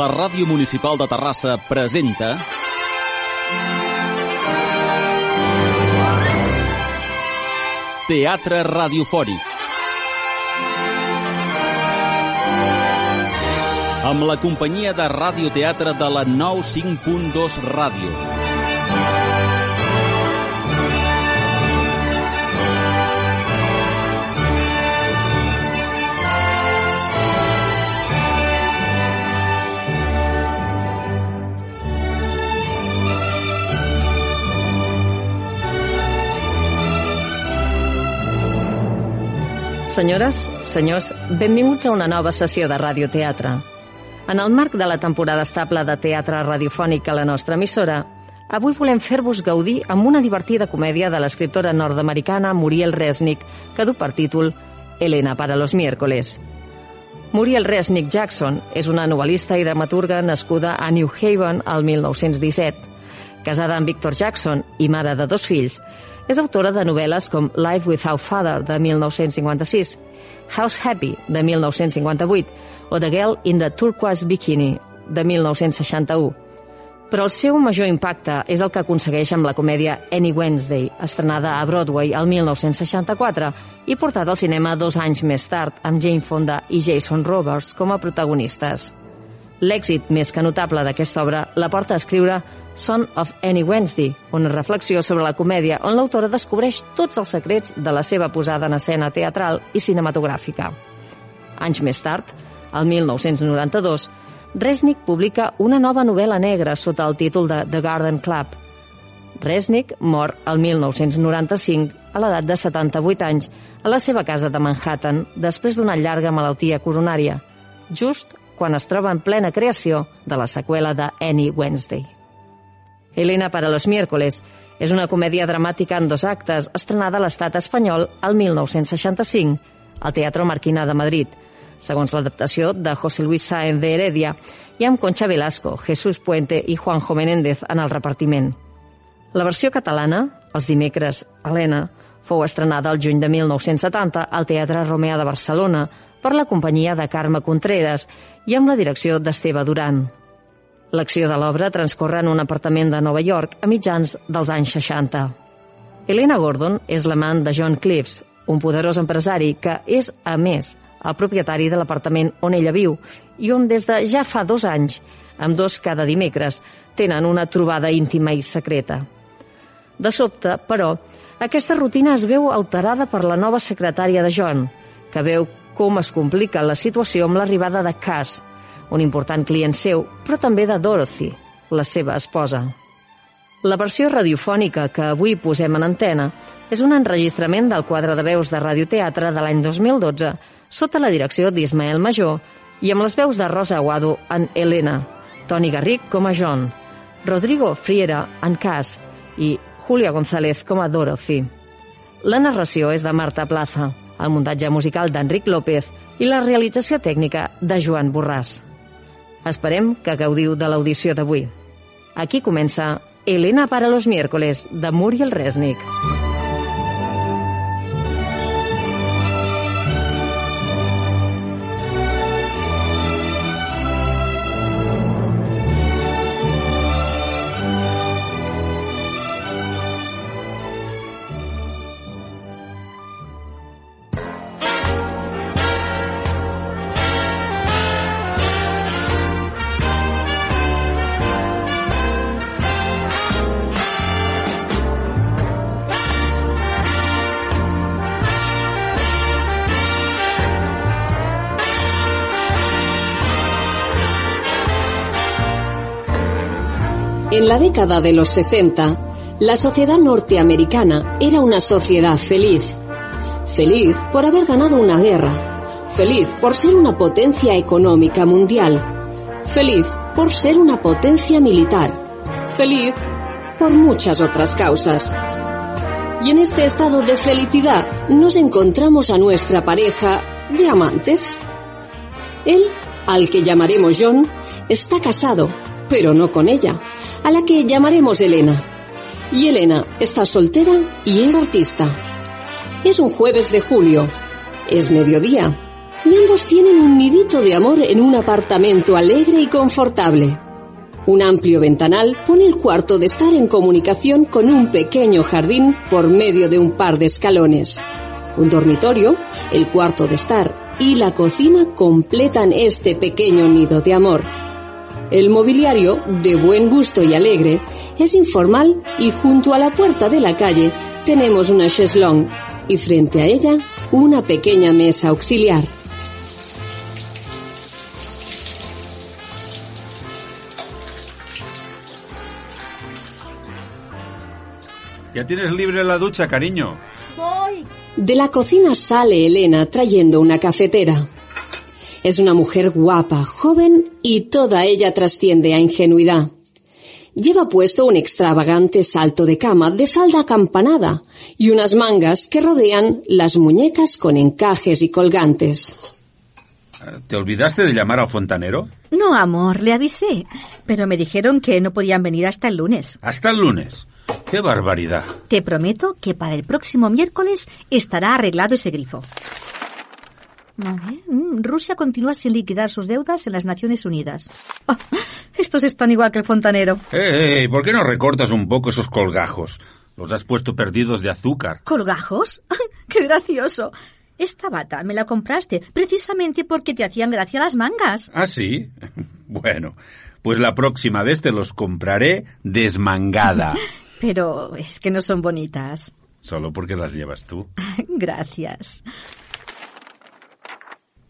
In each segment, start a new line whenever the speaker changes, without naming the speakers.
La Ràdio Municipal de Terrassa presenta... Teatre radiofònic. Amb la companyia de radioteatre de la 95.2 Ràdio.
Senyores, senyors, benvinguts a una nova sessió de radioteatre. En el marc de la temporada estable de teatre radiofònic a la nostra emissora, avui volem fer-vos gaudir amb una divertida comèdia de l'escriptora nord-americana Muriel Resnick, que du per títol Elena para los miércoles. Muriel Resnick Jackson és una novel·lista i dramaturga nascuda a New Haven al 1917. Casada amb Victor Jackson i mare de dos fills, és autora de novel·les com Life Without Father, de 1956, House Happy, de 1958, o The Girl in the Turquoise Bikini, de 1961. Però el seu major impacte és el que aconsegueix amb la comèdia Any Wednesday, estrenada a Broadway el 1964 i portada al cinema dos anys més tard, amb Jane Fonda i Jason Roberts com a protagonistes. L'èxit més que notable d'aquesta obra la porta a escriure Son of Any Wednesday, una reflexió sobre la comèdia on l'autora descobreix tots els secrets de la seva posada en escena teatral i cinematogràfica. Anys més tard, el 1992, Resnick publica una nova novel·la negra sota el títol de The Garden Club. Resnick mor el 1995 a l'edat de 78 anys a la seva casa de Manhattan després d'una llarga malaltia coronària, just quan es troba en plena creació de la seqüela de Any Wednesday. Elena para los miércoles. És una comèdia dramàtica en dos actes, estrenada a l'estat espanyol al 1965, al Teatro Marquina de Madrid, segons l'adaptació de José Luis Sáenz de Heredia, i amb Concha Velasco, Jesús Puente i Juanjo Menéndez en el repartiment. La versió catalana, els dimecres, Helena, fou estrenada el juny de 1970 al Teatre Romea de Barcelona per la companyia de Carme Contreras i amb la direcció d'Esteve Duran. L'acció de l'obra transcorre en un apartament de Nova York a mitjans dels anys 60. Elena Gordon és l'amant de John Cliffs, un poderós empresari que és, a més, el propietari de l'apartament on ella viu i on des de ja fa dos anys, amb dos cada dimecres, tenen una trobada íntima i secreta. De sobte, però, aquesta rutina es veu alterada per la nova secretària de John, que veu com es complica la situació amb l'arribada de Cass, un important client seu, però també de Dorothy, la seva esposa. La versió radiofònica que avui posem en antena és un enregistrament del quadre de veus de radioteatre de l'any 2012 sota la direcció d'Ismael Major i amb les veus de Rosa Aguado en Helena, Toni Garric com a John, Rodrigo Friera en Cas i Julia González com a Dorothy. La narració és de Marta Plaza, el muntatge musical d'Enric López i la realització tècnica de Joan Borràs. Esperem que gaudiu de l'audició d'avui. Aquí comença Elena para los miércoles, de Muriel Resnick. En la década de los 60, la sociedad norteamericana era una sociedad feliz. Feliz por haber ganado una guerra. Feliz por ser una potencia económica mundial. Feliz por ser una potencia militar. Feliz por muchas otras causas. Y en este estado de felicidad nos encontramos a nuestra pareja de amantes. Él, al que llamaremos John, está casado, pero no con ella, a la que llamaremos Elena. Y Elena está soltera y es artista. Es un jueves de julio. Es mediodía. y ambos tienen un nidito de amor en un apartamento alegre y confortable. Un amplio ventanal pone el cuarto de estar en comunicación con un pequeño jardín por medio de un par de escalones. Un dormitorio, el cuarto de estar y la cocina completan este pequeño nido de amor. El mobiliario, de buen gusto y alegre, es informal y junto a la puerta de la calle tenemos una cheslong y frente a ella una pequeña mesa auxiliar.
Ya tienes libre la ducha, cariño.
Voy.
De la cocina sale Elena trayendo una cafetera. Es una mujer guapa, joven y toda ella trasciende a ingenuidad. Lleva puesto un extravagante salto de cama de falda acampanada y unas mangas que rodean las muñecas con encajes y colgantes.
¿Te olvidaste de llamar al fontanero?
No, amor, le avisé, pero me dijeron que no podían venir hasta el lunes.
Hasta el lunes. ¡Qué barbaridad!
Te prometo que para el próximo miércoles estará arreglado ese grifo. A ver, mm, Rusia continúa sin liquidar sus deudas en las Naciones Unidas. Oh, estos están igual que el fontanero.
¡Ey! ey, Eh, ¿Por qué no recortas un poco esos colgajos? Los has puesto perdidos de azúcar.
¿Colgajos? ¡Qué gracioso! Esta bata me la compraste precisamente porque te hacían gracia las mangas.
¿Ah, sí? Bueno, pues la próxima vez te los compraré desmangada.
Pero es que no son bonitas.
Solo porque las llevas tú.
Gracias.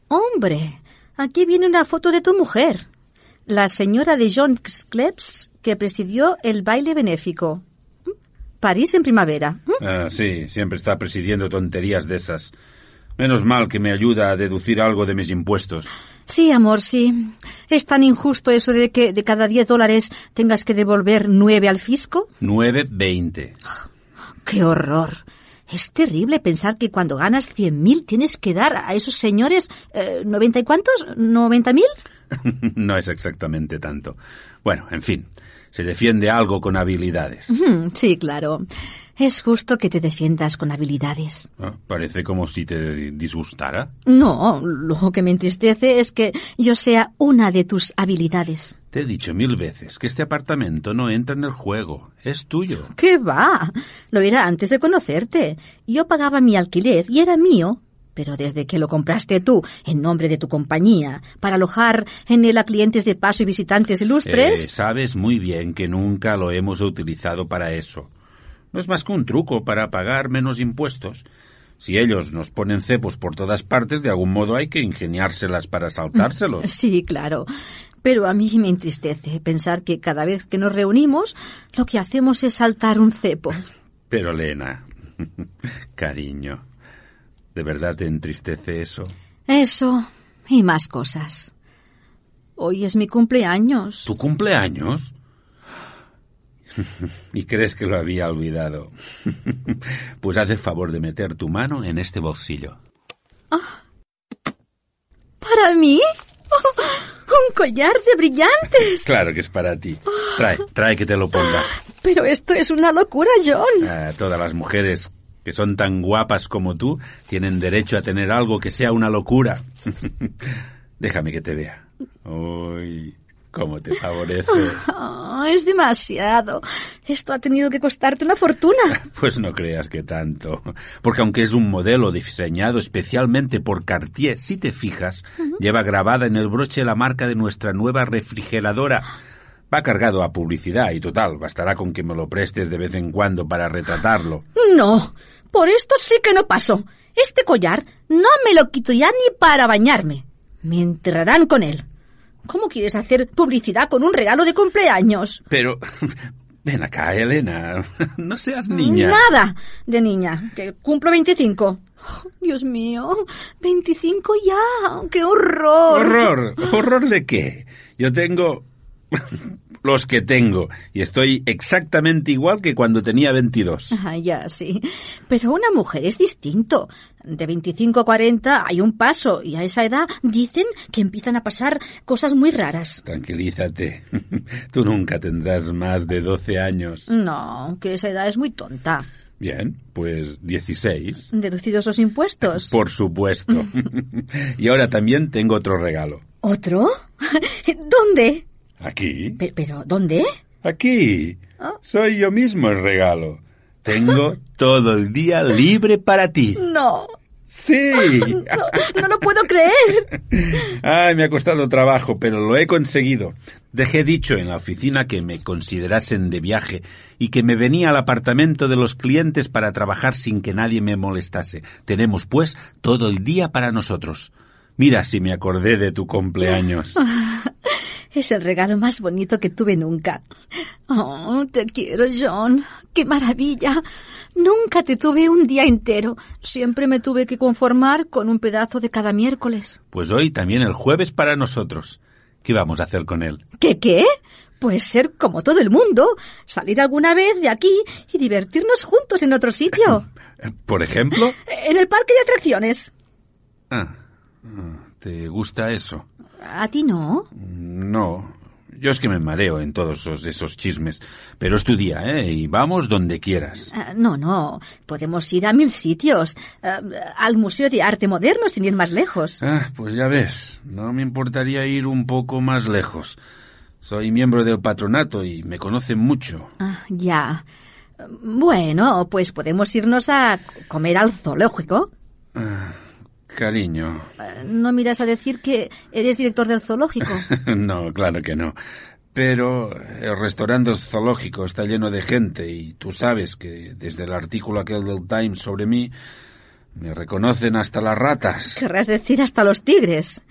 Hombre, aquí viene una foto de tu mujer. La señora de John Klebs que presidió el baile benéfico. París en primavera.
Ah, sí, siempre está presidiendo tonterías de esas. Menos mal que me ayuda a deducir algo de mis impuestos.
Sí, amor, sí. ¿Es tan injusto eso de que de cada 10 dólares tengas que devolver 9 al fisco?
9.20.
¡Qué horror! Es terrible pensar que cuando ganas 100.000 tienes que dar a esos señores... Eh, ¿90 y cuántos? ¿90.000?
no es exactamente tanto. Bueno, en fin, se defiende algo con habilidades.
Mm, Sí, claro. Es justo que te defiendas con habilidades.
Ah, Parece como si te disgustara.
No, lo que me entristece es que yo sea una de tus habilidades.
Te he dicho mil veces que este apartamento no entra en el juego. Es tuyo.
¿Qué va? Lo era antes de conocerte. Yo pagaba mi alquiler y era mío. Pero desde que lo compraste tú, en nombre de tu compañía, para alojar en él a clientes de paso y visitantes
Eh,
ilustres.
sabes muy bien que nunca lo hemos utilizado para eso. No es más que un truco para pagar menos impuestos. Si ellos nos ponen cepos por todas partes, de algún modo hay que ingeniárselas para saltárselos.
Sí, claro. Pero a mí me entristece pensar que cada vez que nos reunimos, lo que hacemos es saltar un cepo.
Pero, Elena, cariño, ¿de verdad te entristece eso?
Eso y más cosas. Hoy es mi cumpleaños.
¿Tu cumpleaños? ¿Y crees que lo había olvidado? pues haz el favor de meter tu mano en este bolsillo.
¿Para mí? ¡Oh! ¡Un collar de brillantes!
Claro que es para ti. Trae, trae que te lo ponga.
Pero esto es una locura, John.
Ah, todas las mujeres que son tan guapas como tú tienen derecho a tener algo que sea una locura. Déjame que te vea. Uy, cómo te favorece.
Ah, es demasiado. Esto ha tenido que costarte una fortuna.
Pues no creas que tanto. Porque aunque es un modelo diseñado especialmente por Cartier, si te fijas, lleva grabada en el broche la marca de nuestra nueva refrigeradora. Va cargado a publicidad y total, bastará con que me lo prestes de vez en cuando para retratarlo.
No, por esto sí que no paso. Este collar no me lo quito ya ni para bañarme. Me enterrarán con él. ¿Cómo quieres hacer publicidad con un regalo de cumpleaños?
Pero... Ven acá, Elena. No seas niña.
Nada de niña, que cumplo 25. Oh, Dios mío, 25 ya, qué horror.
Horror. ¿Horror de qué? Yo tengo... los que tengo. Y estoy exactamente igual que cuando tenía 22.
Ah, ya, sí. Pero una mujer es distinto. De 25 a 40 hay un paso y a esa edad dicen que empiezan a pasar cosas muy raras.
Tranquilízate. Tú nunca tendrás más de 12 años.
No, que esa edad es muy tonta.
Bien, pues 16.
¿Deducidos los impuestos?
Por supuesto. y ahora también tengo otro regalo.
¿Otro? ¿Dónde?
Aquí.
Pe- Pero, ¿dónde?
Aquí.
Ah.
Soy yo mismo el regalo. Tengo todo el día libre para ti.
No,
Sí.
no, no lo puedo creer.
Ay, me ha costado trabajo, pero lo he conseguido. Dejé dicho en la oficina que me considerasen de viaje y que me venía al apartamento de los clientes para trabajar sin que nadie me molestase. Tenemos, pues, todo el día para nosotros. Mira si me acordé de tu cumpleaños.
Es el regalo más bonito que tuve nunca. Oh, te quiero, John. ¡Qué maravilla! Nunca te tuve un día entero. Siempre me tuve que conformar con un pedazo de cada miércoles.
Pues hoy también el jueves para nosotros. ¿Qué vamos a hacer con él?
¿Qué qué? Pues ser como todo el mundo, salir alguna vez de aquí y divertirnos juntos en otro sitio.
Eh, ¿Por ejemplo?
En el parque de atracciones.
Ah, ah, ¿te gusta eso?
¿A ti no?
No. Yo es que me mareo en todos esos, esos chismes. Pero es tu día, ¿eh? Y vamos donde quieras.
Ah, No, no. Podemos ir a mil sitios. Ah, al Museo de Arte Moderno sin ir más lejos.
Ah, pues ya ves, no me importaría ir un poco más lejos. Soy miembro del patronato y me conocen mucho.
Ah, ya. Bueno, pues podemos irnos a comer al zoológico.
Cariño.
Ah, No miras a decir que eres director del zoológico.
no, claro que no. Pero el restaurante zoológico está lleno de gente y tú sabes que desde el artículo aquel del Times sobre mí me reconocen hasta las ratas.
Querrás decir hasta los tigres.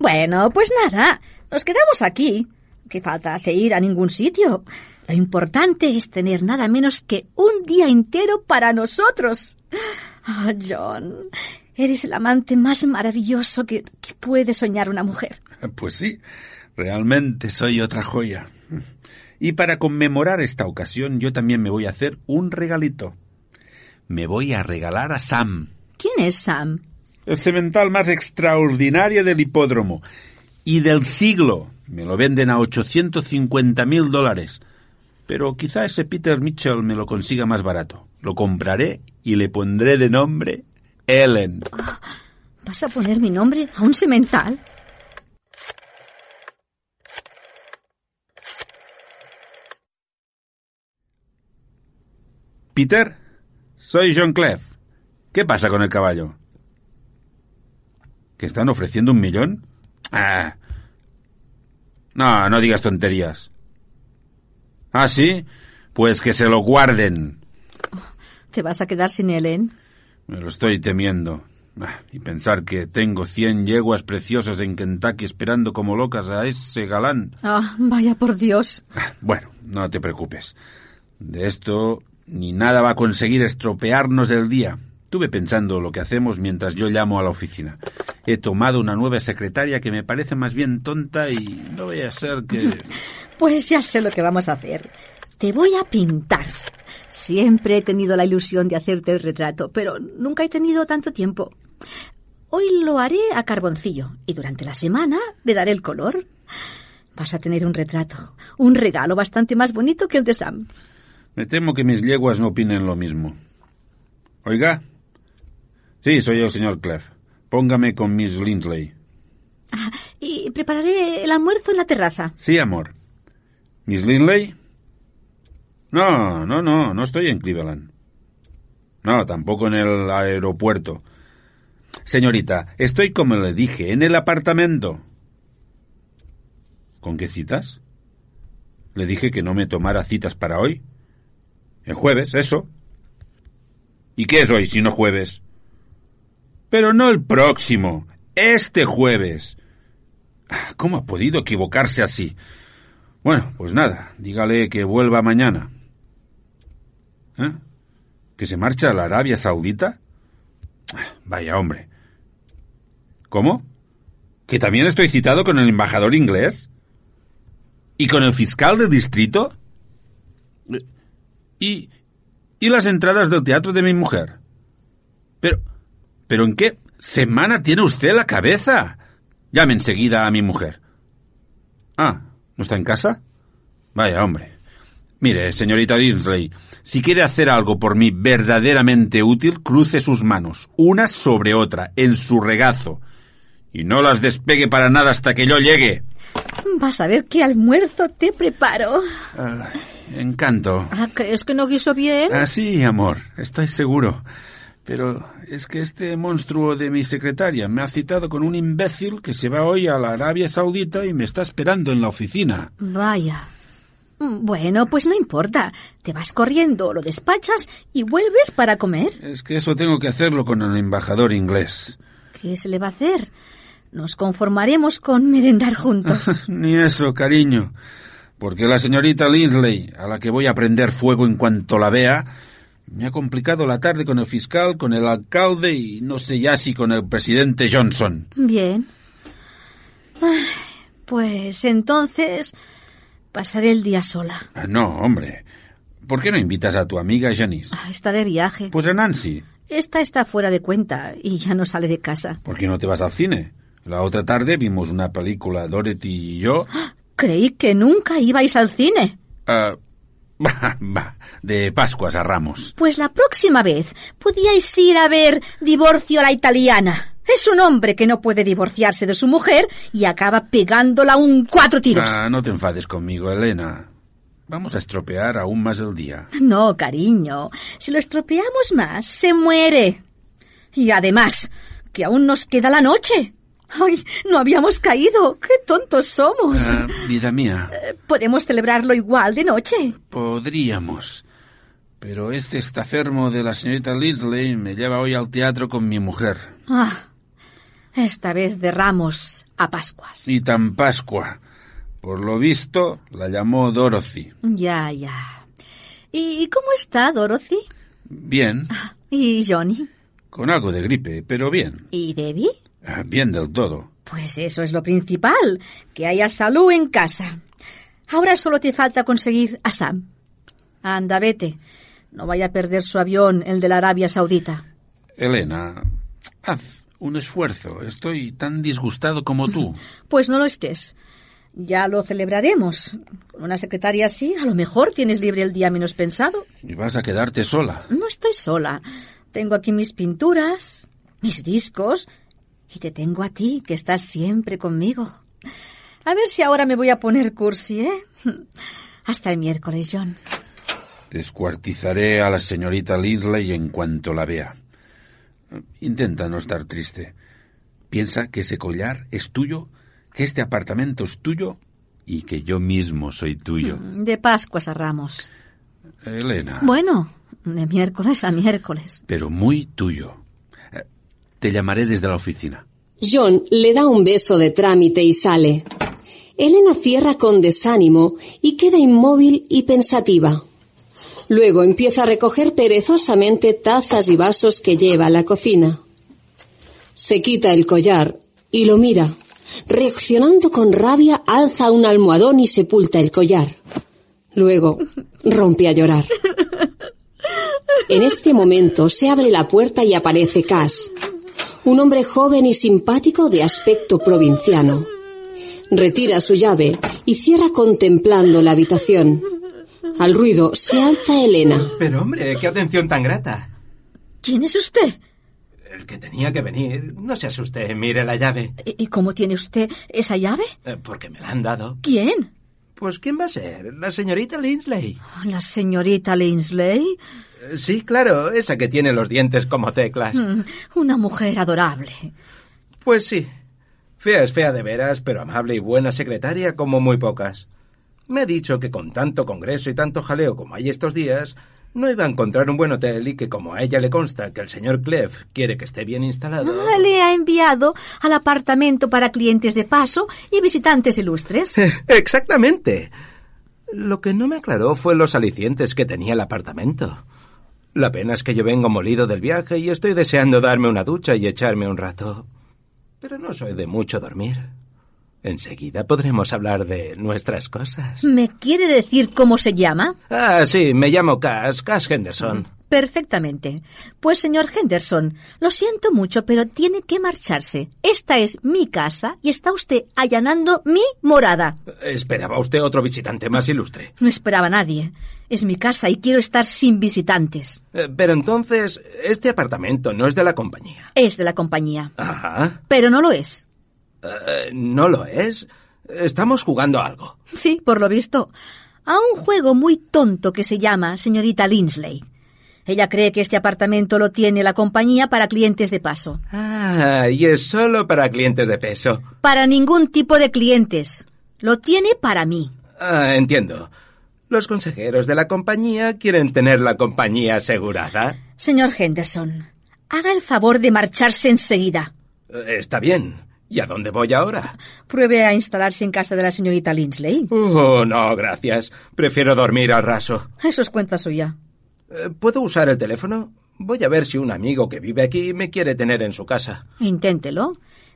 Bueno, pues nada, nos quedamos aquí. ¿Qué falta hace ir a ningún sitio? Lo importante es tener nada menos que un día entero para nosotros. Ah, John, eres el amante más maravilloso que, que puede soñar una mujer.
Pues sí, realmente soy otra joya. Y para conmemorar esta ocasión, yo también me voy a hacer un regalito. Me voy a regalar a Sam,
¿Quién es Sam?
el cemental más extraordinario del hipódromo y del siglo. Me lo venden a 850 mil dólares. Pero quizá ese Peter Mitchell me lo consiga más barato. Lo compraré y le pondré de nombre Ellen.
¿Vas a poner mi nombre a un semental?
Peter, soy John Clef. ¿Qué pasa con el caballo? ¿Que están ofreciendo un millón? Ah. No, no digas tonterías. ¿Ah, sí? Pues que se lo guarden.
¿Te vas a quedar sin Ellen?
Me lo estoy temiendo. Ah, Y pensar que tengo cien yeguas preciosas en Kentucky esperando como locas a ese galán.
Ah, vaya por Dios.
Bueno, no te preocupes. De esto ni nada va a conseguir estropearnos el día. Tuve pensando lo que hacemos mientras yo llamo a la oficina. He tomado una nueva secretaria que me parece más bien tonta y no voy a ser que...
Pues ya sé lo que vamos a hacer. Te voy a pintar. Siempre he tenido la ilusión de hacerte el retrato, pero nunca he tenido tanto tiempo. Hoy lo haré a carboncillo y durante la semana le daré el color. Vas a tener un retrato, un regalo bastante más bonito que el de Sam.
Me temo que mis yeguas no opinen lo mismo. Oiga. Sí, soy el señor Clef. Póngame con Miss Lindley.
Y prepararé el almuerzo en la terraza.
Sí, amor. ¿Miss Lindley? No, no, no, no estoy en Cleveland. No, tampoco en el aeropuerto. Señorita, estoy como le dije, en el apartamento. ¿Con qué citas? Le dije que no me tomara citas para hoy. El jueves, eso. ¿Y qué es hoy si no jueves? Pero no el próximo, este jueves. ¿Cómo ha podido equivocarse así? Bueno, pues nada, dígale que vuelva mañana. ¿Eh? ¿Que se marcha a la Arabia Saudita? Ah, Vaya hombre. ¿Cómo? ¿Que también estoy citado con el embajador inglés? ¿Y con el fiscal de distrito? ¿Y, y las entradas del teatro de mi mujer? Pero, ¿Pero en qué semana tiene usted la cabeza? Llame enseguida a mi mujer. Ah, ¿no está en casa? Vaya, hombre. Mire, señorita Dinsley, si quiere hacer algo por mí verdaderamente útil, cruce sus manos, una sobre otra, en su regazo. Y no las despegue para nada hasta que yo llegue.
Vas a ver qué almuerzo te preparo.
Ah, encanto.
Ah, ¿Crees que no guiso bien?
Ah, sí, amor, estoy seguro. Pero es que este monstruo de mi secretaria me ha citado con un imbécil que se va hoy a la Arabia Saudita y me está esperando en la oficina.
Vaya. Bueno, pues no importa. Te vas corriendo, lo despachas y vuelves para comer.
Es que eso tengo que hacerlo con el embajador inglés.
¿Qué se le va a hacer? Nos conformaremos con merendar juntos.
Ni eso, cariño. Porque la señorita Linsley, a la que voy a prender fuego en cuanto la vea, me ha complicado la tarde con el fiscal, con el alcalde y no sé ya si con el presidente Johnson.
Bien. Ay, Pues entonces pasaré el día sola.
Ah, No, hombre. ¿Por qué no invitas a tu amiga Janice?
Ah, Está de viaje.
Pues a Nancy.
Esta está fuera de cuenta y ya no sale de casa.
¿Por qué no te vas al cine? La otra tarde vimos una película, Dorothy y yo.
Creí que nunca ibais al cine.
Ah, bah, bah, de Pascuas a Ramos.
Pues la próxima vez podíais ir a ver Divorcio a la Italiana. Es un hombre que no puede divorciarse de su mujer y acaba pegándola un cuatro tiros.
Ah, no te enfades conmigo, Elena. Vamos a estropear aún más el día.
No, cariño. Si lo estropeamos más, se muere. Y además, que aún nos queda la noche. ¡Ay! No habíamos caído. ¡Qué tontos somos!
Ah, vida mía,
Eh, Podemos celebrarlo igual de noche.
podríamos. Pero este estafermo de la señorita Linsley me lleva hoy al teatro con mi mujer.
Ah, esta vez de Ramos a Pascuas.
Y tan Pascua. Por lo visto, la llamó Dorothy.
Ya, ya. ¿Y cómo está Dorothy?
Bien,
¿Y Johnny?
con algo de gripe, pero bien.
¿Y Debbie?
Ah, Bien del todo.
Pues eso es lo principal, que haya salud en casa. Ahora solo te falta conseguir a Sam. Anda, vete. No vaya a perder su avión, el de la Arabia Saudita.
Elena, haz un esfuerzo. Estoy tan disgustado como tú.
Pues no lo estés. Ya lo celebraremos. Con una secretaria así, a lo mejor tienes libre el día menos pensado.
Y vas a quedarte sola.
No estoy sola. Tengo aquí mis pinturas, mis discos y te tengo a ti, que estás siempre conmigo. A ver si ahora me voy a poner cursi, ¿eh? Hasta el miércoles, John.
Descuartizaré a la señorita Linsley en cuanto la vea. Intenta no estar triste. Piensa que ese collar es tuyo, que este apartamento es tuyo y que yo mismo soy tuyo.
De Pascuas a Ramos.
Elena,
Bueno, de miércoles a miércoles.
pero muy tuyo. Eh, Te llamaré desde la oficina.
John le da un beso de trámite y sale. Elena cierra con desánimo y queda inmóvil y pensativa. Luego empieza a recoger perezosamente tazas y vasos que lleva a la cocina. Se quita el collar y lo mira. Reaccionando con rabia, alza un almohadón y sepulta el collar. Luego rompe a llorar. En este momento se abre la puerta y aparece Cass, un hombre joven y simpático de aspecto provinciano. Retira su llave y cierra contemplando la habitación. Al ruido se alza Elena.
Pero hombre, qué atención tan grata.
¿Quién es usted?
El que tenía que venir. No se asuste, mire la llave.
¿Y y cómo tiene usted esa llave?
Eh, Porque me la han dado.
¿Quién?
Pues ¿quién va a ser? La señorita Linsley.
¿La señorita Linsley?
Eh, Sí, claro, esa que tiene los dientes como teclas.
Mm, Una mujer adorable.
Pues sí. Fea es fea de veras, pero amable y buena secretaria como muy pocas. Me ha dicho que con tanto congreso y tanto jaleo como hay estos días, no iba a encontrar un buen hotel y que como a ella le consta que el señor Clef quiere que esté bien instalado...
Ah, Le ha enviado al apartamento para clientes de paso y visitantes ilustres.
Exactamente. Lo que no me aclaró fue los alicientes que tenía el apartamento. La pena es que yo vengo molido del viaje y estoy deseando darme una ducha y echarme un rato. Pero no soy de mucho dormir. Enseguida podremos hablar de nuestras cosas.
¿Me quiere decir cómo se llama?
Ah, sí, me llamo Cass, Cass Henderson.
Perfectamente. Pues, señor Henderson, lo siento mucho, pero tiene que marcharse. Esta es mi casa y está usted allanando mi morada.
Esperaba usted otro visitante más ilustre.
No esperaba a nadie. Es mi casa y quiero estar sin visitantes.
Eh, Pero entonces, este apartamento no es de la compañía.
Es de la compañía.
Ajá.
Pero no lo es.
Eh, no lo es. Estamos jugando a algo.
Sí, por lo visto. A un juego muy tonto que se llama señorita Linsley. Ella cree que este apartamento lo tiene la compañía para clientes de paso.
Ah, y es solo para clientes de peso.
Para ningún tipo de clientes. Lo tiene para mí.
Ah, entiendo. Los consejeros de la compañía quieren tener la compañía asegurada.
Señor Henderson, haga el favor de marcharse enseguida.
Eh, Está bien. ¿Y a dónde voy ahora?
Pruebe a instalarse en casa de la señorita Linsley.
Oh, no, gracias. Prefiero dormir al raso.
Eso es cuenta suya.
Eh, ¿Puedo usar el teléfono? Voy a ver si un amigo que vive aquí me quiere tener en su casa.
Inténtelo.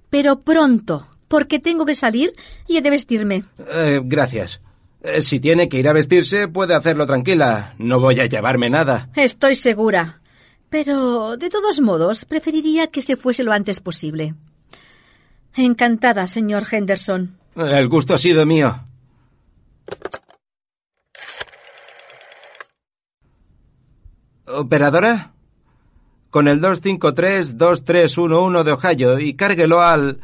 Pero pronto, porque tengo que salir y he de vestirme.
Eh, gracias. Eh, si tiene que ir a vestirse, puede hacerlo tranquila. No voy a llevarme nada.
Estoy segura. Pero, de todos modos, preferiría que se fuese lo antes posible. Encantada, señor Henderson.
Eh, El gusto ha sido mío. ¿Operadora? Con el 253-2311 de Ohio y cárguelo al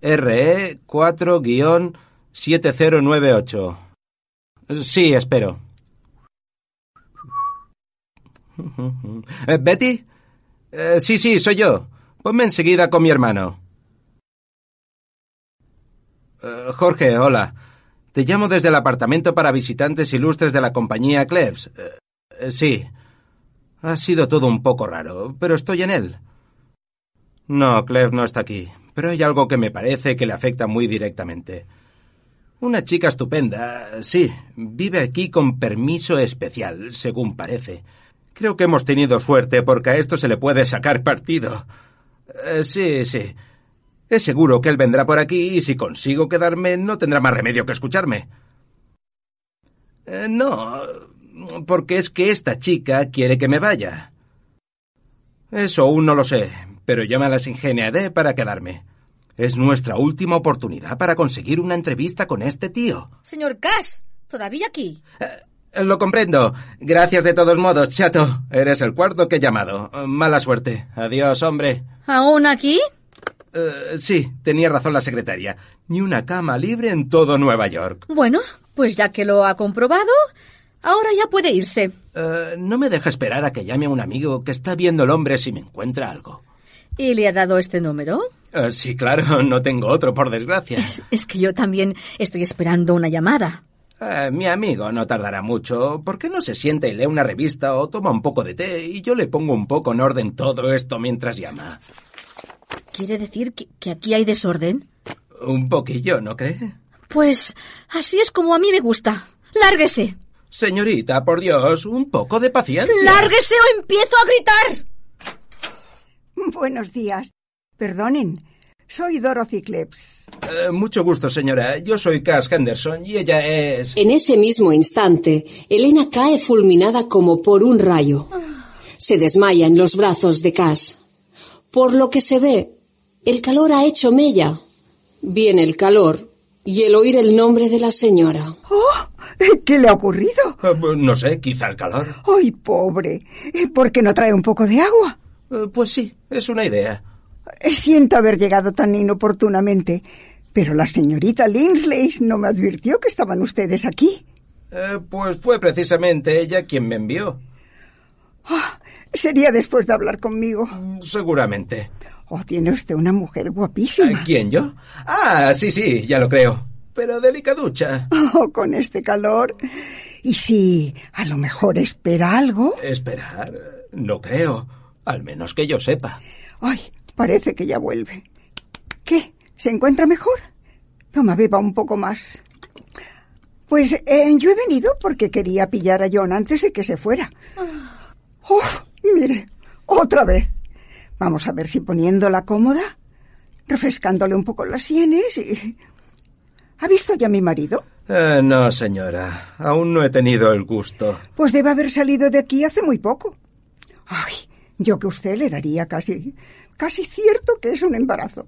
E RE 4-7098. Sí, espero. Eh, ¿Betty? Eh, sí, sí, soy yo. Ponme enseguida con mi hermano. Eh, Jorge, hola. Te llamo desde el apartamento para visitantes ilustres de la compañía Cleves. Eh, eh, sí. Ha sido todo un poco raro, pero estoy en él. No, Cleves no está aquí, pero hay algo que me parece que le afecta muy directamente. Una chica estupenda, sí, vive aquí con permiso especial, según parece. Creo que hemos tenido suerte porque a esto se le puede sacar partido. Eh, sí, sí. Es seguro que él vendrá por aquí y si consigo quedarme no tendrá más remedio que escucharme. Eh, no, porque es que esta chica quiere que me vaya. Eso aún no lo sé, pero yo me las ingeniaré para quedarme. Es nuestra última oportunidad para conseguir una entrevista con este tío.
Señor Cash, todavía aquí.
Eh, Lo comprendo. Gracias de todos modos, chato. Eres el cuarto que he llamado. Eh, Mala suerte. Adiós, hombre.
¿Aún aquí?
Eh, sí, tenía razón la secretaria. Ni una cama libre en todo Nueva York.
Bueno, pues ya que lo ha comprobado, ahora ya puede irse.
Eh, no me deja esperar a que llame a un amigo que está viendo el hombre si me encuentra algo.
¿Y le ha dado este número?
Eh, sí, claro, no tengo otro, por desgracia.
Es que yo también estoy esperando una llamada.
Eh, mi amigo no tardará mucho. ¿Por qué no se sienta y lee una revista o toma un poco de té y yo le pongo un poco en orden todo esto mientras llama?
¿Quiere decir que, que aquí hay desorden?
Un poquillo, ¿no cree?
Pues así es como a mí me gusta. ¡Lárguese!
Señorita, por Dios, un poco de paciencia.
¡Lárguese o empiezo a gritar!
Buenos días. Perdonen, soy Dorothy Klebs.
Eh, mucho gusto, señora. Yo soy Cass Henderson y ella es...
En ese mismo instante, Elena cae fulminada como por un rayo. Se desmaya en los brazos de Cass. Por lo que se ve, el calor ha hecho mella. Viene el calor y el oír el nombre de la señora.
¡Oh! ¿Qué le ha ocurrido?
Eh, bu- No sé, quizá el calor.
¡Ay, pobre! ¿Eh, ¿Por qué no trae un poco de agua? Eh,
Eh, Pues sí, es una idea.
Siento haber llegado tan inoportunamente, pero la señorita Linsley no me advirtió que estaban ustedes aquí.
Eh, pues fue precisamente ella quien me envió.
Sería después de hablar conmigo.
Mm, Seguramente.
Oh, tiene usted una mujer
¿Eh,
guapísima.
¿Quién yo? Ah, sí, sí, ya lo creo. Pero delicaducha.
Oh, con este calor. Y si a lo mejor espera algo.
Esperar, eh, no creo. Al menos que yo sepa.
Ay, parece que ya vuelve. ¿Qué? ¿Se encuentra mejor? Toma, beba un poco más. Pues eh, yo he venido porque quería pillar a John antes de que se fuera. ¡Uf! Mire, otra vez. Vamos a ver si poniéndola cómoda, refrescándole un poco las sienes y... ¿Ha visto ya a mi marido?
Eh, no, señora. Aún no he tenido el gusto.
Pues debe haber salido de aquí hace muy poco. Ay, yo que usted le daría casi, casi cierto que es un embarazo.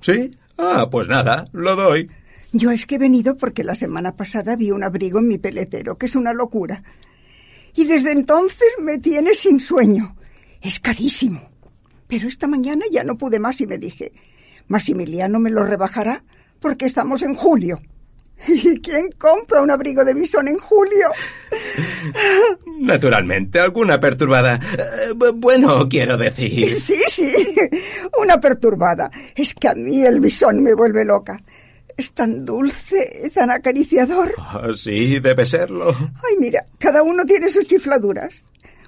¿Sí? Ah, pues nada, lo doy.
Yo es que he venido porque la semana pasada vi un abrigo en mi peletero, que es una locura. Y desde entonces me tiene sin sueño. Es carísimo. Pero esta mañana ya no pude más y me dije, Maximiliano me lo rebajará porque estamos en julio. ¿Y quién compra un abrigo de bisón en julio?
Naturalmente, alguna perturbada. Eh, bu- Bueno, quiero decir.
Sí, sí, una perturbada. Es que a mí el bisón me vuelve loca. Es tan dulce, tan acariciador.
Ah, sí, debe serlo.
Ay, mira, cada uno tiene sus chifladuras.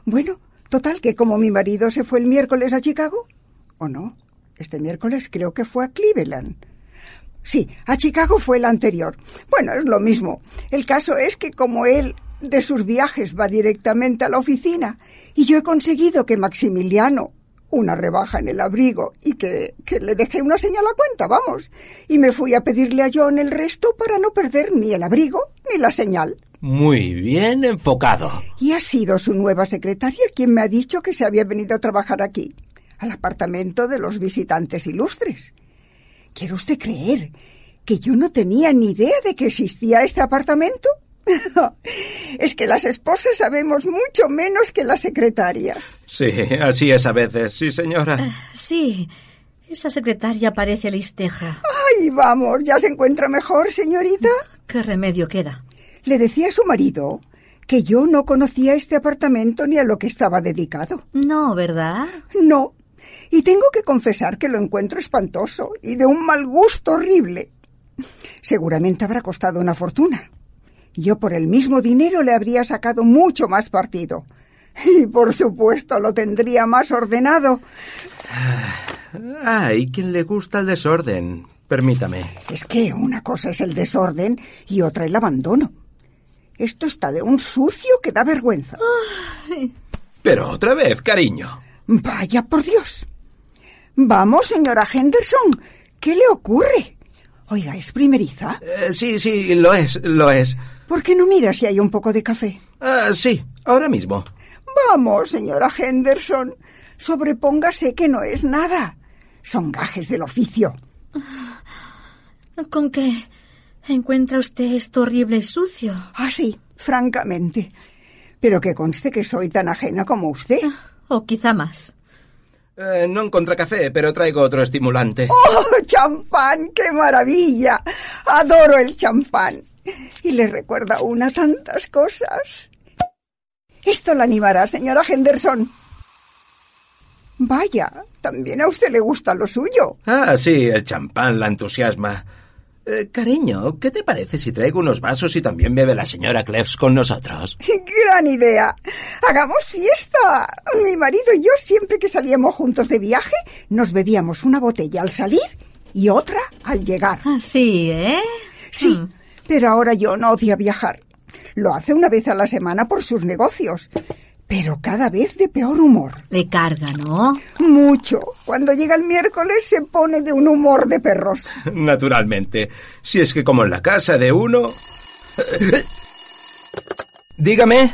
Bueno, total que como mi marido se fue el miércoles a Chicago, ¿o no? Este miércoles creo que fue a Cleveland. Sí, a Chicago fue el anterior. Bueno, es lo mismo. El caso es que como él de sus viajes va directamente a la oficina y yo he conseguido que Maximiliano una rebaja en el abrigo y que, que le dejé una señal a cuenta, vamos. Y me fui a pedirle a John el resto para no perder ni el abrigo ni la señal.
Muy bien enfocado.
Y ha sido su nueva secretaria quien me ha dicho que se había venido a trabajar aquí, al apartamento de los visitantes ilustres. ¿Quiere usted creer que yo no tenía ni idea de que existía este apartamento? es que las esposas sabemos mucho menos que las secretarias.
Sí, así es a veces, sí, señora.
Sí, esa secretaria parece listeja.
Ay, vamos, ya se encuentra mejor, señorita.
¿Qué remedio queda?
Le decía a su marido que yo no conocía este apartamento ni a lo que estaba dedicado.
No, ¿verdad?
No. Y tengo que confesar que lo encuentro espantoso y de un mal gusto horrible. Seguramente habrá costado una fortuna. Yo por el mismo dinero le habría sacado mucho más partido. Y por supuesto lo tendría más ordenado.
Ay, quien le gusta el desorden. Permítame.
Es que una cosa es el desorden y otra el abandono. Esto está de un sucio que da vergüenza.
Pero otra vez, cariño.
Vaya por Dios. Vamos, señora Henderson. ¿Qué le ocurre? Oiga, es primeriza.
Eh, sí, sí, lo es, lo es.
¿Por qué no mira si hay un poco de café?
Ah, sí, ahora mismo.
Vamos, señora Henderson, sobrepóngase que no es nada. Son gajes del oficio.
¿Con qué encuentra usted esto horrible y sucio?
Ah, sí, francamente. Pero que conste que soy tan ajena como usted.
O quizá más.
Eh, no encontré café, pero traigo otro estimulante.
¡Oh, champán! ¡Qué maravilla! Adoro el champán. Y le recuerda a una tantas cosas. Esto la animará, señora Henderson. Vaya, también a usted le gusta lo suyo.
Ah, sí, el champán la entusiasma. Eh, cariño, ¿qué te parece si traigo unos vasos y también bebe la señora Cleves con nosotros?
Gran idea. Hagamos fiesta. Mi marido y yo siempre que salíamos juntos de viaje nos bebíamos una botella al salir y otra al llegar.
Así, ¿eh?
Sí, pero ahora yo no odia viajar. Lo hace una vez a la semana por sus negocios, pero cada vez de peor humor.
Le carga, ¿no?
Mucho. Cuando llega el miércoles se pone de un humor de perros.
Naturalmente. Si es que como en la casa de uno... Dígame.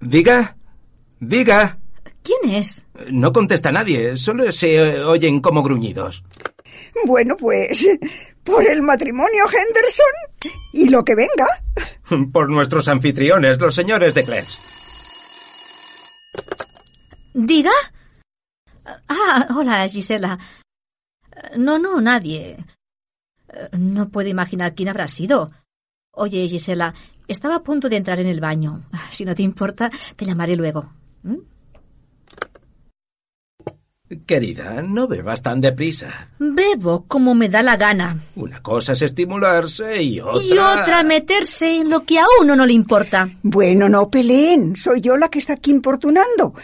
Diga. Diga.
¿Quién es?
No contesta nadie, solo se eh, oyen como gruñidos.
Bueno, pues por el matrimonio Henderson y lo que venga.
Por nuestros anfitriones, los señores de Cleves.
¿Diga? Ah, hola, Gisela. No, no, nadie. Eh, No puedo imaginar quién habrá sido. Oye, Gisela, estaba a punto de entrar en el baño. Si no te importa, te llamaré luego. ¿Mm?
Querida, no bebas tan deprisa.
Bebo como me da la gana.
Una cosa es estimularse y otra...
Y otra meterse en lo que a uno no le importa.
Bueno, no peleen. Soy yo la que está aquí importunando.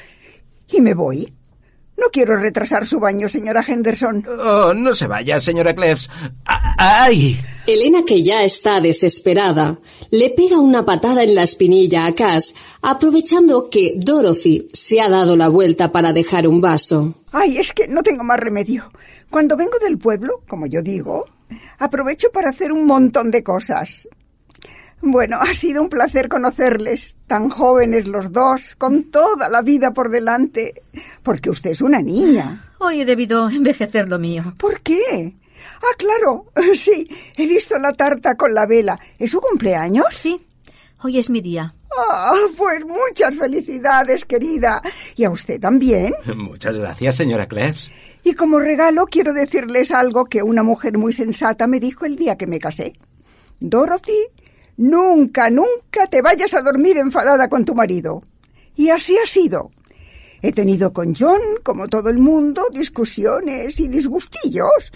Y me voy. No quiero retrasar su baño, señora Henderson.
Oh, no se vaya, señora Cleves. A- ¡Ay!
Elena, que ya está desesperada, le pega una patada en la espinilla a Cass, aprovechando que Dorothy se ha dado la vuelta para dejar un vaso.
Ay, es que no tengo más remedio. Cuando vengo del pueblo, como yo digo, aprovecho para hacer un montón de cosas. Bueno, ha sido un placer conocerles, tan jóvenes los dos, con toda la vida por delante, porque usted es una niña.
Hoy he debido envejecer lo mío.
¿Por qué? Ah, claro, sí, he visto la tarta con la vela. ¿Es su cumpleaños?
Sí, hoy es mi día.
Ah, pues muchas felicidades, querida. ¿Y a usted también?
Muchas gracias, señora Klebs.
Y como regalo quiero decirles algo que una mujer muy sensata me dijo el día que me casé. Dorothy, nunca, nunca te vayas a dormir enfadada con tu marido. Y así ha sido. He tenido con John, como todo el mundo, discusiones y disgustillos,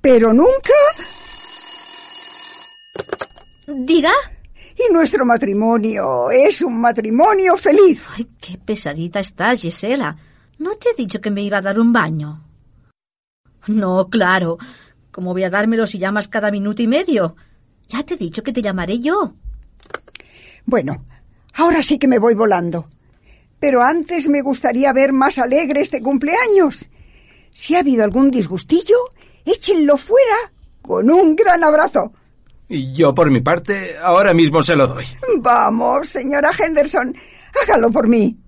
pero nunca...
¿Diga?
Y nuestro matrimonio es un matrimonio feliz.
Ay, qué pesadita estás, Gisela. ¿No te he dicho que me iba a dar un baño? No, claro. ¿Cómo voy a dármelo si llamas cada minuto y medio? Ya te he dicho que te llamaré yo.
Bueno, ahora sí que me voy volando. Pero antes me gustaría ver más alegre este cumpleaños. Si ha habido algún disgustillo, échenlo fuera con un gran abrazo.
Y yo, por mi parte, ahora mismo se lo doy.
Vamos, señora Henderson, hágalo por mí.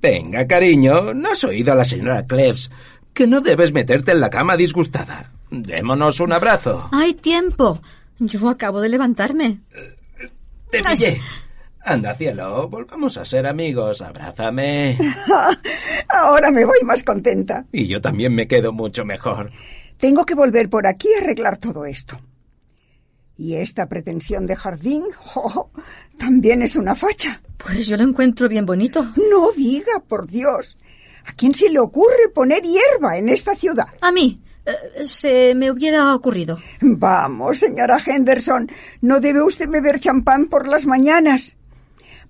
Venga, cariño, no has oído a la señora Cleves que no debes meterte en la cama disgustada. Démonos un abrazo.
Hay tiempo. Yo acabo de levantarme.
Te pillé. Anda, cielo, volvamos a ser amigos. Abrázame.
Ahora me voy más contenta.
Y yo también me quedo mucho mejor.
Tengo que volver por aquí a arreglar todo esto. Y esta pretensión de jardín, oh, también es una facha.
Pues yo lo encuentro bien bonito.
No diga, por Dios. ¿A quién se le ocurre poner hierba en esta ciudad?
A mí. Eh, se me hubiera ocurrido.
Vamos, señora Henderson, no debe usted beber champán por las mañanas.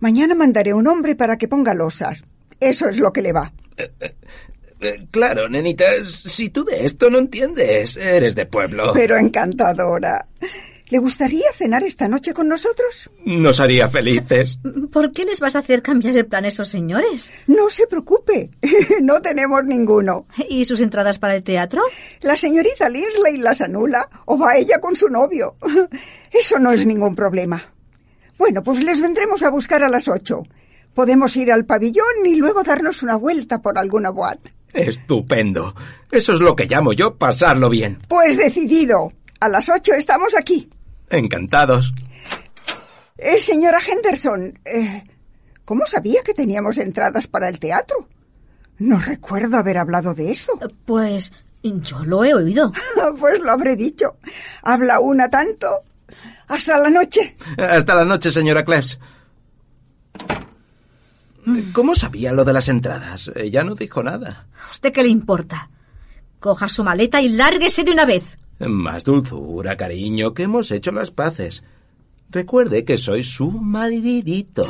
Mañana mandaré un hombre para que ponga losas. Eso es lo que le va.
Eh, eh, claro, nenita, si tú de esto no entiendes, eres de pueblo.
Pero encantadora. ¿Le gustaría cenar esta noche con nosotros?
Nos haría felices.
¿Por qué les vas a hacer cambiar el plan a esos señores?
No se preocupe, no tenemos ninguno.
¿Y sus entradas para el teatro?
La señorita Linsley las anula o va ella con su novio. Eso no es ningún problema. Bueno, pues les vendremos a buscar a las ocho. Podemos ir al pabellón y luego darnos una vuelta por alguna boate.
Estupendo. Eso es lo que llamo yo pasarlo bien.
Pues decidido. A las ocho estamos aquí.
Encantados.
Eh, señora Henderson, eh, ¿cómo sabía que teníamos entradas para el teatro? No recuerdo haber hablado de eso.
Pues yo lo he oído.
pues lo habré dicho. Habla una tanto. Hasta la noche.
Hasta la noche, señora Cleves. ¿Cómo sabía lo de las entradas? Ella no dijo nada.
¿A usted qué le importa? Coja su maleta y lárguese de una vez.
Más dulzura, cariño, que hemos hecho las paces. Recuerde que soy su maridito.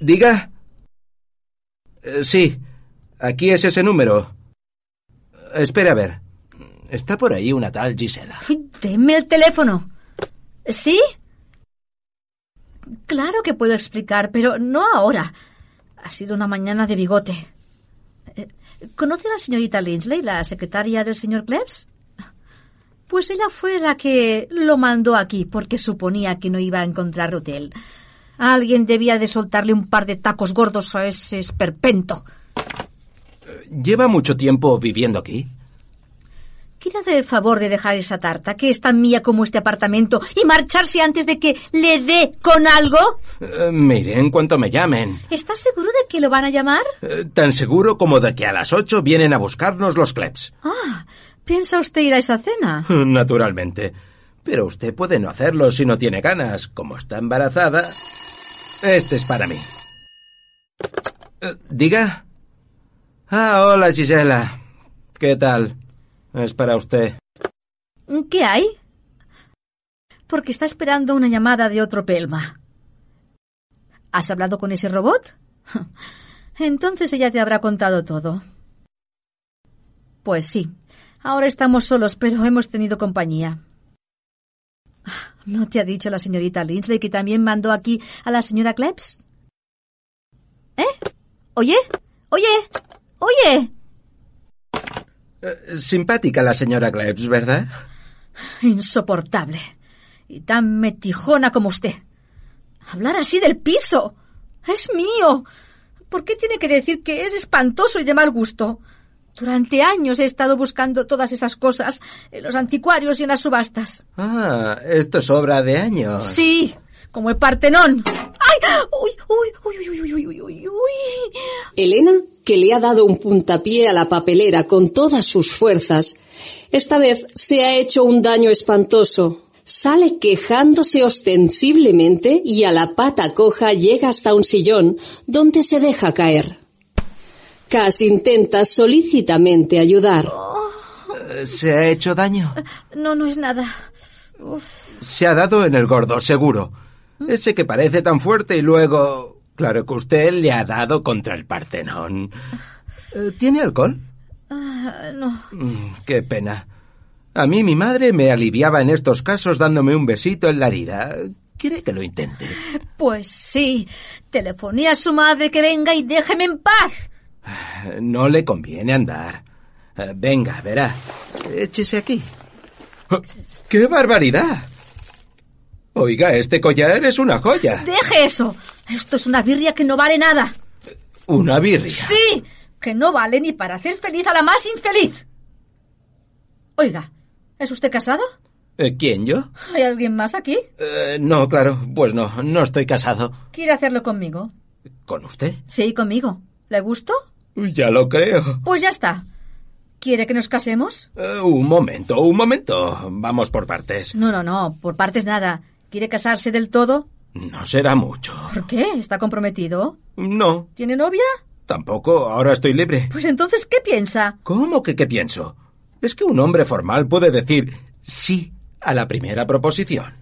Diga. Eh, Sí, aquí es ese número. Espera a ver. Está por ahí una tal Gisela.
Ay, Deme el teléfono. ¿Sí? Claro que puedo explicar, pero no ahora. Ha sido una mañana de bigote. Eh, ¿Conoce a la señorita Linsley, la secretaria del señor Klebs? Pues ella fue la que lo mandó aquí porque suponía que no iba a encontrar hotel. Alguien debía de soltarle un par de tacos gordos a ese esperpento.
¿Lleva mucho tiempo viviendo aquí?
¿Quiere hacer el favor de dejar esa tarta, que es tan mía como este apartamento, y marcharse antes de que le dé con algo?
Eh, me iré en cuanto me llamen.
¿Estás seguro de que lo van a llamar?
Eh, tan seguro como de que a las ocho vienen a buscarnos los Klebs.
Ah, ¿piensa usted ir a esa cena?
Naturalmente. Pero usted puede no hacerlo si no tiene ganas. Como está embarazada... Este es para mí. Eh, Diga. Ah, hola Gisela. ¿Qué tal? Es para usted.
¿Qué hay? Porque está esperando una llamada de otro pelma. ¿Has hablado con ese robot? Entonces ella te habrá contado todo. Pues sí, ahora estamos solos, pero hemos tenido compañía. ¿No te ha dicho la señorita Linsley que también mandó aquí a la señora Klebs? ¿Eh? ¿Oye? ¿Oye? ¿Oye?
Eh, Simpática la señora Klebs, ¿verdad?
Insoportable. y tan metijona como usted. Hablar así del piso. Es mío. ¿Por qué tiene que decir que es espantoso y de mal gusto? Durante años he estado buscando todas esas cosas en los anticuarios y en las subastas.
Ah, esto es obra de años.
Sí, como el Partenón. ¡Ay! ¡Uy, uy, uy, uy, uy, uy, uy, uy, uy!
Elena, que le ha dado un puntapié a la papelera con todas sus fuerzas, esta vez se ha hecho un daño espantoso. Sale quejándose ostensiblemente y a la pata coja llega hasta un sillón donde se deja caer. Cass intenta solícitamente ayudar.
¿Se ha hecho daño?
No, no es nada.
Se ha dado en el gordo, seguro. Ese que parece tan fuerte y luego... Claro que usted le ha dado contra el Partenón. Eh, ¿Tiene alcohol?
Ah, no.
Mm, Qué pena. A mí mi madre me aliviaba en estos casos dándome un besito en la herida. ¿Quiere que lo intente? Eh,
Pues sí. Telefonía a su madre que venga y déjeme en paz.
Eh, No le conviene andar. Eh, Venga, verá. Échese aquí. ¡Oh, ¡Qué barbaridad! Oiga, este collar es una joya.
Deje eso. Esto es una birria que no vale nada.
Una birria.
Sí, que no vale ni para hacer feliz a la más infeliz. Oiga, ¿es usted casado?
Eh, ¿Quién, yo?
¿Hay alguien más aquí?
Eh, no, claro, pues no, no estoy casado.
¿Quiere hacerlo conmigo?
¿Con usted?
Sí, conmigo. ¿Le gusto?
Ya lo creo.
Pues ya está. ¿Quiere que nos casemos?
Eh, un momento, un momento. Vamos por partes.
No, no, no, por partes nada. ¿Quiere casarse del todo?
No será mucho.
¿Por qué? ¿Está comprometido?
No,
¿Tiene novia?
tampoco, ahora estoy libre.
Pues entonces, ¿qué piensa?
¿Cómo que qué pienso? Es que un hombre formal puede decir sí a la primera proposición.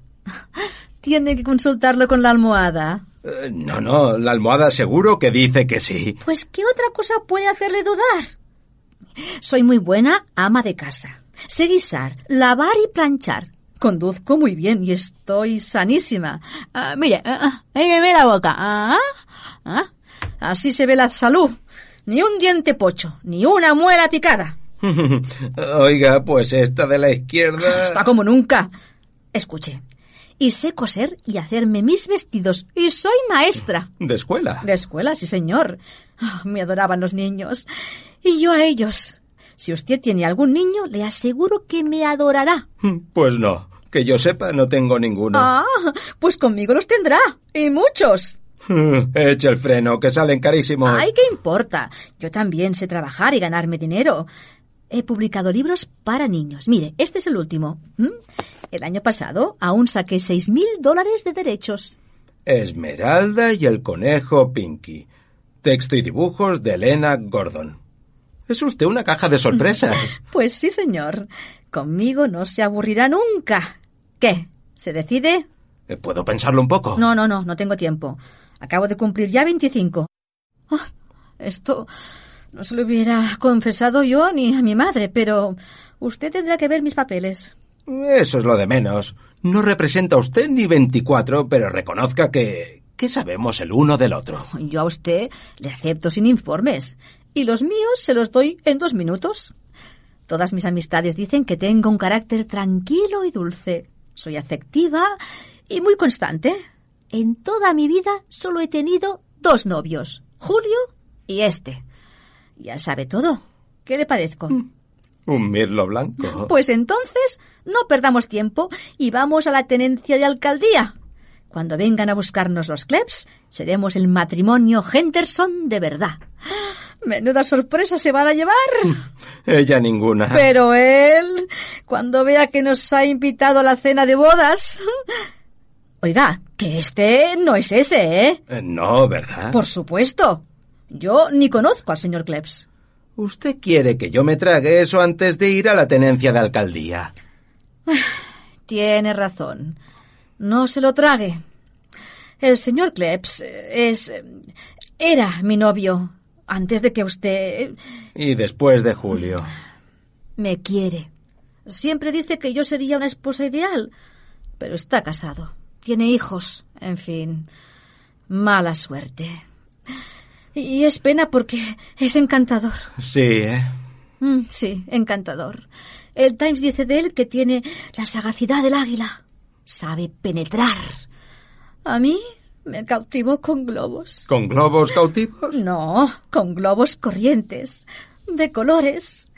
Tiene que consultarlo con la almohada.
Eh, no, no, la almohada seguro que dice que sí.
Pues, ¿qué otra cosa puede hacerle dudar? Soy muy buena ama de casa. Sé guisar, lavar y planchar. Conduzco muy bien y estoy sanísima. Ah, mire, ah, ah, míreme la boca. Ah, ah. Así se ve la salud. Ni un diente pocho, ni una muela picada.
Oiga, pues esta de la izquierda...
Está como nunca. Escuche. Y sé coser y hacerme mis vestidos. Y soy maestra.
De escuela.
De escuela, sí, señor. Ah, me adoraban los niños. Y yo a ellos. Si usted tiene algún niño, le aseguro que me adorará.
Pues no, que yo sepa no tengo ninguno.
Ah, pues conmigo los tendrá. Y muchos.
Eche el freno, que salen carísimos.
Ay, ¿qué importa? Yo también sé trabajar y ganarme dinero. He publicado libros para niños. Mire, este es el último. ¿Mm? El año pasado aún saqué seis mil dólares de derechos.
Esmeralda y el conejo Pinky. Texto y dibujos de Elena Gordon. Es usted una caja de sorpresas.
Pues sí, señor. Conmigo no se aburrirá nunca. ¿Qué? ¿Se decide?
Eh, ¿Puedo pensarlo un poco?
No, no, no, no tengo tiempo. Acabo de cumplir ya 25. Ay, esto no se lo hubiera confesado yo ni a mi madre, pero usted tendrá que ver mis papeles.
Eso es lo de menos. No representa usted ni 24, pero reconozca que... que sabemos el uno del otro.
Yo a usted le acepto sin informes y los míos se los doy en dos minutos. Todas mis amistades dicen que tengo un carácter tranquilo y dulce. Soy afectiva y muy constante. En toda mi vida solo he tenido dos novios, Julio y este. Ya sabe todo. ¿Qué le parezco?
Un mirlo blanco.
Pues entonces no perdamos tiempo y vamos a la tenencia de alcaldía. Cuando vengan a buscarnos los Klebs, seremos el matrimonio Henderson de verdad. Menuda sorpresa se van a llevar.
Ella ninguna.
Pero él, cuando vea que nos ha invitado a la cena de bodas. Oiga, que este no es ese, ¿eh?
Eh, No, ¿verdad?
Por supuesto. Yo ni conozco al señor Klebs.
Usted quiere que yo me trague eso antes de ir a la tenencia de alcaldía.
Tiene razón. No se lo trague. El señor Klebs eh, es. eh, era mi novio antes de que usted eh,
Y después de julio.
me quiere. Siempre dice que yo sería una esposa ideal, pero está casado. Tiene hijos. En fin, mala suerte. Y es pena porque es encantador.
Sí, ¿eh?
Mm, sí, encantador. El Times dice de él que tiene la sagacidad del águila. sabe penetrar. A mí me cautivó con globos.
¿Con globos cautivos?
No, con globos corrientes, de colores.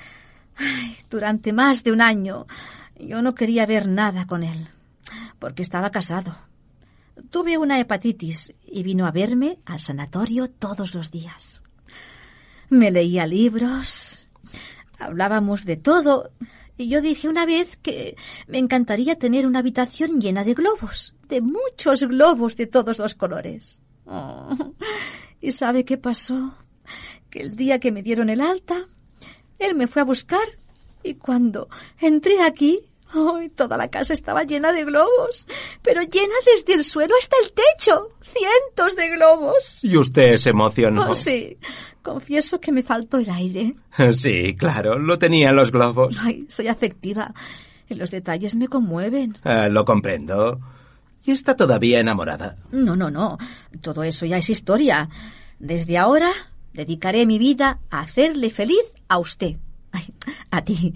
Ay, durante más de un año yo no quería ver nada con él, porque estaba casado. Tuve una hepatitis y vino a verme al sanatorio todos los días. Me leía libros, hablábamos de todo, y yo dije una vez que me encantaría tener una habitación llena de globos, de muchos globos de todos los colores. Oh, ¿Y sabe qué pasó? Que el día que me dieron el alta, él me fue a buscar y cuando entré aquí, oh, toda la casa estaba llena de globos, pero llena desde el suelo hasta el techo, cientos de globos.
Y usted se emocionó.
Oh, sí, confieso que me faltó el aire.
Sí, claro, lo tenía en los globos.
Ay, soy afectiva. Y los detalles me conmueven.
Ah, lo comprendo. Y está todavía enamorada.
No, no, no. Todo eso ya es historia. Desde ahora dedicaré mi vida a hacerle feliz a usted. Ay, a ti.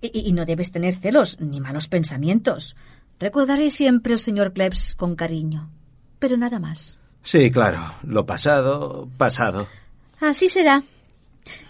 Y, y no debes tener celos ni malos pensamientos. Recordaré siempre al señor Klebs con cariño. Pero nada más.
Sí, claro, lo pasado, pasado.
Así será.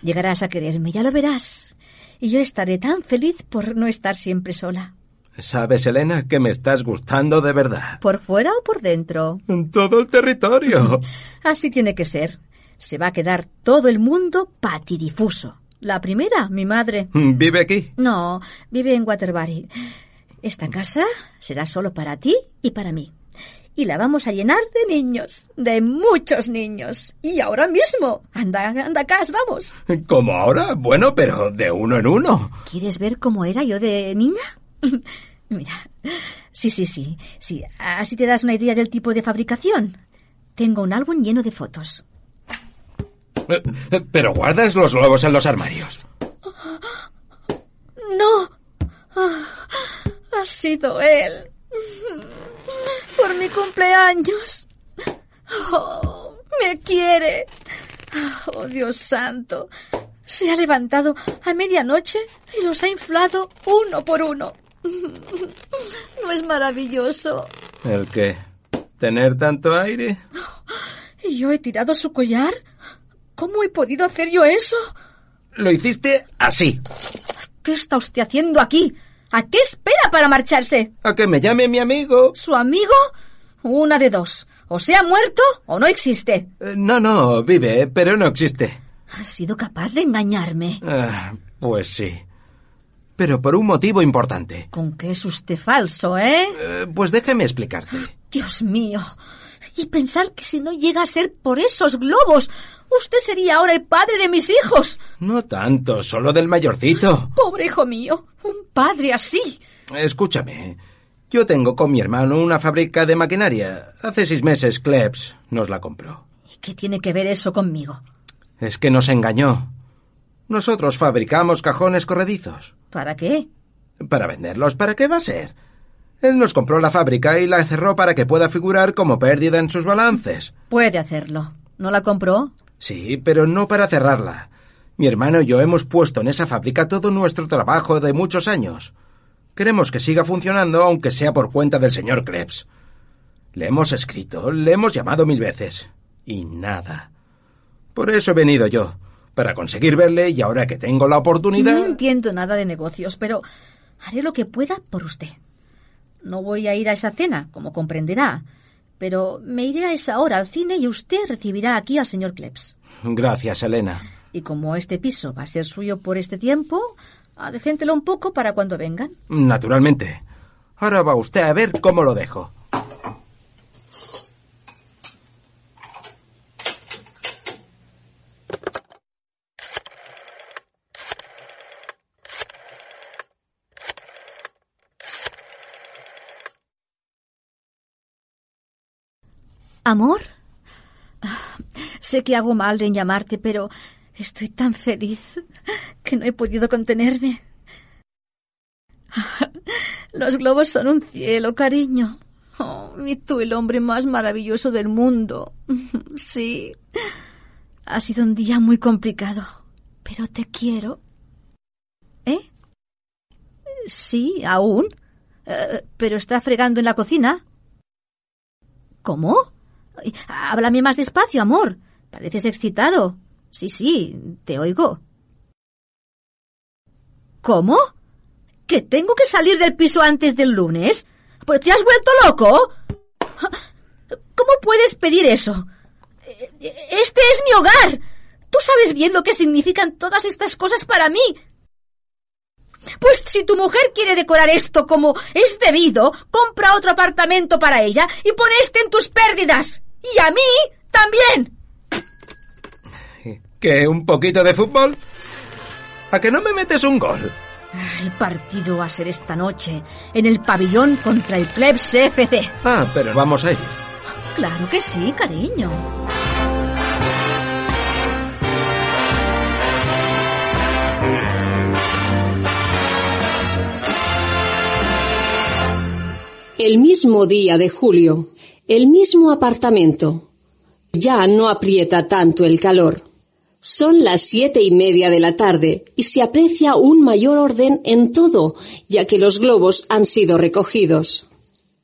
Llegarás a quererme, ya lo verás. Y yo estaré tan feliz por no estar siempre sola.
Sabes, Elena, que me estás gustando de verdad.
¿Por fuera o por dentro?
En todo el territorio.
Así tiene que ser. Se va a quedar todo el mundo patidifuso. La primera, mi madre.
¿Vive aquí?
No, vive en Waterbury. Esta casa será solo para ti y para mí y la vamos a llenar de niños, de muchos niños. Y ahora mismo. Anda, anda, Cas, vamos.
¿Como ahora? Bueno, pero de uno en uno.
¿Quieres ver cómo era yo de niña? Mira. Sí, sí, sí, sí. Así te das una idea del tipo de fabricación. Tengo un álbum lleno de fotos.
Eh, Pero guardas los globos en los armarios.
No. Ah, Ha sido él por mi cumpleaños. Oh, me quiere. Oh, Dios santo. Se ha levantado a medianoche y los ha inflado uno por uno. ¿No es maravilloso?
¿El qué? ¿Tener tanto aire?
¿Y yo he tirado su collar? ¿Cómo he podido hacer yo eso?
Lo hiciste así.
¿Qué está usted haciendo aquí? ¿A qué espera para marcharse?
A que me llame mi amigo.
¿Su amigo? Una de dos. O se ha muerto o no existe.
Eh, No, no, vive, pero no existe.
Ha sido capaz de engañarme.
Ah, pues sí. Pero por un motivo importante.
Con que es usted falso, ¿eh?
Eh, pues déjame explicarte.
Dios mío. Y pensar que si no llega a ser por esos globos, usted sería ahora el padre de mis hijos.
No tanto, solo del mayorcito.
Pobre hijo mío, un padre así.
Escúchame. Yo tengo con mi hermano una fábrica de maquinaria. Hace seis meses Klebs nos la compró.
¿Y qué tiene que ver eso conmigo?
Es que nos engañó. Nosotros fabricamos cajones corredizos.
¿Para qué?
Para venderlos, ¿para qué va a ser? Él nos compró la fábrica y la cerró para que pueda figurar como pérdida en sus balances.
Puede hacerlo. ¿No la compró?
Sí, pero no para cerrarla. Mi hermano y yo hemos puesto en esa fábrica todo nuestro trabajo de muchos años. Queremos que siga funcionando, aunque sea por cuenta del señor Krebs. Le hemos escrito, le hemos llamado mil veces. Y nada. Por eso he venido yo, para conseguir verle y ahora que tengo la
No
oportunidad...
entiendo nada de negocios, pero haré lo que pueda por usted. No voy a ir a esa cena, como comprenderá, pero me iré a esa hora al cine y usted recibirá aquí al señor Klebs.
Gracias, Elena.
Y como este piso va a ser suyo por este tiempo, adecéntelo un poco para cuando vengan.
Naturalmente. Ahora va usted a ver cómo lo dejo.
¿Amor? Ah, Sé que hago mal en llamarte, pero estoy tan feliz que no he podido contenerme. Los globos son un cielo, cariño. Oh, y tú el hombre más maravilloso del mundo. Sí. Ha sido un día muy complicado, pero te quiero. ¿Eh? Sí, aún. Eh, pero está fregando en la cocina. ¿Cómo? Ay, Háblame más despacio, amor. Pareces excitado. Sí, sí, te oigo. ¿Cómo? ¿Que tengo que salir del piso antes del lunes? ¿Pues te has vuelto loco? ¿Cómo puedes pedir eso? Este es mi hogar. Tú sabes bien lo que significan todas estas cosas para mí. Pues si tu mujer quiere decorar esto como es debido, compra otro apartamento para ella y pon este en tus pérdidas. Y a mí también.
¿Que un poquito de fútbol? ¿A que no me metes un gol?
El partido va a ser esta noche, en el pabellón contra el Plebs FC.
Ah, pero vamos a ir.
Claro que sí, cariño.
El mismo día de julio, el mismo apartamento. Ya no aprieta tanto el calor. Son las siete y media de la tarde y se aprecia un mayor orden en todo, ya que los globos han sido recogidos.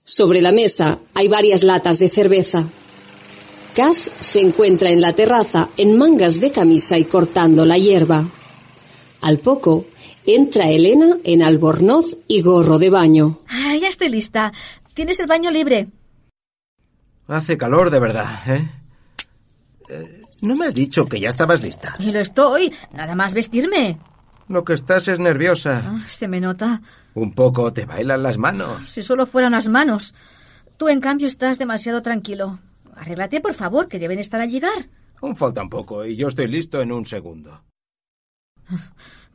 Sobre la mesa hay varias latas de cerveza. Cass se encuentra en la terraza en mangas de camisa y cortando la hierba. Al poco, entra Elena en albornoz y gorro de baño.
Ah, ya estoy lista. Tienes el baño libre.
Hace calor de verdad, ¿eh? Eh, No me has dicho que ya estabas lista.
Y lo estoy. Nada más vestirme.
Lo que estás es nerviosa.
Ah, se me nota.
Un poco te bailan las manos.
Si solo fueran las manos. Tú, en cambio, estás demasiado tranquilo. Arréglate, por favor, que deben estar al llegar.
Aún falta un poco y yo estoy listo en un segundo.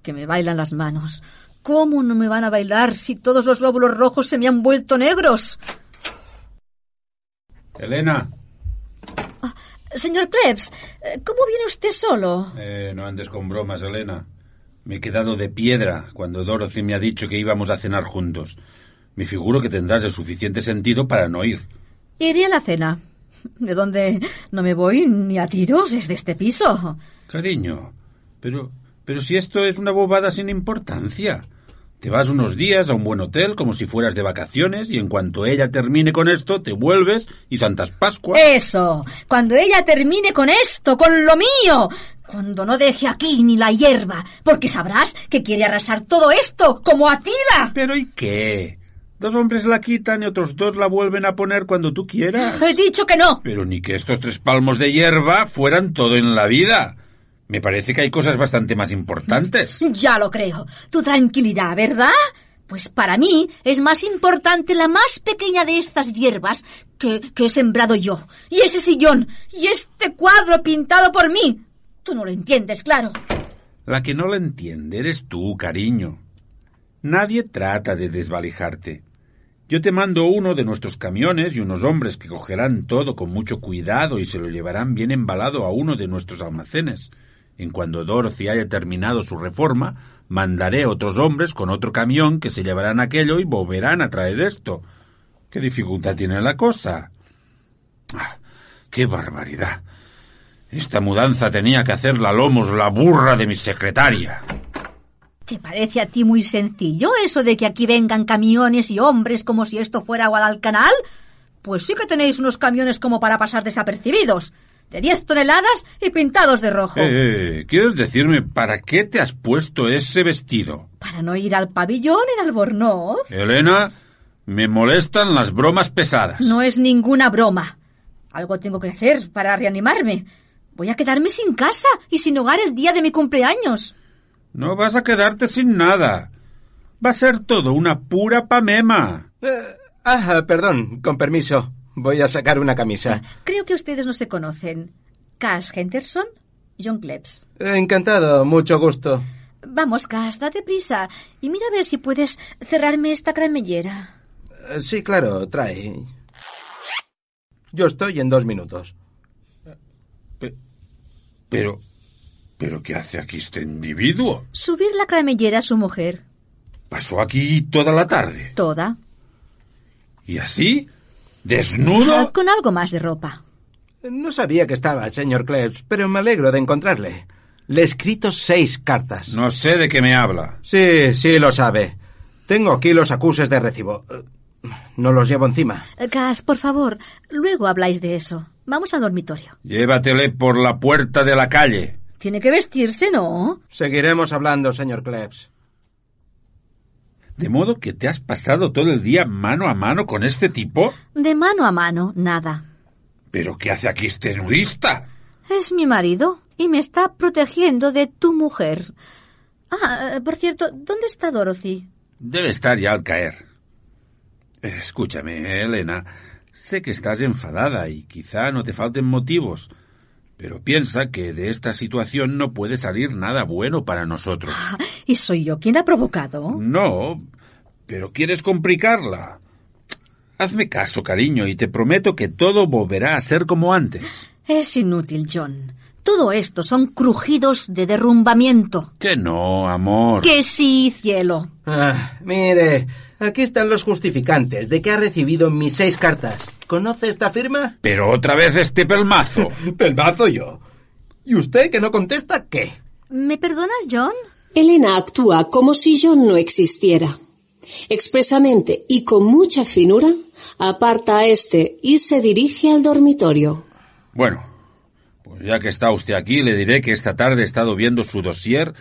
Que me bailan las manos. ¿Cómo no me van a bailar si todos los lóbulos rojos se me han vuelto negros?
Elena,
Señor Klebs, eh, ¿cómo viene usted solo?
eh, no andes con bromas, Elena. Me he quedado de piedra cuando Dorothy me ha dicho que íbamos a cenar juntos. Me figuro que tendrás el suficiente sentido para no ir.
Iré a la cena. De donde no me voy ni a tiros, es de este piso.
Cariño, pero, pero si esto es una bobada sin importancia. Te vas unos días a un buen hotel como si fueras de vacaciones y en cuanto ella termine con esto te vuelves y Santas
Eh.
Pascuas.
Eso, cuando ella termine con esto, con lo mío, cuando no deje aquí ni la hierba, porque sabrás que quiere arrasar todo esto como Atila.
Pero ¿y qué? Dos hombres la quitan y otros dos la vuelven a poner cuando tú quieras.
He dicho que no.
Pero ni que estos tres palmos de hierba fueran todo en la vida. Me parece que hay cosas bastante más importantes.
Ya lo creo. Tu tranquilidad, ¿verdad? Pues para mí es más importante la más pequeña de estas hierbas que, que he sembrado yo. Y ese sillón. Y este cuadro pintado por mí. Tú no lo entiendes, claro.
La que no la entiende eres tú, cariño. Nadie trata de desvalijarte. Yo te mando uno de nuestros camiones y unos hombres que cogerán todo con mucho cuidado y se lo llevarán bien embalado a uno de nuestros almacenes. En cuando Dorothy haya terminado su reforma, mandaré otros hombres con otro camión que se llevarán aquello y volverán a traer esto. ¿Qué dificultad tiene la cosa? Ah, ¡Qué barbaridad! Esta mudanza tenía que hacerla Lomos, la burra de mi secretaria.
¿Te parece a ti muy sencillo eso de que aquí vengan camiones y hombres como si esto fuera Guadalcanal? Pues sí que tenéis unos camiones como para pasar desapercibidos, de diez toneladas y pintados de rojo.
Eh, eh, ¿Quieres decirme para qué te has puesto ese vestido?
Para no ir al pabellón en Albornoz.
Elena, me molestan las bromas pesadas.
Pues No es ninguna broma. Algo tengo que hacer para reanimarme. Voy a quedarme sin casa y sin hogar el día de mi cumpleaños.
No vas a quedarte sin nada. Va a ser todo una pura pamema.
Eh, ah, perdón, con permiso. Voy a sacar una camisa.
Creo que ustedes no se conocen. Cass Henderson, John Klebs.
Encantado, mucho gusto.
Vamos, Cass, date prisa y mira a ver si puedes cerrarme esta cremallera.
Eh, Sí, claro, trae. Yo estoy en dos minutos.
Pero, pero ¿qué hace aquí este individuo?
Subir la cremallera a su mujer.
Pasó aquí toda la tarde.
Toda.
¿Y así? ¿Desnudo?
Con algo más de ropa.
No sabía que estaba, señor Klebs, pero me alegro de encontrarle. Le he escrito seis cartas.
No sé de qué me habla.
Sí, sí, lo sabe. Tengo aquí los acuses de recibo. Eh, No los llevo encima.
Cas, Eh, por favor, luego habláis de eso. Vamos al dormitorio.
Llévatele por la puerta de la calle.
Tiene que vestirse, ¿no?
Seguiremos hablando, señor Klebs.
¿De modo que te has pasado todo el día mano a mano con este tipo?
De mano a mano, nada.
¿Pero qué hace aquí este nudista?
Es mi marido y me está protegiendo de tu mujer. Ah, eh, por cierto, ¿dónde está Dorothy?
Debe estar ya al caer. Eh, Escúchame, Elena. Sé que estás enfadada y quizá no te falten motivos, pero piensa que de esta situación no puede salir nada bueno para nosotros.
Ah, ¿Y soy yo quien ha provocado?
No, pero quieres complicarla. Hazme caso, cariño, y te prometo que todo volverá a ser como antes.
Es inútil, John. Todo esto son crujidos de derrumbamiento.
Que no, amor.
Que sí, cielo.
Ah, mire, aquí están los justificantes de que ha recibido mis seis cartas. ¿Conoce esta firma?
Pero otra vez este pelmazo.
Pelmazo yo. ¿Y usted que no contesta qué?
¿Me perdonas, John?
Elena actúa como si John no existiera. Expresamente y con mucha finura, aparta a este y se dirige al dormitorio.
Bueno, pues ya que está usted aquí, le diré que esta tarde he estado viendo su dossier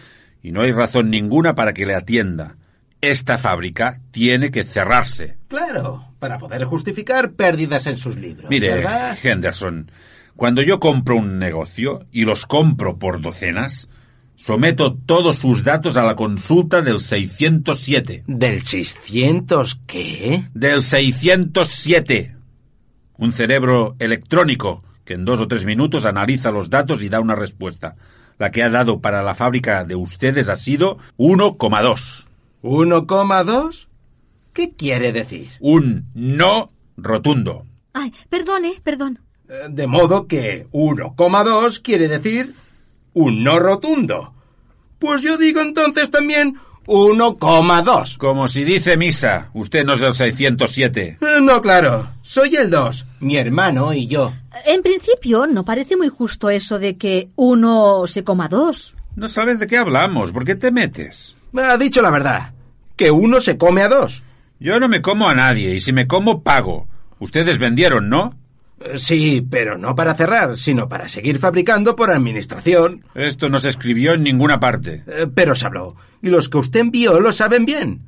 y no hay razón ninguna para que le atienda. Esta fábrica tiene que cerrarse.
Claro, para poder justificar pérdidas en sus libros.
Mire,
¿verdad?
Henderson, cuando yo compro un negocio y los compro por docenas, someto todos sus datos a la consulta del 607.
¿Del 600 qué?
Del 607. Un cerebro electrónico que en dos o tres minutos analiza los datos y da una respuesta. La que ha dado para la fábrica de ustedes ha sido 1,2.
¿1,2? ¿Qué quiere decir?
Un no rotundo.
Ay, perdone, perdón.
Eh, De modo que 1,2 quiere decir un no rotundo. Pues yo digo entonces también 1,2.
Como si dice misa, usted no es el 607.
Eh, No, claro, soy el 2, mi hermano y yo.
En principio, no parece muy justo eso de que uno se coma dos.
No sabes de qué hablamos, ¿por qué te metes?
Ha dicho la verdad, que uno se come a dos.
Yo no me como a nadie y si me como pago. Ustedes vendieron, ¿no?
Eh, Sí, pero no para cerrar, sino para seguir fabricando por administración.
Esto no se escribió en ninguna parte.
Eh, Pero se habló, y los que usted envió lo saben bien.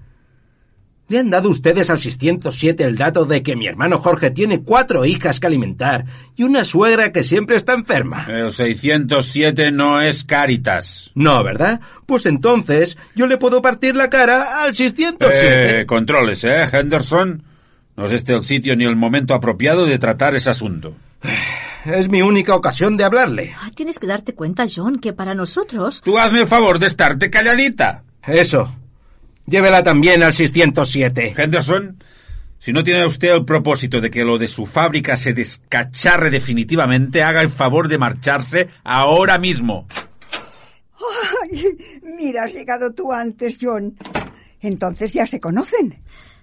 ¿Le han dado ustedes al 607 el dato de que mi hermano Jorge tiene cuatro hijas que alimentar y una suegra que siempre está enferma?
El 607 no es Caritas.
No, ¿verdad? Pues entonces yo le puedo partir la cara al 607.
Eh, controles, ¿eh, Henderson? No es este el sitio ni el momento apropiado de tratar ese asunto.
Es mi única ocasión de hablarle.
Ay, tienes que darte cuenta, John, que para nosotros...
Tú hazme el favor de estarte calladita.
Eso. Llévela también al 607.
Henderson, si no tiene usted el propósito de que lo de su fábrica se descacharre definitivamente, haga el favor de marcharse ahora mismo.
Ay, mira, has llegado tú antes, John. Entonces ya se conocen.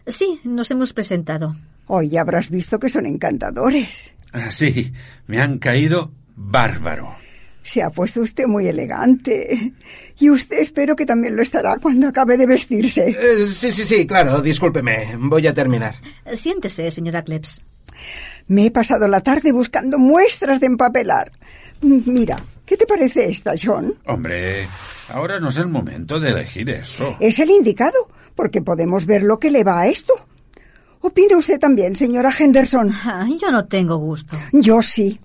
Sí, nos hemos presentado.
Hoy ya habrás visto que son encantadores.
Así, Ah, me han caído bárbaro.
Se ha puesto usted muy elegante. Y usted espero que también lo estará cuando acabe de vestirse.
Eh, sí, sí, sí, claro, discúlpeme. Voy a terminar.
Siéntese, señora Klebs.
Me he pasado la tarde buscando muestras de empapelar. Mira, ¿qué te parece esta, John?
Hombre, ahora no es el momento de elegir eso.
Es el indicado, porque podemos ver lo que le va a esto. ¿Opina usted también, señora Henderson?
Ay, yo no tengo gusto.
Yo sí,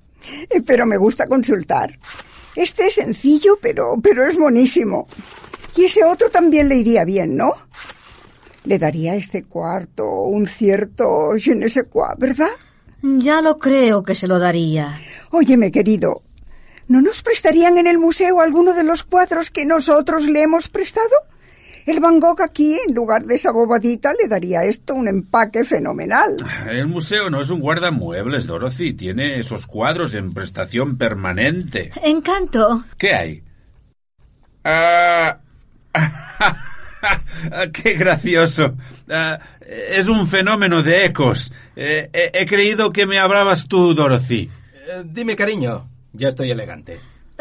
eh, pero me gusta consultar. Este es sencillo, pero, pero es monísimo. Y ese otro también le iría bien, ¿no? Le daría a este cuarto un cierto je ne sais quoi, ¿verdad?
Ya lo creo que se lo daría.
Óyeme, querido, ¿no nos prestarían en el museo alguno de los cuadros que nosotros le hemos prestado? El Van Gogh aquí, en lugar de esa bobadita, le daría a esto un empaque fenomenal.
El museo no es un guardamuebles, Dorothy. Tiene esos cuadros en prestación permanente.
Encanto.
¿Qué hay? Ah, ¡Qué gracioso! Ah, es un fenómeno de ecos. Eh, eh, he creído que me hablabas tú, Dorothy.
Eh, dime, cariño, ya estoy elegante.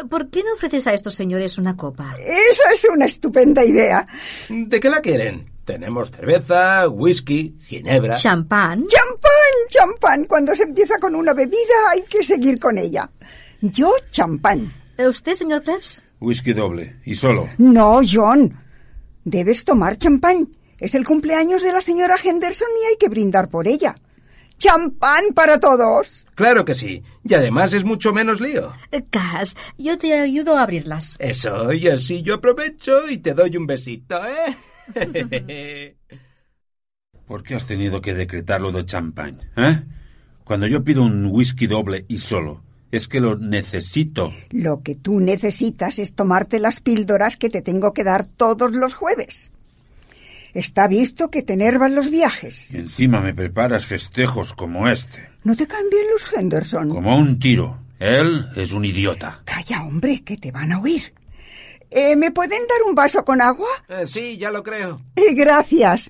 ¿Por qué no ofreces a estos señores una copa?
Esa es una estupenda idea.
¿De qué la quieren? Tenemos cerveza, whisky, ginebra.
¿Champán?
¡Champán! ¡Champán! Cuando se empieza con una bebida hay que seguir con ella. Yo, champán.
¿Usted, señor Krebs?
Whisky doble y solo.
No, John. Debes tomar champán. Es el cumpleaños de la señora Henderson y hay que brindar por ella. ¡Champán para todos!
Claro que sí. Y además es mucho menos lío.
Eh, Cas, yo te ayudo a abrirlas.
Eso, y así yo aprovecho y te doy un besito, ¿eh?
¿Por qué has tenido que decretar lo de champán? ¿Eh? Cuando yo pido un whisky doble y solo, es que lo necesito.
Lo que tú necesitas es tomarte las píldoras que te tengo que dar todos los jueves. Está visto que te enervan los viajes.
Y encima me preparas festejos como este.
No te cambien los Henderson.
Como un tiro. Él es un idiota.
Calla, hombre, que te van a oír. Eh, ¿Me pueden dar un vaso con agua?
Eh, sí, ya lo creo.
Eh, gracias.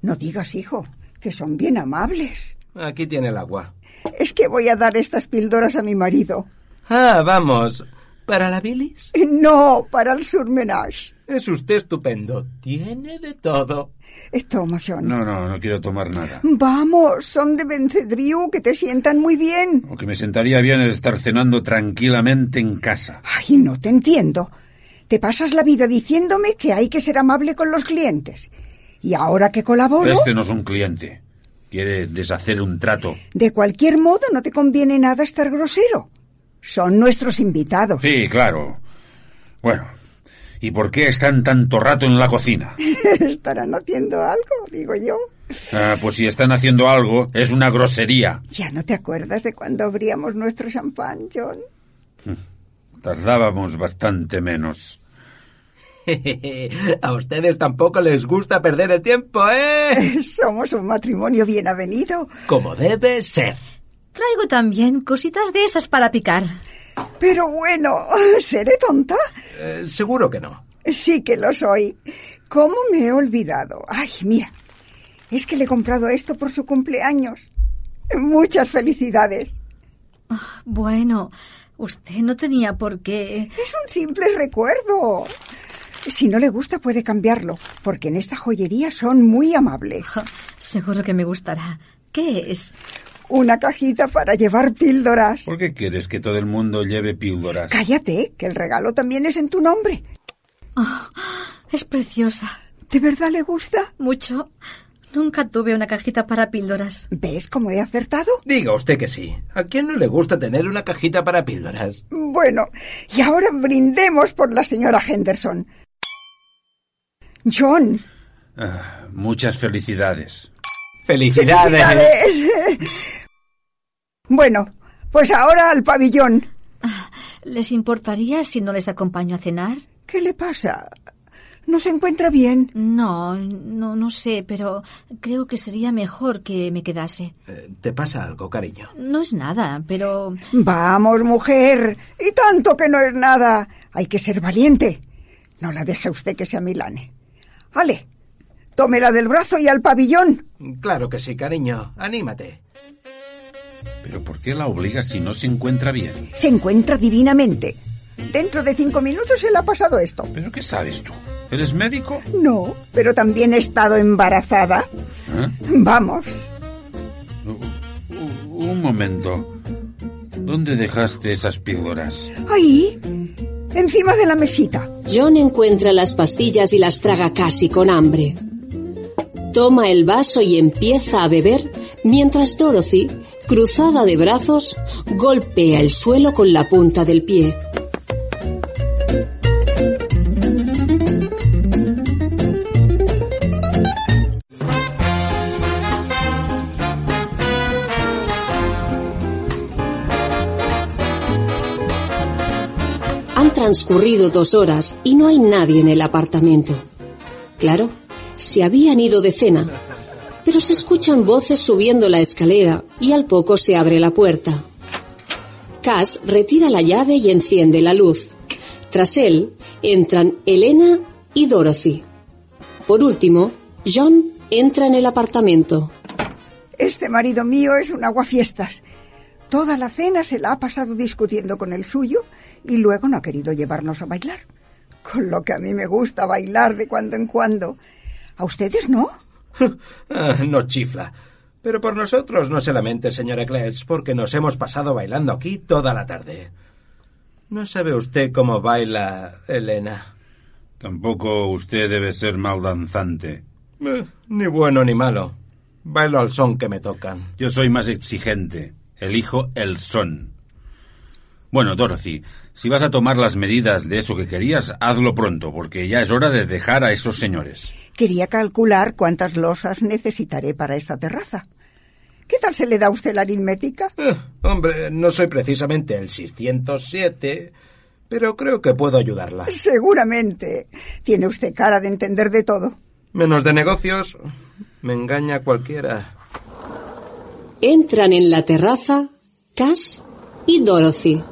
No digas, hijo, que son bien amables.
Aquí tiene el agua.
Es que voy a dar estas píldoras a mi marido. Eh,
Ah, vamos. ¿Para la bilis?
No, para el surmenage.
Es usted estupendo. Tiene de todo.
Eh, Toma, John.
No, no, no quiero tomar nada.
Vamos, son de Bencedriu, que te sientan muy bien.
Lo que me sentaría bien es estar cenando tranquilamente en casa.
Ay, no te entiendo. Te pasas la vida diciéndome que hay que ser amable con los clientes. Y ahora que colaboro,
Este no es un cliente. Quiere deshacer un trato.
de cualquier modo no te conviene nada estar grosero. Son nuestros invitados.
Sí, claro. Bueno, ¿y por qué están tanto rato en la cocina?
Estarán haciendo algo, digo yo.
Ah, pues si están haciendo algo, es una grosería.
Ya no te acuerdas de cuando abríamos nuestro champán, John.
Tardábamos bastante menos.
A ustedes tampoco les gusta perder el tiempo, ¿eh?
Somos un matrimonio bien avenido.
Como debe ser.
Traigo también cositas de esas para picar.
Pero bueno, ¿seré tonta?
Eh, seguro que no.
Sí que lo soy. ¿Cómo me he olvidado? Ay, mira, es que le he comprado esto por su cumpleaños. Muchas felicidades.
Ah, Bueno, usted no tenía por qué.
Es un simple recuerdo. Si no le gusta puede cambiarlo, porque en esta joyería son muy amables.
Ja, Ah, Seguro que me gustará. ¿Qué es?
Una cajita para llevar píldoras.
¿Por qué quieres que todo el mundo lleve píldoras?
Cállate, que el regalo también es en tu nombre.
Es preciosa.
¿De verdad le gusta?
Mucho. Nunca tuve una cajita para píldoras.
¿Ves cómo he acertado?
Diga usted que sí. ¿A quién no le gusta tener una cajita para píldoras?
Bueno, y ahora brindemos por la señora Henderson. John,
Ah, muchas felicidades.
¡Felicidades!
¡Felicidades! bueno, pues ahora al pabellón.
¿Les importaría si no les acompaño a cenar?
¿Qué le pasa? ¿No se encuentra bien?
No, no, no sé, pero creo que sería mejor que me quedase.
Eh, ¿Te pasa algo, cariño?
No es nada, pero...
Vamos, mujer. Y tanto que no es nada. Hay que ser valiente. No la deje usted que se amilane. Ale, tómela del brazo y al pabellón.
Claro que sí, cariño. Anímate.
¿Pero por qué la obligas si no se encuentra bien?
Se encuentra divinamente. Dentro de cinco minutos se le ha pasado esto.
¿Pero qué sabes tú? ¿Eres médico?
No, pero también he estado embarazada.
¿Eh?
Vamos.
U- u- Uh, Un momento. ¿Dónde dejaste esas píldoras?
Ahí, encima de la mesita.
John encuentra las pastillas y las traga casi con hambre. Toma el vaso y empieza a beber mientras Dorothy, cruzada de brazos, golpea el suelo con la punta del pie. Han transcurrido dos horas y no hay nadie en el apartamento. Claro, se habían ido de cena, pero se escuchan voces subiendo la escalera y al poco se abre la puerta. Cass retira la llave y enciende la luz. Tras él entran Elena y Dorothy. Por último, John entra en el apartamento.
Este marido mío es un aguafiestas. Toda la cena se la ha pasado discutiendo con el suyo y luego no ha querido llevarnos a bailar. Con lo que a mí me gusta bailar de cuando en cuando. ¿A ustedes no?
Ah, no chifla. Pero por nosotros no se lamente, señora Kletz, porque nos hemos pasado bailando aquí toda la tarde. No sabe usted cómo baila Elena.
Tampoco usted debe ser mal danzante.
Eh, ni bueno ni malo. Bailo al son que me tocan.
Yo soy más exigente. Elijo el son. Bueno, Dorothy, si vas a tomar las medidas de eso que querías, hazlo pronto, porque ya es hora de dejar a esos señores.
Quería calcular cuántas losas necesitaré para esta terraza. ¿Qué tal se le da a usted la aritmética?
Eh, hombre, no soy precisamente el 607, pero creo que puedo ayudarla.
Seguramente. Tiene usted cara de entender de todo.
Menos de negocios, me engaña cualquiera.
Entran en la terraza Cass y Dorothy.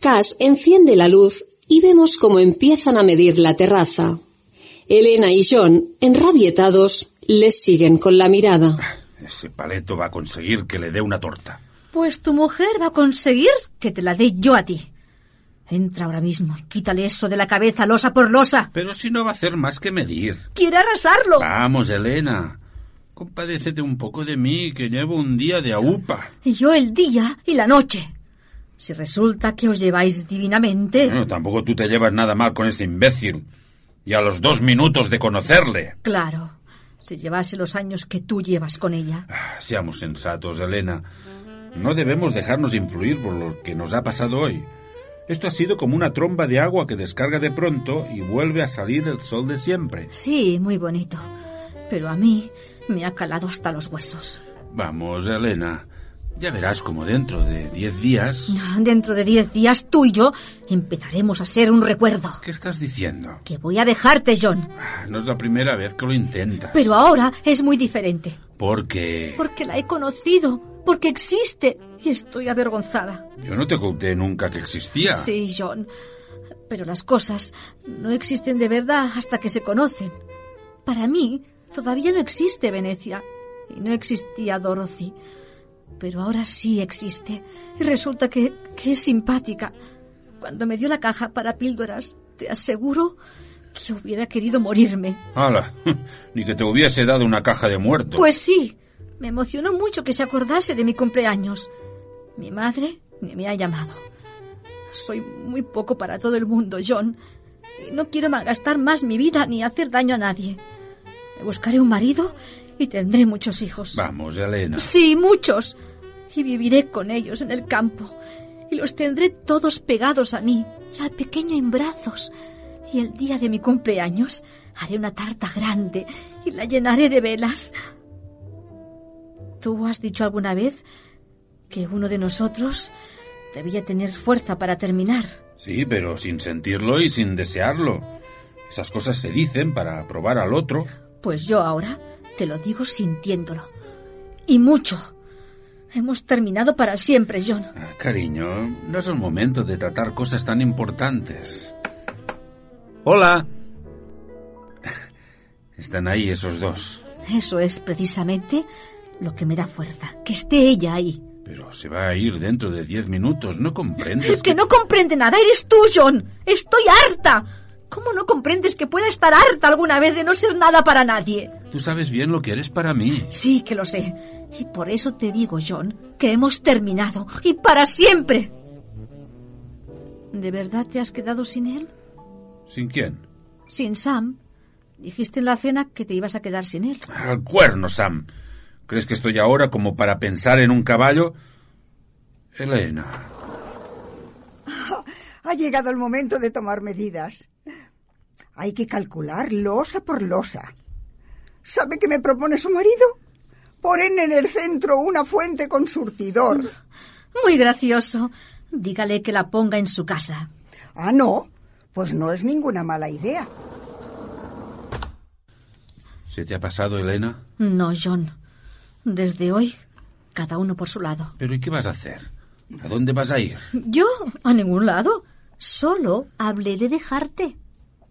Cass enciende la luz y vemos cómo empiezan a medir la terraza. Elena y John, enrabietados, les siguen con la mirada.
Ese paleto va a conseguir que le dé una torta.
Pues tu mujer va a conseguir que te la dé yo a ti. Entra ahora mismo, quítale eso de la cabeza, losa por losa.
Pero si no va a hacer más que medir.
¡Quiere arrasarlo!
Vamos, Elena. Compadécete un poco de mí, que llevo un día de aupa.
Y yo el día y la noche. Si resulta que os lleváis divinamente.
Bueno, tampoco tú te llevas nada mal con este imbécil. Y a los dos minutos de conocerle.
Claro, si llevase los años que tú llevas con ella.
Ah, Seamos sensatos, Elena. No debemos dejarnos influir por lo que nos ha pasado hoy. Esto ha sido como una tromba de agua que descarga de pronto y vuelve a salir el sol de siempre.
Sí, muy bonito. Pero a mí me ha calado hasta los huesos.
Vamos, Elena. Ya verás como dentro de diez días...
Ah, Dentro de diez días tú y yo empezaremos a ser un recuerdo.
¿Qué estás diciendo?
Que voy a dejarte, John.
Ah, No es la primera vez que lo intentas.
Pero ahora es muy diferente.
Porque
Porque la he conocido. Porque existe. Y estoy avergonzada.
yo no te conté nunca que existía.
Sí, John. Pero las cosas no existen de verdad hasta que se conocen. Para mí, todavía no existe Venecia. Y no existía Dorothy. Pero ahora sí existe. Y resulta que, que es simpática. Cuando me dio la caja para píldoras, te aseguro que hubiera querido morirme.
Hala, ni que te hubiese dado una caja de muertos.
Pues sí, me emocionó mucho que se acordase de mi cumpleaños. Mi madre ni me ha llamado. Soy muy poco para todo el mundo, John. Y no quiero malgastar más mi vida ni hacer daño a nadie. Me buscaré un marido y tendré muchos hijos.
Vamos, Elena.
Sí, muchos. Y viviré con ellos en el campo. Y los tendré todos pegados a mí y al pequeño en brazos. Y el día de mi cumpleaños haré una tarta grande y la llenaré de velas. ¿Tú has dicho alguna vez que uno de nosotros debía tener fuerza para terminar?
Sí, pero sin sentirlo y sin desearlo. Esas cosas se dicen para probar al otro.
Pues yo ahora te lo digo sintiéndolo. Y mucho. Hemos terminado para siempre, John.
Ah, cariño, no es el momento de tratar cosas tan importantes. Hola. Están ahí esos dos.
Eso es precisamente lo que me da fuerza, que esté ella ahí.
Pero se va a ir dentro de diez minutos, ¿no comprendes?
Es que no comprende nada, eres tú, John. Estoy harta. ¿Cómo no comprendes que pueda estar harta alguna vez de no ser nada para nadie?
Tú sabes bien lo que eres para mí.
Sí, que lo sé. Y por eso te digo, John, que hemos terminado. Y para siempre. ¿De verdad te has quedado sin él?
¿Sin quién?
¿Sin Sam? Dijiste en la cena que te ibas a quedar sin él.
Al cuerno, Sam. ¿Crees que estoy ahora como para pensar en un caballo? Elena.
Ha llegado el momento de tomar medidas. Hay que calcular losa por losa. ¿Sabe qué me propone su marido? Ponen en el centro una fuente con surtidor.
Muy gracioso. Dígale que la ponga en su casa.
Ah, no. Pues no es ninguna mala idea.
¿Se te ha pasado, Elena?
No, John. Desde hoy, cada uno por su lado.
¿Pero y qué vas a hacer? ¿A dónde vas a ir?
Yo, a ningún lado. Solo hablé de dejarte.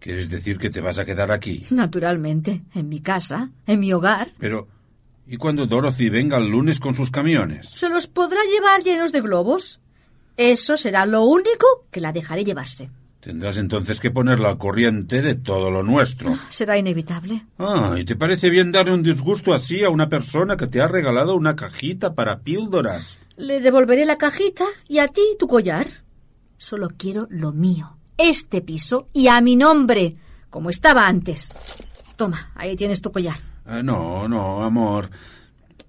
¿Quieres decir que te vas a quedar aquí?
Naturalmente, en mi casa, en mi hogar.
Pero, ¿y cuando Dorothy venga el lunes con sus camiones?
Se los podrá llevar llenos de globos. Eso será lo único que la dejaré llevarse.
Tendrás entonces que ponerla al corriente de todo lo nuestro.
Será inevitable.
Ah, ¿y te parece bien darle un disgusto así a una persona que te ha regalado una cajita para píldoras?
Le devolveré la cajita y a ti tu collar. Solo quiero lo mío, este piso y a mi nombre, como estaba antes. Toma, ahí tienes tu collar.
Ah, no, no, amor.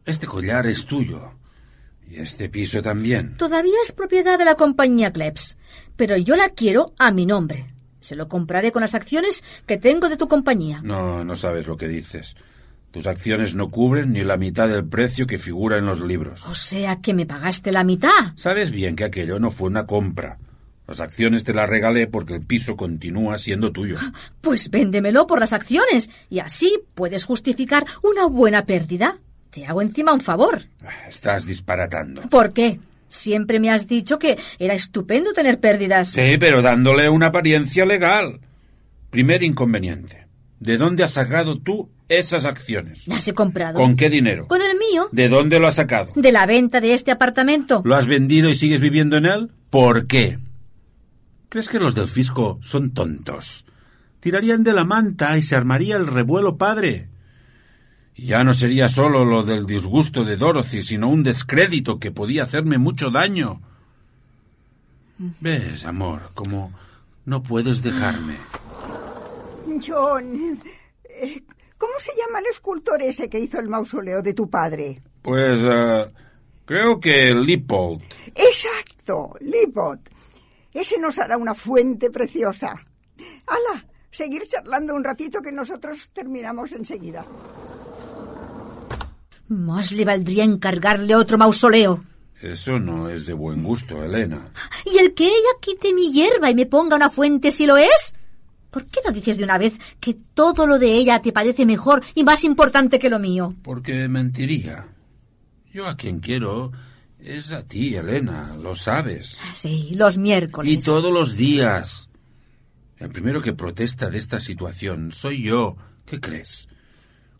Este collar es tuyo. Y este piso también.
Todavía es propiedad de la compañía Klebs, pero yo la quiero a mi nombre. Se lo compraré con las acciones que tengo de tu compañía.
No, no sabes lo que dices. Tus acciones no cubren ni la mitad del precio que figura en los libros.
O sea que me pagaste la mitad.
Sabes bien que aquello no fue una compra. Las acciones te las regalé porque el piso continúa siendo tuyo.
Pues véndemelo por las acciones y así puedes justificar una buena pérdida. Te hago encima un favor.
Estás disparatando.
¿Por qué? Siempre me has dicho que era estupendo tener pérdidas.
Sí, pero dándole una apariencia legal. Primer inconveniente. ¿De dónde has sacado tú esas acciones?
Las he comprado.
¿Con qué dinero?
Con el mío.
¿De dónde lo has sacado?
De la venta de este apartamento.
¿Lo has vendido y sigues viviendo en él? ¿Por qué? ¿Crees que los del fisco son tontos? Tirarían de la manta y se armaría el revuelo padre. Y ya no sería solo lo del disgusto de Dorothy, sino un descrédito que podía hacerme mucho daño. ¿Ves, amor, como no puedes dejarme?
John, eh, ¿cómo se llama el escultor ese que hizo el mausoleo de tu padre?
Pues eh, creo que Lippold.
Exacto, Lipot. Ese nos hará una fuente preciosa. ¡Hala! Seguir charlando un ratito que nosotros terminamos enseguida.
Más le valdría encargarle otro mausoleo.
Eso no es de buen gusto, Elena.
¿Y el que ella quite mi hierba y me ponga una fuente si lo es? ¿Por qué no dices de una vez que todo lo de ella te parece mejor y más importante que lo mío?
Porque mentiría. Yo a quien quiero es a ti, Elena, lo sabes.
Ah, Sí, los miércoles.
Y todos los días. El primero que protesta de esta situación soy yo. ¿Qué crees?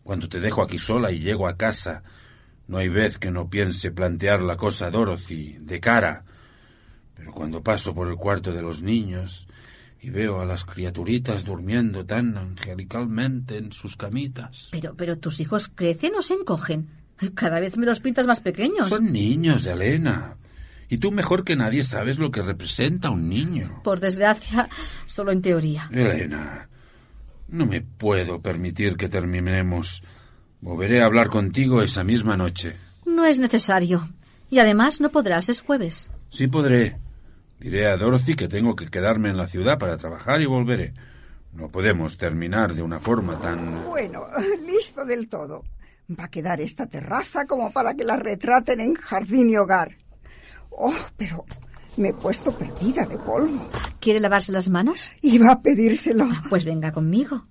Cuando te dejo aquí sola y llego a casa, no hay vez que no piense plantear la cosa a Dorothy de cara. Pero cuando paso por el cuarto de los niños y veo a las criaturitas durmiendo tan angelicalmente en sus camitas.
Pero, pero tus hijos crecen o se encogen. Cada vez me los pintas más pequeños.
Son niños, Elena. Y tú mejor que nadie sabes lo que representa un niño.
Por desgracia, solo en teoría.
Elena, no me puedo permitir que terminemos. Volveré a hablar contigo esa misma noche.
No es necesario. Y además no podrás, es jueves.
Sí podré. Diré a Dorothy que tengo que quedarme en la ciudad para trabajar y volveré. No podemos terminar de una forma tan...
Bueno, listo del todo. Va a quedar esta terraza como para que la retraten en jardín y hogar. Oh, pero me he puesto perdida de polvo.
¿Quiere lavarse las manos?
Iba a pedírselo.
Pues venga conmigo.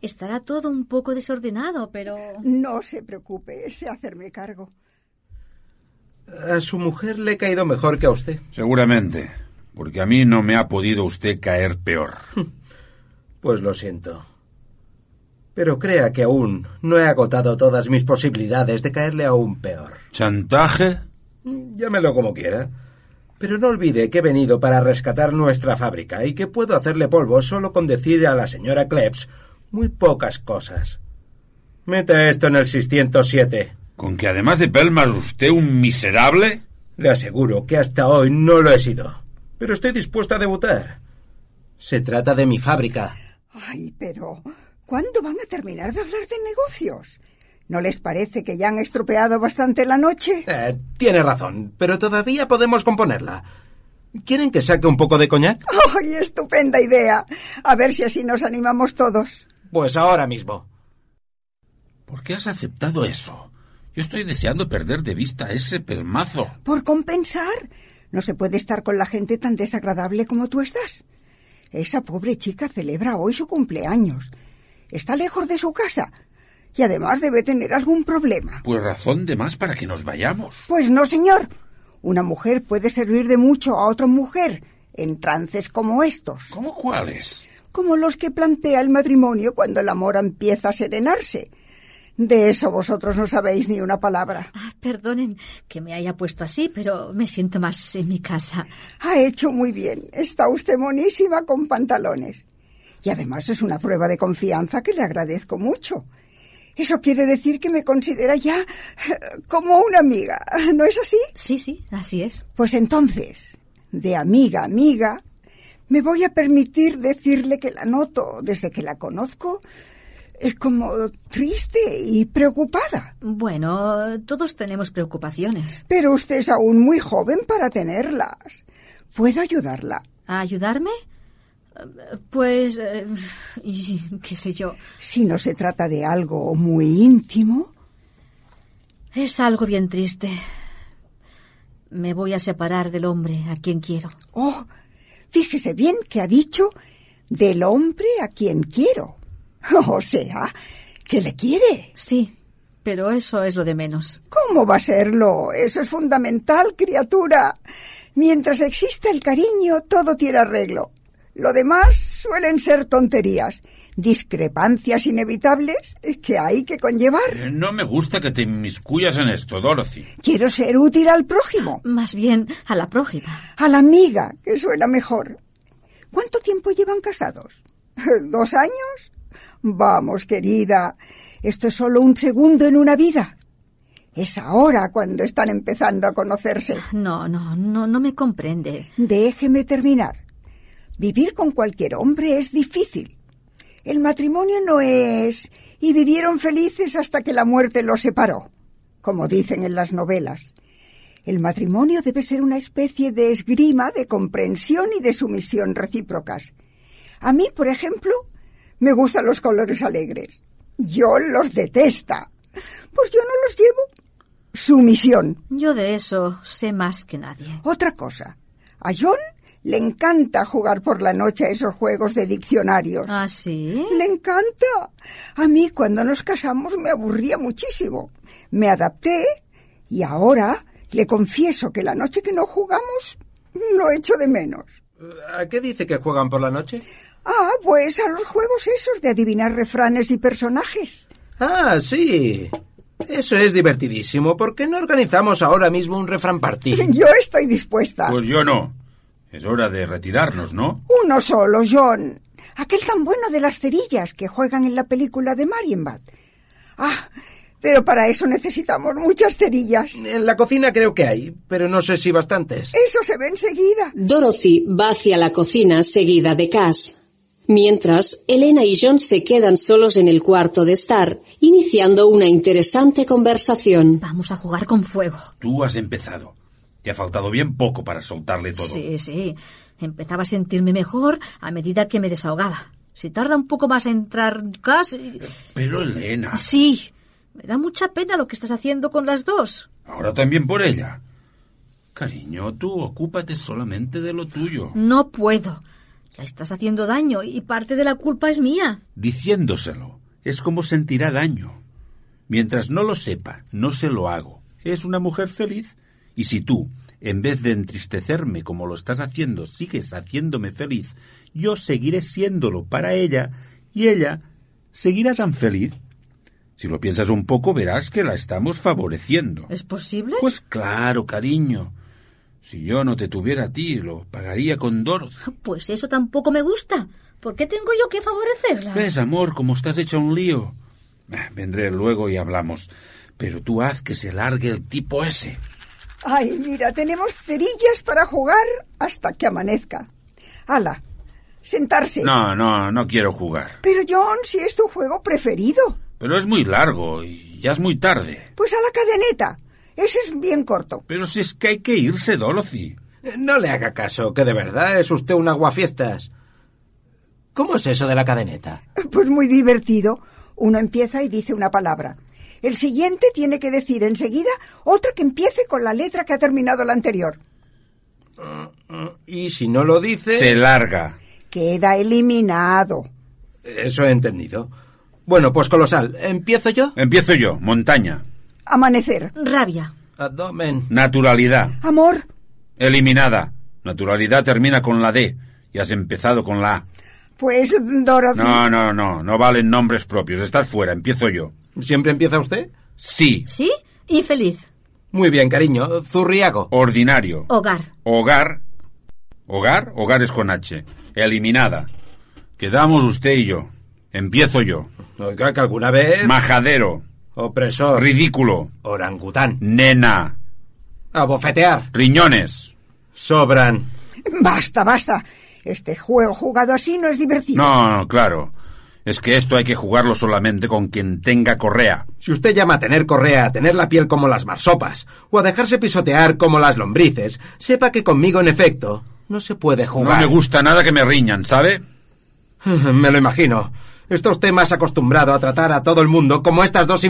Estará todo un poco desordenado, pero...
No se preocupe, sé hacerme cargo.
A su mujer le he caído mejor que a usted.
Seguramente, porque a mí no me ha podido usted caer peor.
Pues lo siento. Pero crea que aún no he agotado todas mis posibilidades de caerle aún peor.
¿Chantaje?
Llámelo como quiera. Pero no olvide que he venido para rescatar nuestra fábrica y que puedo hacerle polvo solo con decir a la señora Klebs muy pocas cosas. Meta esto en el 607.
¿Con que además de Pelmar usted un miserable?
Le aseguro que hasta hoy no lo he sido. Pero estoy dispuesto a debutar. Se trata de mi fábrica.
Ay, pero ¿cuándo van a terminar de hablar de negocios? ¿No les parece que ya han estropeado bastante la noche?
Eh, tiene razón, pero todavía podemos componerla. ¿Quieren que saque un poco de coñac?
¡Ay, estupenda idea! A ver si así nos animamos todos.
Pues ahora mismo.
¿Por qué has aceptado eso? Yo estoy deseando perder de vista a ese pelmazo.
Por compensar, no se puede estar con la gente tan desagradable como tú estás. Esa pobre chica celebra hoy su cumpleaños. Está lejos de su casa, y además debe tener algún problema.
Pues razón de más para que nos vayamos.
Pues no, señor. Una mujer puede servir de mucho a otra mujer en trances como estos.
¿Cómo cuáles?
Como los que plantea el matrimonio cuando el amor empieza a serenarse. De eso vosotros no sabéis ni una palabra.
Ah, Perdonen que me haya puesto así, pero me siento más en mi casa.
Ha hecho muy bien. Está usted monísima con pantalones. Y además es una prueba de confianza que le agradezco mucho. Eso quiere decir que me considera ya eh, como una amiga, ¿no es así?
Sí, sí, así es.
Pues entonces, de amiga a amiga, me voy a permitir decirle que la noto desde que la conozco eh, como triste y preocupada.
Bueno, todos tenemos preocupaciones.
Pero usted es aún muy joven para tenerlas. ¿Puedo ayudarla?
¿A ayudarme? Eh, Pues, eh, y- qué sé yo.
Si no se trata de algo muy íntimo,
Es algo bien triste. Me voy a separar del hombre a quien quiero.
oh, fíjese bien que ha dicho del hombre a quien quiero. O sea, que le quiere.
Sí, pero eso es lo de menos.
¿Cómo va a serlo? Eso es fundamental, criatura. Mientras exista el cariño, todo tiene arreglo. Lo demás suelen ser tonterías, discrepancias inevitables que hay que conllevar.
Eh, No me gusta que te inmiscuyas en esto, Dorothy.
Quiero ser útil al prójimo.
Más bien a la prójima.
A la amiga, que suena mejor. ¿Cuánto tiempo llevan casados? ¿Dos años? Vamos, querida, esto es solo un segundo en una vida. Es ahora cuando están empezando a conocerse.
No, no, no, no me comprende.
Déjeme terminar. Vivir con cualquier hombre es difícil. El matrimonio no es... y vivieron felices hasta que la muerte los separó, como dicen en las novelas. El matrimonio debe ser una especie de esgrima de comprensión y de sumisión recíprocas. A mí, por ejemplo, me gustan los colores alegres. Yo los detesta. Pues yo no los llevo. Sumisión.
Yo de eso sé más que nadie.
Otra cosa. A John le encanta jugar por la noche a esos juegos de diccionarios.
¿Ah, sí?
Le encanta. A mí cuando nos casamos me aburría muchísimo. Me adapté y ahora le confieso que la noche que no jugamos lo echo de menos.
Eh, ¿A qué dice que juegan por la noche?
Ah, pues a los juegos esos de adivinar refranes y personajes.
Ah, sí. Eso es divertidísimo. ¿Por qué no organizamos ahora mismo un refrán partido?
Yo estoy dispuesta.
Pues yo no. Es hora de retirarnos, ¿no?
Uno solo, John. Aquel tan bueno de las cerillas que juegan en la película de Marienbad. Ah, pero para eso necesitamos muchas cerillas.
En la cocina creo que hay, pero no sé si bastantes.
Eso se ve enseguida.
Dorothy va hacia la cocina seguida de Cass. Mientras, Elena y John se quedan solos en el cuarto de estar, iniciando una interesante conversación.
Vamos a jugar con fuego.
Tú has empezado. Te ha faltado bien poco para soltarle todo.
Sí, sí. Empezaba a sentirme mejor a medida que me desahogaba. Si tarda un poco más a entrar casi...
Pero Elena,
Sí. Me da mucha pena lo que estás haciendo con las dos.
ahora también por ella. Cariño, tú ocúpate solamente de lo tuyo.
No puedo. La estás haciendo daño y parte de la culpa es mía.
Diciéndoselo es como sentirá daño. Mientras no lo sepa, no se lo hago. Es una mujer feliz. Y si tú, en vez de entristecerme como lo estás haciendo, sigues haciéndome feliz, yo seguiré siéndolo para ella y ella seguirá tan feliz. Si lo piensas un poco, verás que la estamos favoreciendo.
¿Es posible?
Pues claro, cariño. Si yo no te tuviera a ti, lo pagaría con Dorothy.
Pues eso tampoco me gusta. ¿Por qué tengo yo que favorecerla?
¿Ves, amor, como estás hecha un lío? Ah, Vendré luego y hablamos. Pero tú haz que se largue el tipo ese.
Ay, mira, tenemos cerillas para jugar hasta que amanezca. Ala, sentarse.
No, no, no quiero jugar.
Pero John, si es tu juego preferido,
Pero es muy largo y ya es muy tarde.
pues a la cadeneta. Ese es bien corto.
Pero si es que hay que irse, Dorothy.
Eh, No le haga caso, que de verdad es usted un aguafiestas. ¿Cómo es eso de la cadeneta?
Pues muy divertido. Uno empieza y dice una palabra. El siguiente tiene que decir enseguida otra que empiece con la letra que ha terminado la anterior.
Y si no lo dice...
Se larga.
Queda eliminado.
Eso he entendido. Bueno, pues colosal. ¿Empiezo yo?
Empiezo yo. Montaña.
Amanecer.
Rabia.
Abdomen.
Naturalidad.
Amor.
Eliminada. Naturalidad termina con la D. Y has empezado con la A.
Pues, Dorothy.
No, no, no. No valen nombres propios. Estás fuera. Empiezo yo.
¿Siempre empieza usted?
Sí.
¿Sí? Infeliz.
Muy bien, cariño. Zurriago.
Ordinario.
Hogar.
Hogar. Hogar. Hogar es con H. Eliminada. Quedamos usted y yo. Empiezo yo.
Oiga, que alguna vez...
Majadero.
Opresor.
Ridículo.
Orangután.
Nena.
Abofetear.
Riñones.
Sobran.
Basta, basta. Este juego jugado así no es divertido.
No, no, claro. Es que esto hay que jugarlo solamente con quien tenga correa.
Si usted llama a tener correa, a tener la piel como las marsopas, o a dejarse pisotear como las lombrices, sepa que conmigo, en efecto, no se puede
No
jugar.
me gusta nada que me riñan, ¿sabe?
Me lo imagino. Está usted más acostumbrado a tratar a todo el mundo como estas dos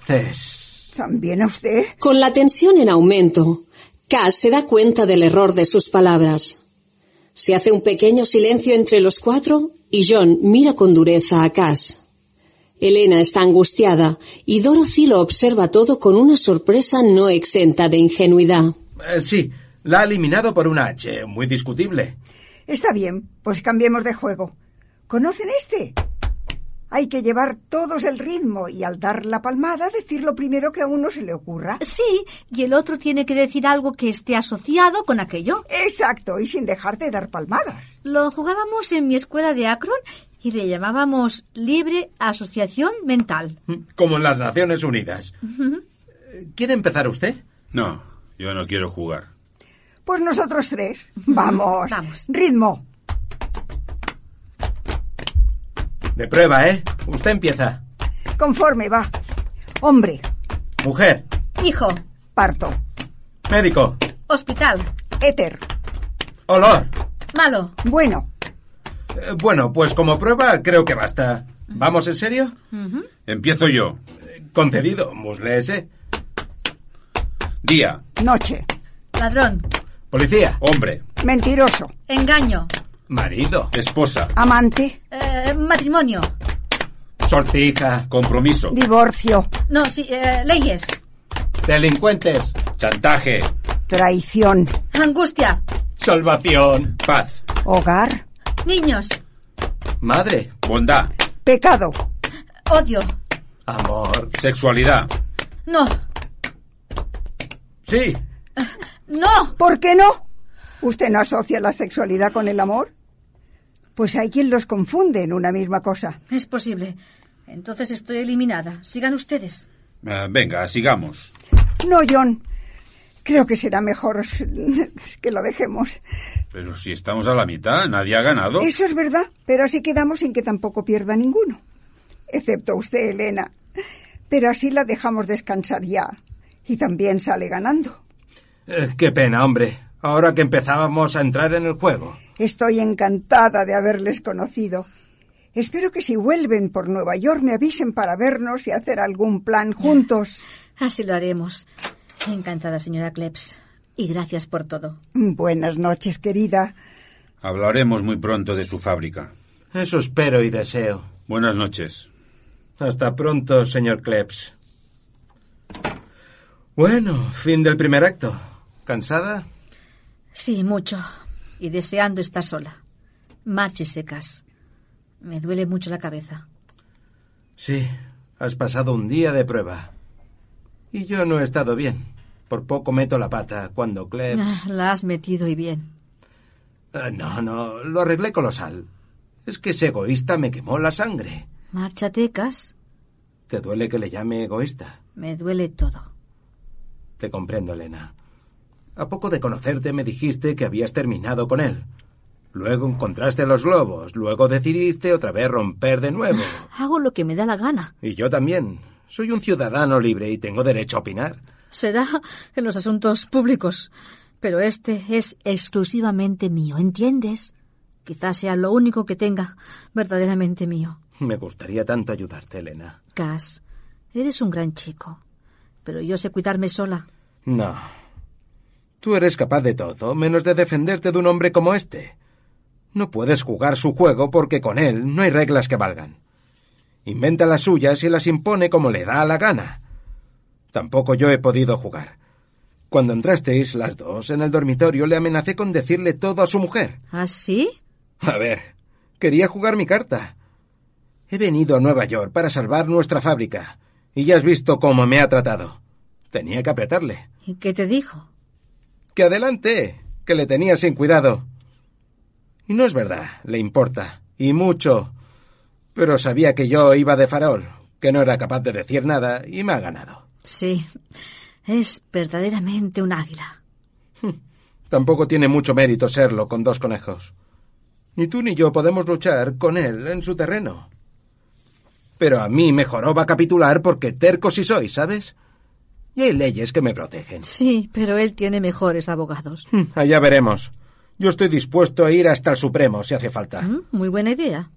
infelices.
¿También a usted?
Con la tensión en aumento, Cass se da cuenta del error de sus palabras. Se hace un pequeño silencio entre los cuatro y John mira con dureza a Cass. Elena está angustiada y Dorothy lo observa todo con una sorpresa no exenta de ingenuidad.
Eh, sí, la ha eliminado por una H, muy discutible.
Está bien, pues cambiemos de juego. ¿Conocen este? Hay que llevar todos el ritmo y al dar la palmada decir lo primero que a uno se le ocurra.
Sí, y el otro tiene que decir algo que esté asociado con aquello.
Exacto, y sin dejar de dar palmadas.
Lo jugábamos en mi escuela de Akron y le llamábamos libre asociación mental.
Como en las Naciones Unidas. ¿Quiere empezar usted?
No, yo no quiero jugar.
Pues nosotros tres. Vamos.
Vamos.
Ritmo.
De prueba, ¿eh? Usted empieza.
Conforme va. Hombre.
Mujer,
Hijo,
Parto.
médico,
hospital,
Éter.
olor.
malo,
Bueno.
Eh, bueno, pues como prueba creo que basta. ¿Vamos en serio? Eh,
Empiezo yo.
Concedido, musle ese.
Día.
Noche.
ladrón,
Policía,
Hombre.
Mentiroso.
engaño,
marido,
Esposa.
Amante.
eh, matrimonio.
sortija,
Compromiso.
Divorcio.
No, sí, eh, leyes,
delincuentes,
Chantaje.
Traición.
angustia,
salvación,
Paz.
Hogar.
niños,
madre,
Bondad.
Pecado.
odio,
amor.
Sexualidad.
no,
Sí,
no,
¿Por qué no? ¿Usted no asocia la sexualidad con el amor? Pues hay quien los confunde en una misma cosa.
es posible. Entonces estoy eliminada. Sigan ustedes.
Eh, venga, sigamos.
No, John. Creo que será mejor que lo dejemos.
Pero si estamos a la mitad, nadie ha ganado.
Eso es verdad, pero así quedamos sin que tampoco pierda ninguno. Excepto usted, Elena. Pero así la dejamos descansar ya. Y también sale ganando.
Eh, qué pena, hombre. Ahora que empezábamos a entrar en el juego.
Estoy encantada de haberles conocido. Espero que si vuelven por Nueva York me avisen para vernos y hacer algún plan juntos.
Así lo haremos. Encantada, señora Klebs. Y gracias por todo.
Buenas noches, querida.
Hablaremos muy pronto de su fábrica.
Eso espero y deseo.
Buenas noches.
Hasta pronto, señor Klebs. Bueno, fin del primer acto. ¿Cansada?
Sí, mucho. Y deseando estar sola. Marches secas. Me duele mucho la cabeza.
Sí, has pasado un día de prueba. Y yo no he estado bien. Por poco meto la pata cuando Klebs...
Ah, La has metido y bien.
Ah, no, no, lo arreglé colosal. Es que ese egoísta me quemó la sangre.
Márchate, Cas.
¿Te duele que le llame egoísta?
Me duele todo.
Te comprendo, Elena. A poco de conocerte me dijiste que habías terminado con él. Luego encontraste los globos, luego decidiste otra vez romper de nuevo.
Hago lo que me da la gana.
Y yo también. Soy un ciudadano libre y tengo derecho a opinar.
Será en los asuntos públicos. Pero este es exclusivamente mío, ¿entiendes? Quizás sea lo único que tenga verdaderamente mío.
Me gustaría tanto ayudarte, Elena.
Cas, eres un gran chico. Pero yo sé cuidarme sola.
No. Tú eres capaz de todo, menos de defenderte de un hombre como este. No puedes jugar su juego porque con él no hay reglas que valgan. Inventa las suyas y las impone como le da la gana. Tampoco yo he podido jugar. Cuando entrasteis las dos en el dormitorio le amenacé con decirle todo a su mujer.
¿Ah, sí?
A ver, quería jugar mi carta. He venido a Nueva York para salvar nuestra fábrica Y ya has visto cómo me ha tratado. Tenía que apretarle.
¿Y qué te dijo?
Que adelante, que le tenía sin cuidado. Y no es verdad, le importa, y mucho. Pero sabía que yo iba de farol, que no era capaz de decir nada, y me ha ganado.
Sí, es verdaderamente un águila.
Tampoco tiene mucho mérito serlo con dos conejos. Ni tú ni yo podemos luchar con él en su terreno. Pero a mí mejoró va a capitular porque terco sí soy, ¿sabes? Y hay leyes que me protegen.
Sí, pero él tiene mejores abogados.
Hmm, Allá veremos. Yo estoy dispuesto a ir hasta el Supremo si hace falta.
Mm, Muy buena idea.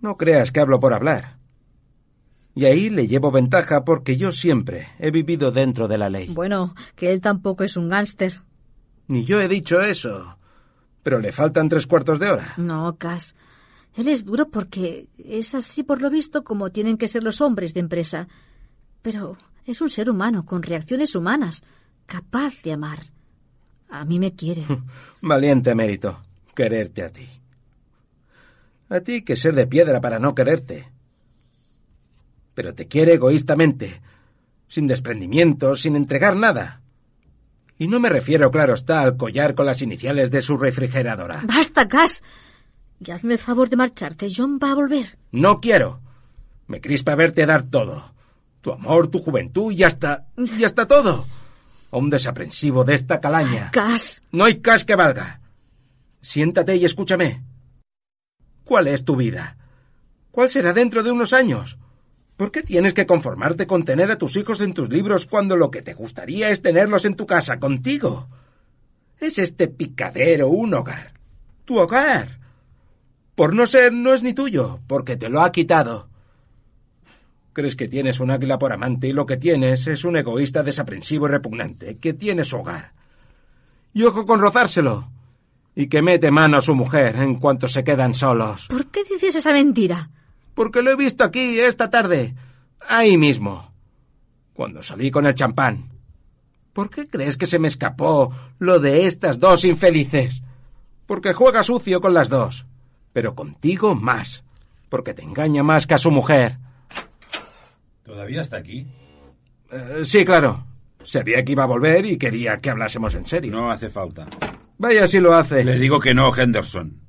No creas que hablo por hablar. Y ahí le llevo ventaja porque yo siempre he vivido dentro de la ley.
Bueno, que él tampoco es un gángster.
Ni yo he dicho eso. Pero le faltan tres cuartos de hora.
No, Cas. Él es duro porque es así por lo visto como tienen que ser los hombres de empresa. Pero es un ser humano con reacciones humanas, capaz de amar. A mí me quiere.
Valiente mérito, quererte a ti. A ti que ser de piedra para no quererte. Pero te quiere egoístamente, sin desprendimiento, sin entregar nada. Y no me refiero, claro está, al collar con las iniciales de su refrigeradora.
Basta, Cas. Y hazme el favor de marcharte. John va a volver.
No quiero. Me crispa verte dar todo. Tu amor, tu juventud y hasta... y hasta todo. A un desaprensivo de esta calaña.
Cas.
No hay cas que valga. Siéntate y escúchame. ¿Cuál es tu vida? ¿Cuál será dentro de unos años? ¿Por qué tienes que conformarte con tener a tus hijos en tus libros cuando lo que te gustaría es tenerlos en tu casa contigo? Es este picadero un hogar. Tu hogar. Por no ser, no es ni tuyo, porque te lo ha quitado. Crees que tienes un águila por amante y lo que tienes es un egoísta desaprensivo y repugnante que tiene su hogar. Y ojo con rozárselo. Y que mete mano a su mujer en cuanto se quedan solos.
¿Por qué dices esa mentira?
Porque lo he visto aquí esta tarde. Ahí mismo. Cuando salí con el champán. ¿Por qué crees que se me escapó lo de estas dos infelices? Porque juega sucio con las dos. Pero contigo más. Porque te engaña más que a su mujer.
¿Todavía está aquí?
Eh, sí, claro. Sabía que iba a volver y quería que hablásemos en serio.
No hace falta.
Vaya si lo hace.
Le digo que no, Henderson.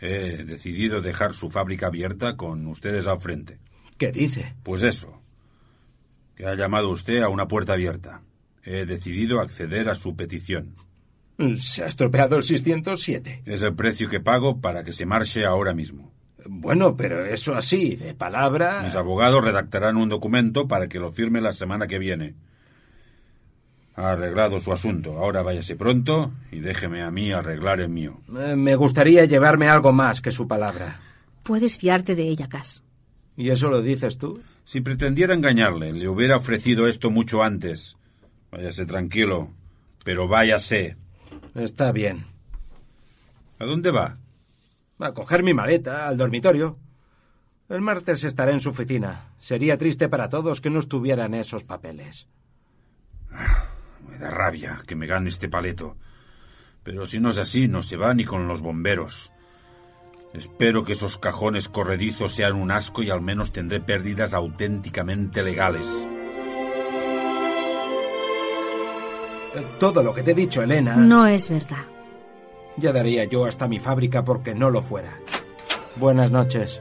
He decidido dejar su fábrica abierta con ustedes al frente.
¿Qué dice?
Pues eso. Que ha llamado usted a una puerta abierta. He decidido acceder a su petición.
Se ha estropeado el 607.
Es el precio que pago para que se marche ahora mismo.
Bueno, pero eso así, de palabra...
Mis abogados redactarán un documento para que lo firme la semana que viene. Ha arreglado su asunto. Ahora váyase pronto y déjeme a mí arreglar el mío.
Eh, Me gustaría llevarme algo más que su palabra.
Puedes fiarte de ella, Cas.
¿Y eso lo dices tú?
Si pretendiera engañarle, le hubiera ofrecido esto mucho antes. Váyase tranquilo, pero váyase.
Está bien.
¿A dónde va?
A coger mi maleta al dormitorio. El martes estaré en su oficina. Sería triste para todos que no estuvieran esos papeles.
Me da rabia que me gane este paleto. Pero si no es así, no se va ni con los bomberos. Espero que esos cajones corredizos sean un asco y al menos tendré pérdidas auténticamente legales.
Eh, Todo lo que te he dicho,
Ah.
Elena.
No es verdad.
Ya daría yo hasta mi fábrica porque no lo fuera. Buenas noches.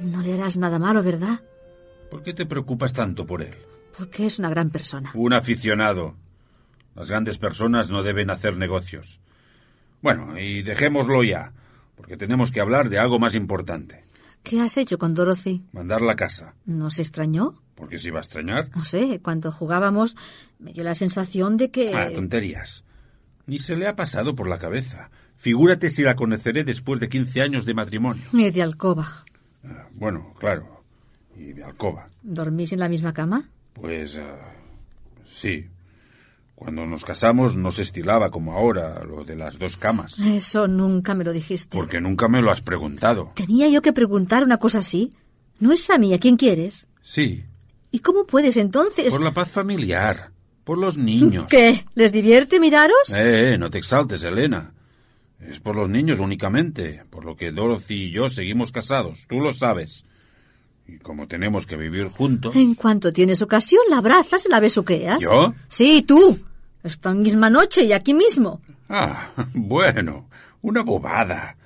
No le harás nada malo, ¿verdad?
¿Por qué te preocupas tanto por él?
Porque es una gran persona.
Un aficionado. Las grandes personas no deben hacer negocios. Bueno, y dejémoslo ya, porque tenemos que hablar de algo más importante.
¿Qué has hecho con Dorothy?
Mandar la casa.
¿Nos extrañó?
Porque si va a extrañar...
No sé, cuando jugábamos me dio la sensación de que...
Ah, tonterías. Ni se le ha pasado por la cabeza. Figúrate si la conoceré después de 15 años de matrimonio.
Ni de alcoba.
Ah, Bueno, claro. Y de alcoba.
¿Dormís en la misma cama?
Pues... ah, sí. Cuando nos casamos no se estilaba como ahora lo de las dos camas.
Eso nunca me lo dijiste.
Porque nunca me lo has preguntado.
¿Tenía yo que preguntar una cosa así? ¿No es a mí a quién quieres?
Sí.
¿Y cómo puedes entonces?
Por la paz familiar. Por los niños.
¿Qué? ¿Les divierte miraros?
Eh, eh, no te exaltes, Elena. Es por los niños únicamente, por lo que Dorothy y yo seguimos casados, tú lo sabes. Y como tenemos que vivir juntos...
En cuanto tienes ocasión, la abrazas y la besuqueas.
¿Yo?
Sí, tú. Esta misma noche y aquí mismo.
Ah, bueno, una bobada.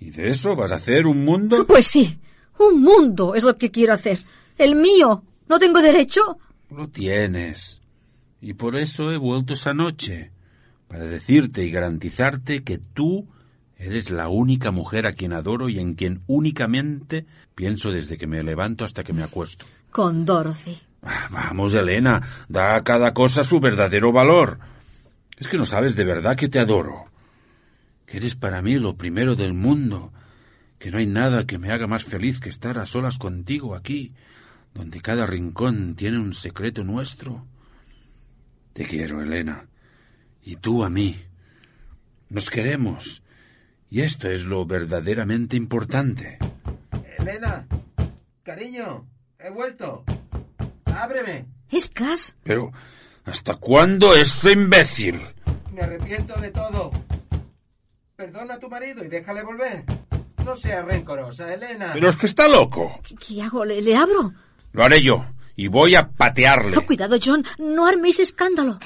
¿Y de eso vas a hacer un mundo?
Pues sí, un mundo es lo que quiero hacer. El mío. ¿No tengo derecho?
Lo tienes. Y por eso he vuelto esa noche, para decirte y garantizarte que tú eres la única mujer a quien adoro y en quien únicamente pienso desde que me levanto hasta que me acuesto.
Con Dorothy.
Ah, Vamos, Elena, da a cada cosa su verdadero valor. Es que no sabes de verdad que te adoro. Que eres para mí lo primero del mundo. Que no hay nada que me haga más feliz que estar a solas contigo aquí, donde cada rincón tiene un secreto nuestro. Te quiero, Elena. Y tú a mí. Nos queremos. Y esto es lo verdaderamente importante.
Elena, cariño, he vuelto. Ábreme.
Es Cass.
Pero, ¿hasta cuándo este imbécil?
Me arrepiento de todo. Perdona a tu marido y déjale volver. No seas rencorosa, Elena.
Pero es que está loco.
¿Qué, qué hago? ¿Le, le abro?
Lo haré yo. Y voy a patearle.
Oh, cuidado, John. No arméis escándalo.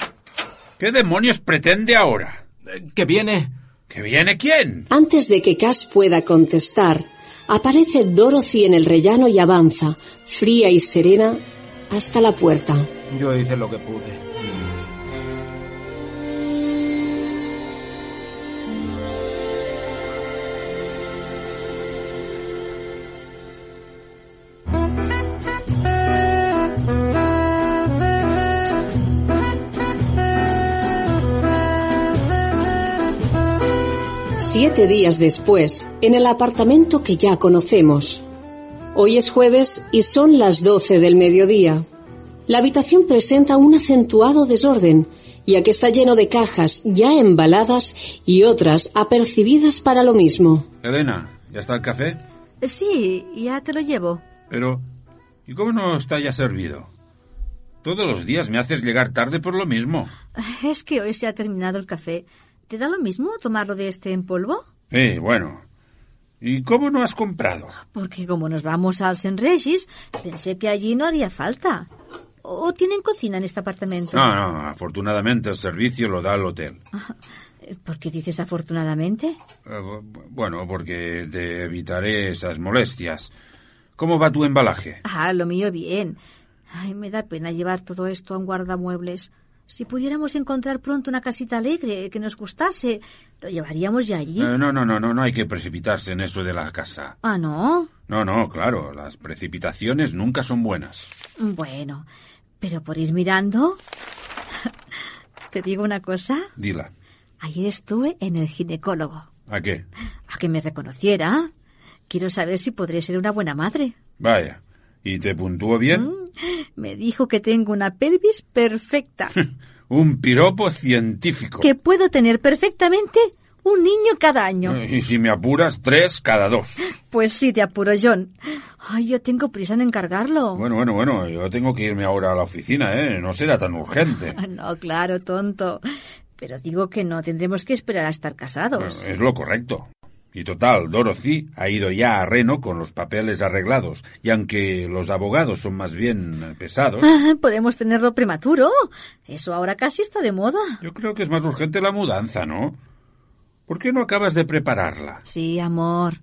¿Qué demonios pretende ahora?
¿Que eh, viene?
¿Que viene quién?
Antes de que Cass pueda contestar, aparece Dorothy en el rellano y avanza, fría y serena, hasta la puerta.
Yo hice lo que pude.
Siete días después, en el apartamento que ya conocemos. Hoy es jueves y son las 12 del mediodía. La habitación presenta un acentuado desorden, ya que está lleno de cajas ya embaladas y otras apercibidas para lo mismo.
Elena, ¿ya está el café?
Eh, Sí, ya te lo llevo.
Pero, ¿y cómo no está ya servido? Todos los días me haces llegar tarde por lo mismo.
Eh, Es que hoy se ha terminado el café. ¿Te da lo mismo tomarlo de este en polvo?
Sí, bueno. ¿Y cómo no has comprado?
Porque como nos vamos al St. Regis, pensé que allí no haría falta. ¿O tienen cocina en este apartamento?
No, no, afortunadamente el servicio lo da el hotel.
Eh, ¿Por qué dices afortunadamente?
Eh, bu- bu- Bueno, porque te evitaré esas molestias. ¿Cómo va tu embalaje?
Ah, lo mío bien. Ay, me da pena llevar todo esto a un guardamuebles. Si pudiéramos encontrar pronto una casita alegre que nos gustase, lo llevaríamos ya allí.
Eh, no, no, no, no, no hay que precipitarse en eso de la casa.
Ah, no.
No, no, claro, las precipitaciones nunca son buenas.
Bueno, pero por ir mirando. Te digo una cosa.
Dila.
Ayer estuve en el ginecólogo.
¿A qué?
A que me reconociera. Quiero saber si podré ser una buena madre.
Vaya. ¿Y te puntúo bien?
Me dijo que tengo una pelvis perfecta.
Un piropo científico.
que puedo tener perfectamente un niño cada año.
Eh, Y si me apuras, tres cada dos.
Pues sí, te apuro, John. Ay, yo tengo prisa en encargarlo.
Bueno, bueno, bueno, yo tengo que irme ahora a la oficina, ¿eh? No será tan urgente.
Ah, No, claro, tonto. Pero digo que no, tendremos que esperar a estar
Bueno,
casados.
Es lo correcto. Y total, Dorothy ha ido ya a Reno con los papeles arreglados, y aunque los abogados son más bien eh, pesados,
Ah, Podemos tenerlo prematuro. Eso ahora casi está de moda.
yo creo que es más urgente la mudanza, ¿no? ¿Por qué no acabas de prepararla?
Sí, amor.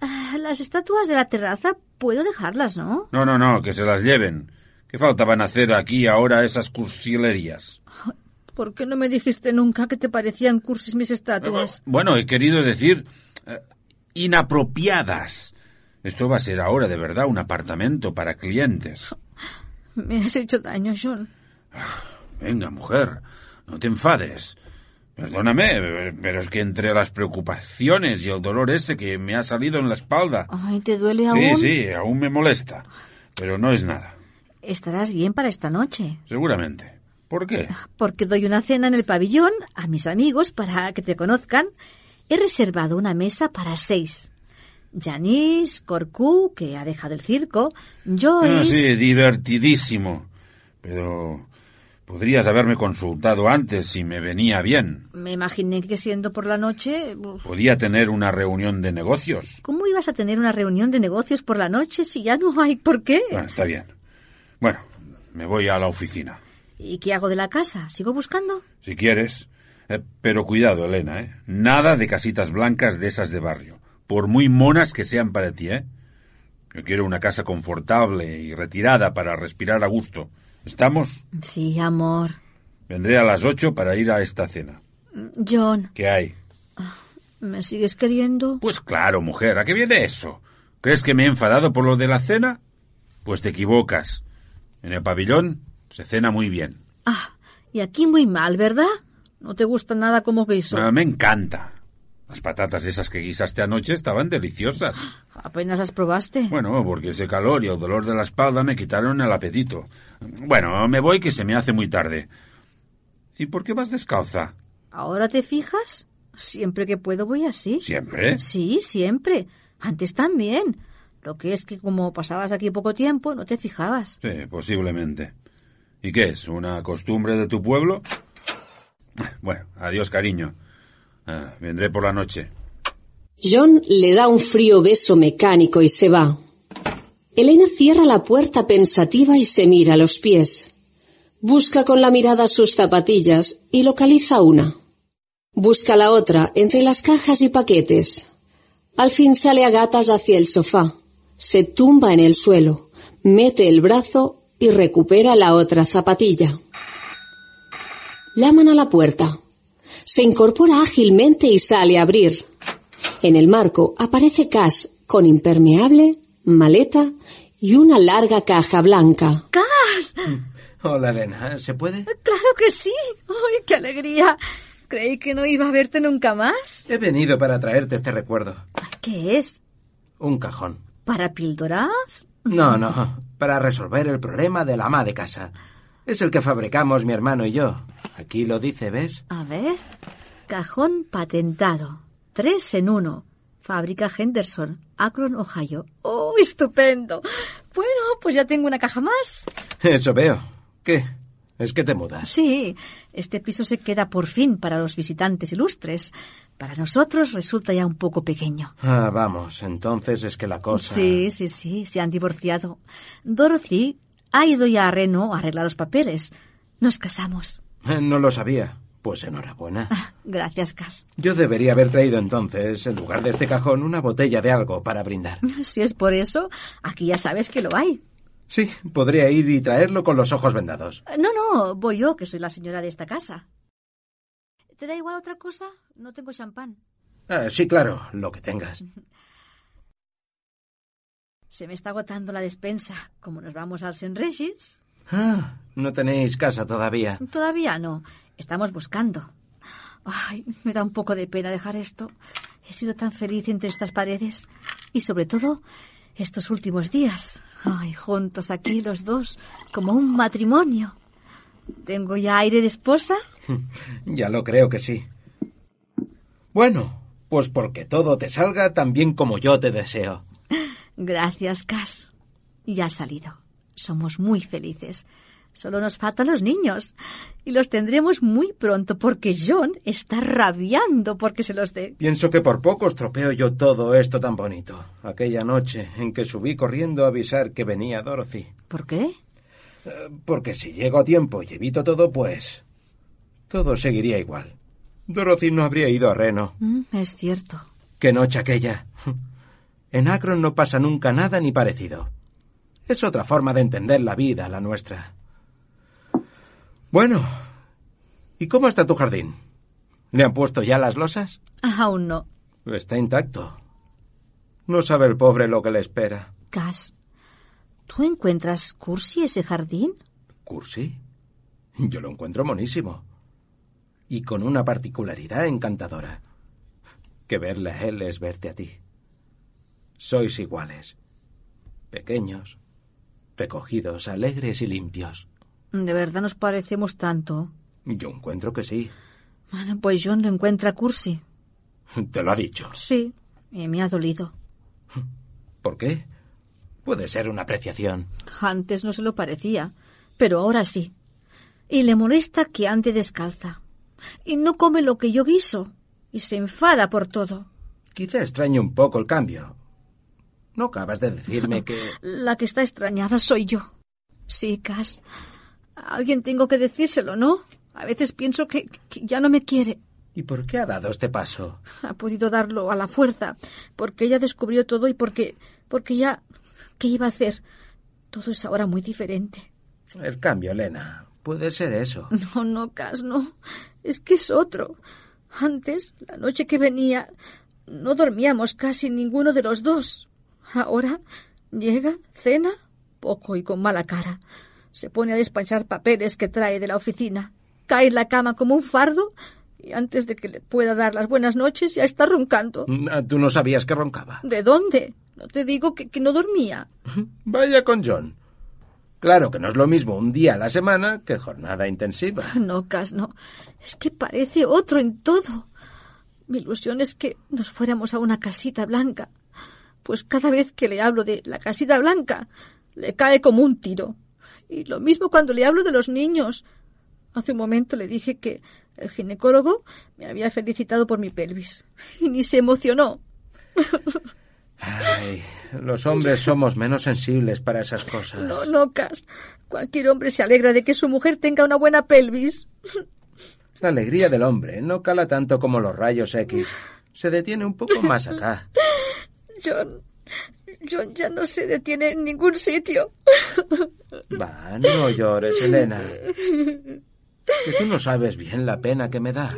Ah, Las estatuas de la terraza puedo dejarlas, ¿no?
No, no, no, que se las lleven. ¿Qué falta van a hacer aquí ahora esas cursilerías?
¿Por qué no me dijiste nunca que te parecían cursis mis estatuas?
Bueno, he querido decir eh, inapropiadas. Esto va a ser ahora de verdad un apartamento para clientes.
Me has hecho daño, John.
Venga, mujer, no te enfades. Perdóname, pero es que entre las preocupaciones y el dolor ese que me ha salido en la espalda.
Ay, ¿te duele aún?
Sí, sí, aún me molesta. Pero no es nada,
Estarás bien para esta noche.
seguramente. ¿Por qué?
porque doy una cena en el pabellón a mis amigos para que te conozcan, he reservado una mesa para seis. Janice, Corcu, que ha dejado el circo,
Ah,
Joyce...
sí, divertidísimo. Pero. Podrías haberme consultado antes si me venía bien.
Me imaginé que siendo por la noche... uf,
Podía tener una reunión de negocios.
¿Cómo ibas a tener una reunión de negocios por la noche si ya no hay por qué?
Ah, está bien. Bueno, me voy a la oficina.
¿Y qué hago de la casa? ¿Sigo buscando?
Si quieres. Eh, pero cuidado, Elena, ¿eh? Nada de casitas blancas de esas de barrio. Por muy monas que sean para ti, ¿eh? Yo quiero una casa confortable y retirada para respirar a gusto. ¿Estamos?
Sí, amor.
Vendré a las ocho para ir a esta cena.
John,
¿Qué hay?
¿me sigues queriendo?
Pues claro, mujer, ¿a qué viene eso? ¿Crees que me he enfadado por lo de la cena? Pues te equivocas. En el pabellón se cena muy bien.
Ah, y aquí muy mal, ¿verdad? No te gusta nada como guiso.
Ah, me encanta. Las patatas esas que guisaste anoche estaban deliciosas.
Apenas las probaste.
Bueno, porque ese calor y el dolor de la espalda me quitaron el apetito. Bueno, me voy que se me hace muy tarde. ¿Y por qué vas descalza?
¿Ahora te fijas? Siempre que puedo voy así.
¿Siempre?
Sí, siempre. Antes también. Lo que es que como pasabas aquí poco tiempo, no te fijabas.
Sí, posiblemente. ¿Y qué es? ¿Una costumbre de tu pueblo? Bueno, adiós, cariño. Ah, vendré por la noche.
John le da un frío beso mecánico y se va. Elena cierra la puerta pensativa y se mira a los pies. Busca con la mirada sus zapatillas y localiza una. Busca la otra entre las cajas y paquetes. Al fin sale a gatas hacia el sofá. Se tumba en el suelo, mete el brazo y recupera la otra zapatilla. Llaman a la puerta. Se incorpora ágilmente y sale a abrir. En el marco aparece Cass con impermeable, maleta y una larga caja blanca.
¡Cas!
Hola, Elena. ¿Se puede?
¡Claro que sí! ¡Ay, qué alegría! Creí que no iba a verte nunca más.
He venido para traerte este recuerdo.
Ay, ¿Qué es?
Un cajón.
¿Para píldoras?
No, no. Para resolver el problema del ama de casa. Es el que fabricamos mi hermano y yo. Aquí lo dice, ¿ves?
A ver. Cajón patentado. Tres en uno. Fábrica Henderson, Akron, Ohio. ¡Oh, estupendo! Bueno, pues ya tengo una caja más.
Eso veo. ¿Qué? ¿Es que te mudas?
Sí, este piso se queda por fin para los visitantes ilustres. Para nosotros resulta ya un poco pequeño.
Ah, vamos. Entonces es que la cosa...
Sí, sí, sí, se han divorciado. Dorothy ha ido ya a Reno a arreglar los papeles. Nos casamos.
Eh, No lo sabía. Pues enhorabuena.
Ah, Gracias, Cas.
Yo debería haber traído entonces, en lugar de este cajón, una botella de algo para brindar.
Si es por eso, aquí ya sabes que lo hay.
Sí, podría ir y traerlo con los ojos vendados.
No, no, voy yo, que soy la señora de esta casa. ¿Te da igual otra cosa? No tengo champán.
Ah, sí, claro, lo que tengas.
Se me está agotando la despensa. Como nos vamos al St. Regis,
Ah, no tenéis casa todavía.
todavía no. Estamos buscando. Ay, me da un poco de pena dejar esto. He sido tan feliz entre estas paredes y sobre todo estos últimos días. Ay, juntos aquí los dos, como un matrimonio. ¿Tengo ya aire de esposa?
Ya lo creo que sí. Bueno, pues porque todo te salga tan bien como yo te deseo.
Gracias, Cas. Ya ha salido. Somos muy felices. Solo nos faltan los niños. Y los tendremos muy pronto porque John está rabiando porque se los dé.
Pienso que por poco estropeo yo todo esto tan bonito. Aquella noche en que subí corriendo a avisar que venía Dorothy.
¿Por qué?
Eh, Porque si llego a tiempo y evito todo, pues... Todo seguiría igual. Dorothy no habría ido a Reno.
Mm, es cierto.
Qué noche aquella. En Akron no pasa nunca nada ni parecido. Es otra forma de entender la vida, la nuestra. Bueno, ¿y cómo está tu jardín? ¿Le han puesto ya las losas?
Aún no.
Está intacto. No sabe el pobre lo que le espera.
Cas, ¿tú encuentras cursi ese jardín?
¿Cursi? Yo lo encuentro monísimo. Y con una particularidad encantadora. Que verle a él es verte a ti. Sois iguales. Pequeños, recogidos, alegres y limpios.
De verdad nos parecemos tanto.
Yo encuentro que sí.
Bueno, pues John lo encuentra cursi.
Te lo ha dicho.
Sí, y me ha dolido.
¿Por qué? Puede ser una apreciación.
Antes no se lo parecía, pero ahora sí. Y le molesta que ande descalza. Y no come lo que yo guiso. Y se enfada por todo.
Quizá extrañe un poco el cambio. No acabas de decirme que...
La que está extrañada soy yo. Sí, Cas. A alguien tengo que decírselo, ¿no? A veces pienso que, que ya no me quiere.
¿Y por qué ha dado este paso?
Ha podido darlo a la fuerza, porque ella descubrió todo y porque... porque ya... ¿Qué iba a hacer? Todo es ahora muy diferente.
El cambio, Elena. Puede ser eso.
No, no, Cas, no. Es que es otro. Antes, la noche que venía, no dormíamos casi ninguno de los dos. Ahora llega, cena, poco y con mala cara. Se pone a despachar papeles que trae de la oficina. Cae en la cama como un fardo y antes de que le pueda dar las buenas noches ya está roncando.
Ah, Tú no sabías que roncaba.
¿De dónde? No te digo que, que no dormía.
Vaya con John. Claro que no es lo mismo un día a la semana que jornada intensiva.
No, Cas, no. Es que parece otro en todo. Mi ilusión es que nos fuéramos a una casita blanca. Pues cada vez que le hablo de la casita blanca, le cae como un tiro. Y lo mismo cuando le hablo de los niños. Hace un momento le dije que el ginecólogo me había felicitado por mi pelvis. Y ni se emocionó.
Ay, los hombres somos menos sensibles para esas cosas.
No, no, Cas. Cualquier hombre se alegra de que su mujer tenga una buena pelvis.
La alegría del hombre no cala tanto como los rayos X. Se detiene un poco más acá.
John. John ya no se detiene en ningún sitio.
Va, no llores, Elena. Que tú no sabes bien la pena que me da.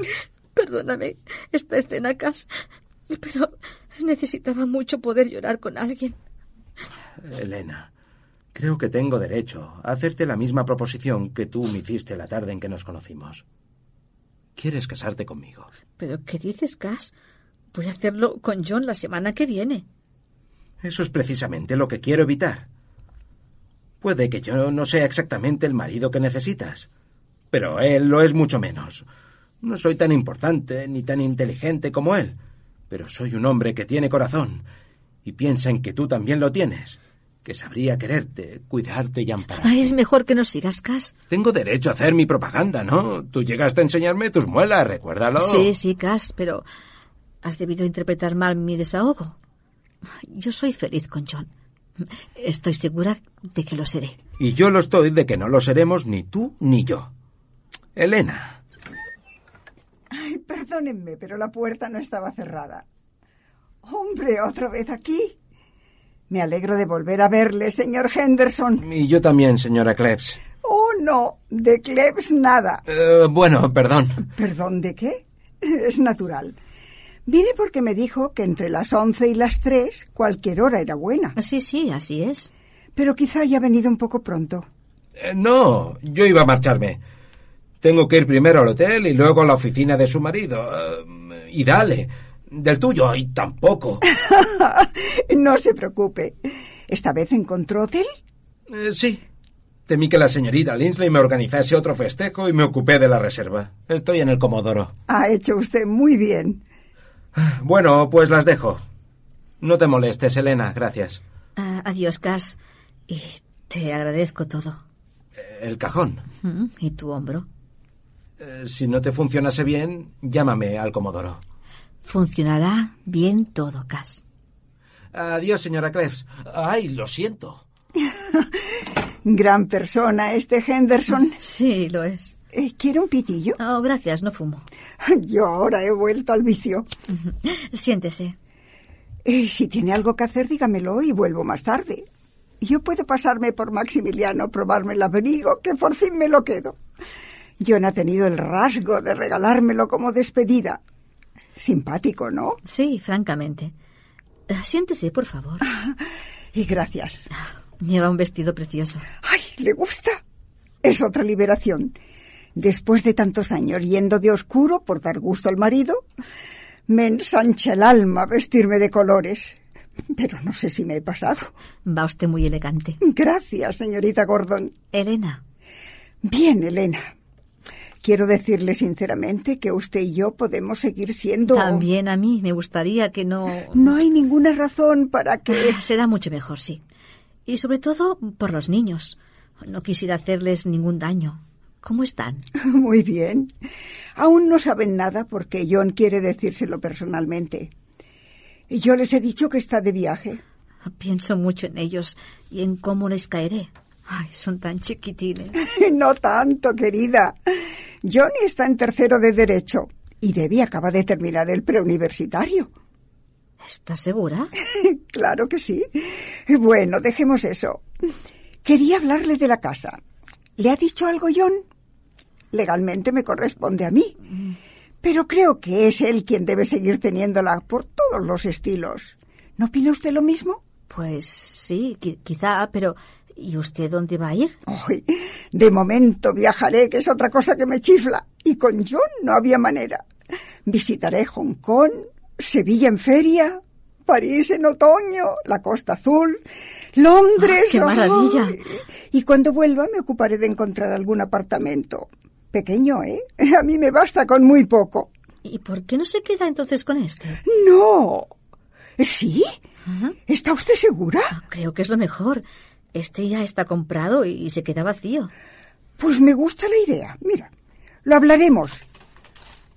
Perdóname esta escena, Cas. Pero necesitaba mucho poder llorar con alguien.
Elena, creo que tengo derecho a hacerte la misma proposición que tú me hiciste la tarde en que nos conocimos. ¿Quieres casarte conmigo?
¿Pero qué dices, Cas? Voy a hacerlo con John la semana que viene.
Eso es precisamente lo que quiero evitar. Puede que yo no sea exactamente el marido que necesitas, pero él lo es mucho menos. No soy tan importante ni tan inteligente como él, pero soy un hombre que tiene corazón y piensa en que tú también lo tienes, que sabría quererte, cuidarte y ampararte.
Ay, es mejor que no sigas, Cas.
Tengo derecho a hacer mi propaganda, ¿no? Tú llegaste a enseñarme tus muelas, recuérdalo.
Sí, sí, Cas, pero has debido interpretar mal mi desahogo. Yo soy feliz con John. Estoy segura de que lo seré.
Y yo lo estoy de que no lo seremos ni tú ni yo. Elena.
Ay, perdónenme, pero la puerta no estaba cerrada. Hombre, otra vez aquí. Me alegro de volver a verle, señor Henderson.
Y yo también, señora Klebs.
Oh, no, de Klebs nada.
Eh, bueno, perdón.
¿Perdón de qué? Es natural. Vine porque me dijo que entre las once y las tres cualquier hora era buena.
Ah, Sí, sí, así es.
Pero quizá haya venido un poco pronto.
Eh, no, yo iba a marcharme. Tengo que ir primero al hotel y luego a la oficina de su marido. Eh, y dale, del tuyo, y tampoco.
no se preocupe. ¿Esta vez encontró hotel?
Eh, sí. Temí que la señorita Linsley me organizase otro festejo y me ocupé de la reserva. Estoy en el Comodoro.
Ha hecho usted muy bien.
Bueno, pues las dejo. No te molestes, Elena, gracias.
Ah, adiós, Cas. Y te agradezco todo.
Eh, El cajón.
Mm, Y tu hombro.
Eh, Si no te funcionase bien, llámame al Comodoro.
Funcionará bien todo, Cas.
Adiós, señora Krebs. Ay, lo siento.
Gran persona este Henderson.
Mm. Sí, lo es.
Eh, ¿Quiere un pitillo?
Oh, gracias, no fumo.
Yo ahora he vuelto al vicio.
Siéntese.
Eh, si tiene algo que hacer, dígamelo y vuelvo más tarde. Yo puedo pasarme por Maximiliano, probarme el abrigo, que por fin me lo quedo. John ha tenido el rasgo de regalármelo como despedida. Simpático, ¿no?
Sí, francamente. Ah, Siéntese, por favor.
Y gracias.
Lleva un vestido precioso.
¡Ay, le gusta! Es otra liberación. Después de tantos años yendo de oscuro por dar gusto al marido, me ensancha el alma vestirme de colores. Pero no sé si me he pasado.
Va usted muy elegante.
Gracias, señorita Gordon.
Elena,
Bien, Elena. Quiero decirle sinceramente que usted y yo podemos seguir siendo...
también a mí me gustaría que no...
No hay ninguna razón para que...
Será mucho mejor, sí. Y sobre todo por los niños. No quisiera hacerles ningún daño. ¿Cómo están?
Muy bien. Aún no saben nada porque John quiere decírselo personalmente. Y yo les he dicho que está de viaje.
Pienso mucho en ellos y en cómo les caeré. Ay, son tan chiquitines.
no tanto, querida. Johnny está en tercero de Derecho y Debbie acaba de terminar el preuniversitario.
¿Estás segura?
claro que sí. Bueno, dejemos eso. Quería hablarle de la casa. ¿Le ha dicho algo John? Legalmente me corresponde a mí. Pero creo que es él quien debe seguir teniéndola por todos los estilos. ¿No opina usted lo mismo?
Pues sí, qui- quizá, pero ¿y usted dónde va a ir?
Ay, de momento viajaré, que es otra cosa que me chifla. Y con John no había manera. Visitaré Hong Kong, Sevilla en feria, París en otoño, la Costa Azul, Londres.
Ah, ¡qué
¡ay!
maravilla!
Y cuando vuelva me ocuparé de encontrar algún apartamento. Pequeño, ¿eh? A mí me basta con muy poco.
¿Y por qué no se queda entonces con este?
No. ¿Sí?
Ajá.
¿Está usted segura?
Creo que es lo mejor. Este ya está comprado y, y se queda vacío.
Pues me gusta la idea. Mira, lo hablaremos.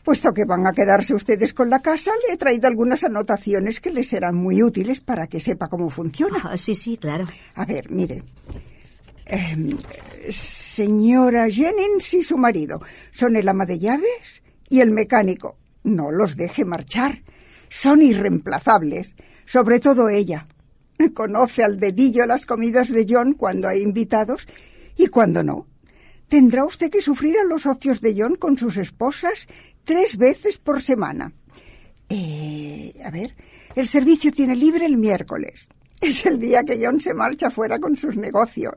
Puesto que van a quedarse ustedes con la casa, le he traído algunas anotaciones que les serán muy útiles para que sepa cómo funciona.
Ah, sí, sí, claro.
A ver, mire. Em, señora Jennings y su marido son el ama de llaves y el mecánico. No los deje marchar. Son irreemplazables, sobre todo ella. Conoce al dedillo las comidas de John cuando hay invitados y cuando no. Tendrá usted que sufrir a los socios de John con sus esposas tres veces por semana. Eh, a ver, el servicio tiene libre el miércoles. Es el día que John se marcha fuera con sus negocios.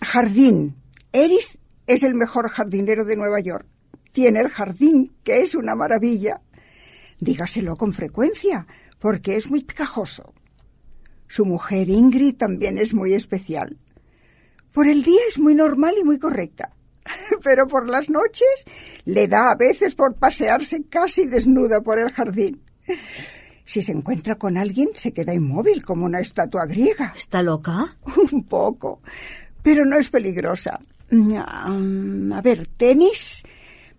Jardín. Eris es el mejor jardinero de Nueva York. Tiene el jardín, que es una maravilla. Dígaselo con frecuencia, porque es muy picajoso. Su mujer Ingrid también es muy especial. Por el día es muy normal y muy correcta, pero por las noches le da a veces por pasearse casi desnuda por el jardín. Si se encuentra con alguien, se queda inmóvil como una estatua griega.
¿Está loca?
Un poco, pero no es peligrosa. Mm, A ver, tenis.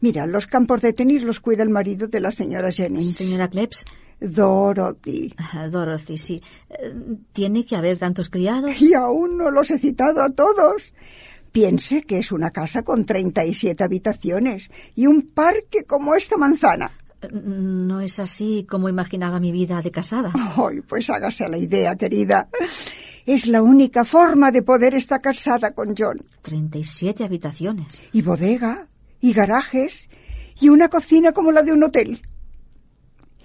Mira, los campos de tenis los cuida el marido de la señora Jennings.
Señora Klebs,
Dorothy.
ah, Dorothy, sí. Eh, ¿Tiene que haber tantos criados?
Y aún no los he citado a todos. Piense que es una casa con 37 habitaciones y un parque como esta manzana.
Eh, No es así como imaginaba mi vida de casada.
Ay, pues hágase a la idea, querida. Es la única forma de poder estar casada con John.
37 habitaciones.
y bodega y garajes y una cocina como la de un hotel.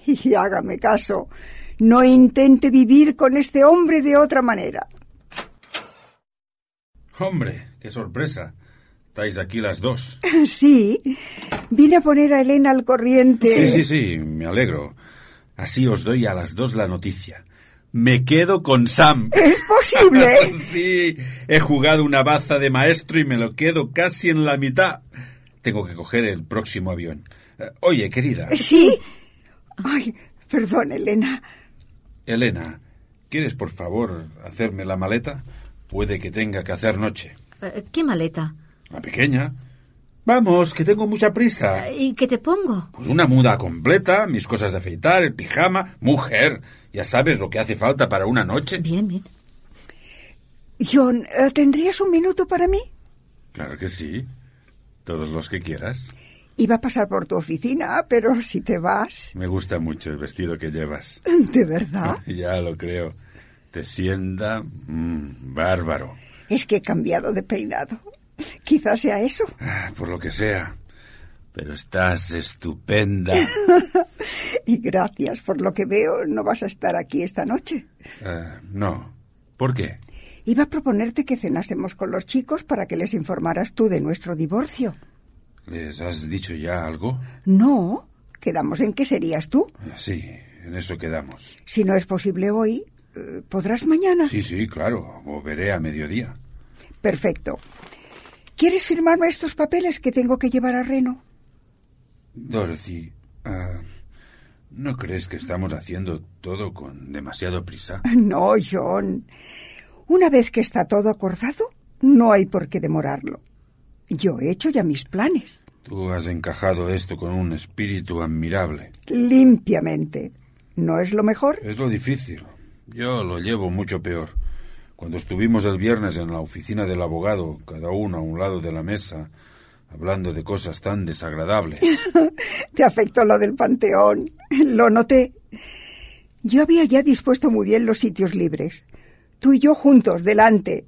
Y hágame caso, no intente vivir con este hombre de otra manera.
Hombre, qué sorpresa. Estáis aquí las dos.
Sí, vine a poner a Elena al corriente.
Sí, sí, sí, me alegro. Así os doy a las dos la noticia. Me quedo con Sam.
Es posible.
sí, he jugado una baza de maestro y me lo quedo casi en la mitad. Tengo que coger el próximo avión. Eh, Oye, querida,
Sí. Ay, perdón, Elena.
Elena, ¿quieres por favor hacerme la maleta? Puede que tenga que hacer noche.
Eh, ¿Qué maleta?
La pequeña. Vamos, que tengo mucha prisa.
Eh, ¿Y qué te pongo?
Pues una muda completa, mis cosas de afeitar, el pijama, mujer. Ya sabes lo que hace falta para una noche.
Bien, bien.
John, eh, ¿tendrías un minuto para mí?
Claro que sí. Todos los que quieras.
Iba a pasar por tu oficina, pero si te vas.
Me gusta mucho el vestido que llevas.
¿De verdad?
Ya lo creo. Te sienta mm, bárbaro.
Es que he cambiado de peinado. Quizás sea eso.
Ah, Por lo que sea. Pero estás estupenda.
Y gracias, por lo que veo, no vas a estar aquí esta noche.
Ah, no. ¿Por qué?
Iba a proponerte que cenásemos con los chicos para que les informaras tú de nuestro divorcio.
¿Les has dicho ya algo?
No, quedamos en que serías tú.
Ah, Sí, en eso quedamos.
Si no es posible hoy, eh, ¿podrás mañana?
Sí, sí, claro. O veré a mediodía.
Perfecto. ¿Quieres firmarme estos papeles que tengo que llevar a Reno?
Dorothy, ah, ¿no crees que estamos haciendo todo con demasiado prisa?
No, John. Una vez que está todo acordado, no hay por qué demorarlo. Yo he hecho ya mis planes.
Tú has encajado esto con un espíritu admirable.
Limpiamente. ¿No es lo mejor?
Es lo difícil. Yo lo llevo mucho peor. Cuando estuvimos el viernes en la oficina del abogado, cada uno a un lado de la mesa, hablando de cosas tan desagradables.
Te afectó lo del panteón. Lo noté. Yo había ya dispuesto muy bien los sitios libres. Tú y yo juntos, delante.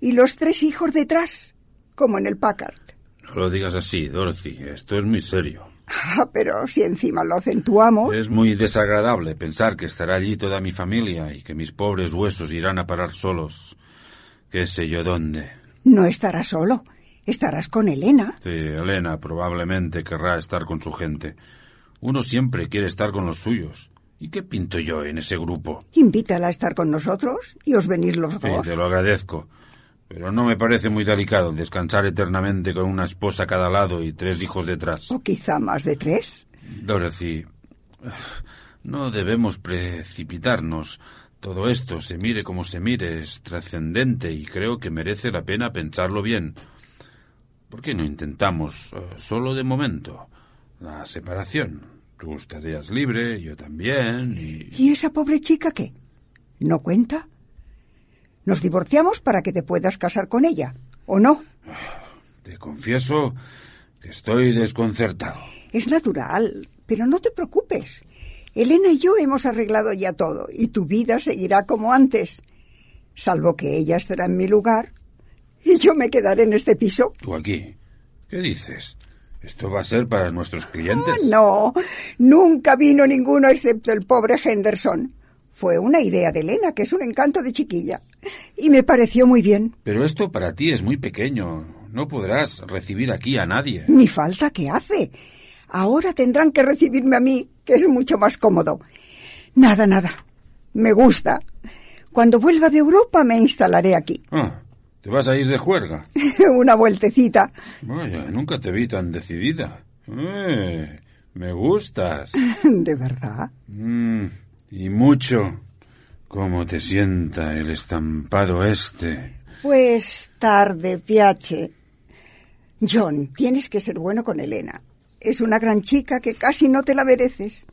Y los tres hijos detrás, como en el Packard.
No lo digas así, Dorothy. Esto es muy serio.
Ah, pero si encima lo acentuamos.
Es muy desagradable pensar que estará allí toda mi familia y que mis pobres huesos irán a parar solos. Qué sé yo dónde.
No estarás solo. Estarás con Elena.
Sí, Elena probablemente querrá estar con su gente. Uno siempre quiere estar con los suyos. ¿Y qué pinto yo en ese grupo?
Invítala a estar con nosotros y os venís los
Sí,
dos.
te lo agradezco. Pero no me parece muy delicado descansar eternamente con una esposa a cada lado y tres hijos detrás.
O quizá más de tres.
Dorothy, no debemos precipitarnos. Todo esto, se mire como se mire, es trascendente y creo que merece la pena pensarlo bien. ¿Por qué no intentamos, eh, solo de momento, la separación? Tú estarías libre, yo también, y...
¿Y esa pobre chica qué? ¿No cuenta? Nos divorciamos para que te puedas casar con ella, ¿o no?
Te confieso que estoy desconcertado.
Es natural, pero no te preocupes. Elena y yo hemos arreglado ya todo y tu vida seguirá como antes, salvo que ella estará en mi lugar y yo me quedaré en este piso.
Tú aquí. ¿Qué dices? ¿Esto va a ser para nuestros clientes?
Ah, no, nunca vino ninguno excepto el pobre Henderson. Fue una idea de Elena, que es un encanto de chiquilla. Y me pareció muy bien.
Pero esto para ti es muy pequeño. No podrás recibir aquí a nadie.
Ni falta que hace. Ahora tendrán que recibirme a mí, que es mucho más cómodo. Nada, nada. Me gusta. Cuando vuelva de Europa me instalaré aquí.
Ah, ¿te vas a ir de juerga?
Una vueltecita.
Vaya, nunca te vi tan decidida. Eh, me gustas.
De verdad.
Mm, y mucho. ¿Cómo te sienta el estampado este?
Pues tarde, Piache. John, tienes que ser bueno con Elena. Es una gran chica que casi no te la mereces.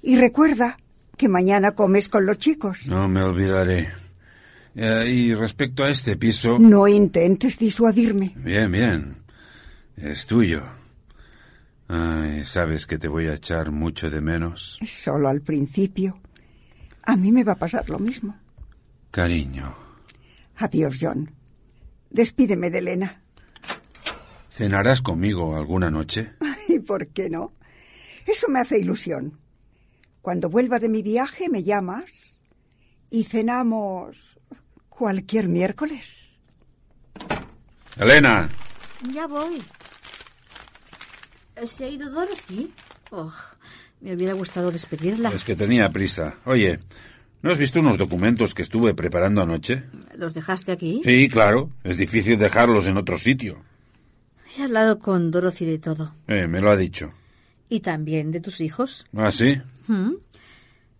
Y recuerda que mañana comes con los chicos.
No me olvidaré. Eh, y respecto a este piso...
No intentes disuadirme.
Bien, bien. Es tuyo. Ay, sabes que te voy a echar mucho de menos.
Solo al principio. A mí me va a pasar lo mismo.
Cariño,
Adiós, John. Despídeme de Elena.
¿cenarás conmigo alguna noche?
¿Y por qué no? Eso me hace ilusión. Cuando vuelva de mi viaje me llamas y cenamos cualquier miércoles.
Elena.
Ya voy. Eh, ¿Se ha ido Dorothy? Oh, me hubiera gustado despedirla.
Es que tenía prisa. Oye, ¿no has visto unos documentos que estuve preparando anoche?
¿Los dejaste aquí?
Sí, claro. Es difícil dejarlos en otro sitio.
He hablado con Dorothy de todo.
Eh, me lo ha dicho.
Y también de tus hijos.
¿Ah, sí?
¿Mm?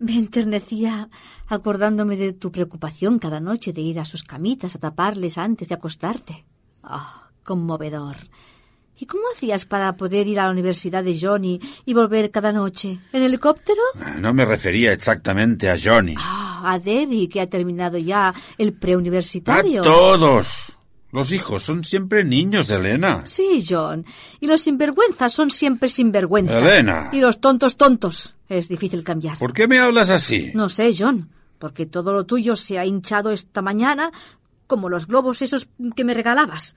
Me enternecía acordándome de tu preocupación cada noche de ir a sus camitas a taparles antes de acostarte. Ah, conmovedor. ¿Y cómo hacías para poder ir a la universidad de Johnny y volver cada noche? ¿En helicóptero?
Ah, No me refería exactamente a Johnny.
Ah, a Debbie, que ha terminado ya el
A
preuniversitario.
todos. Los hijos son siempre niños, Elena.
Sí, John. Y los sinvergüenzas son siempre sinvergüenzas.
Elena.
Y los tontos tontos. Es difícil cambiar.
¿Por qué me hablas así?
No sé, John, porque todo lo tuyo se ha hinchado esta mañana, como los globos esos que me regalabas.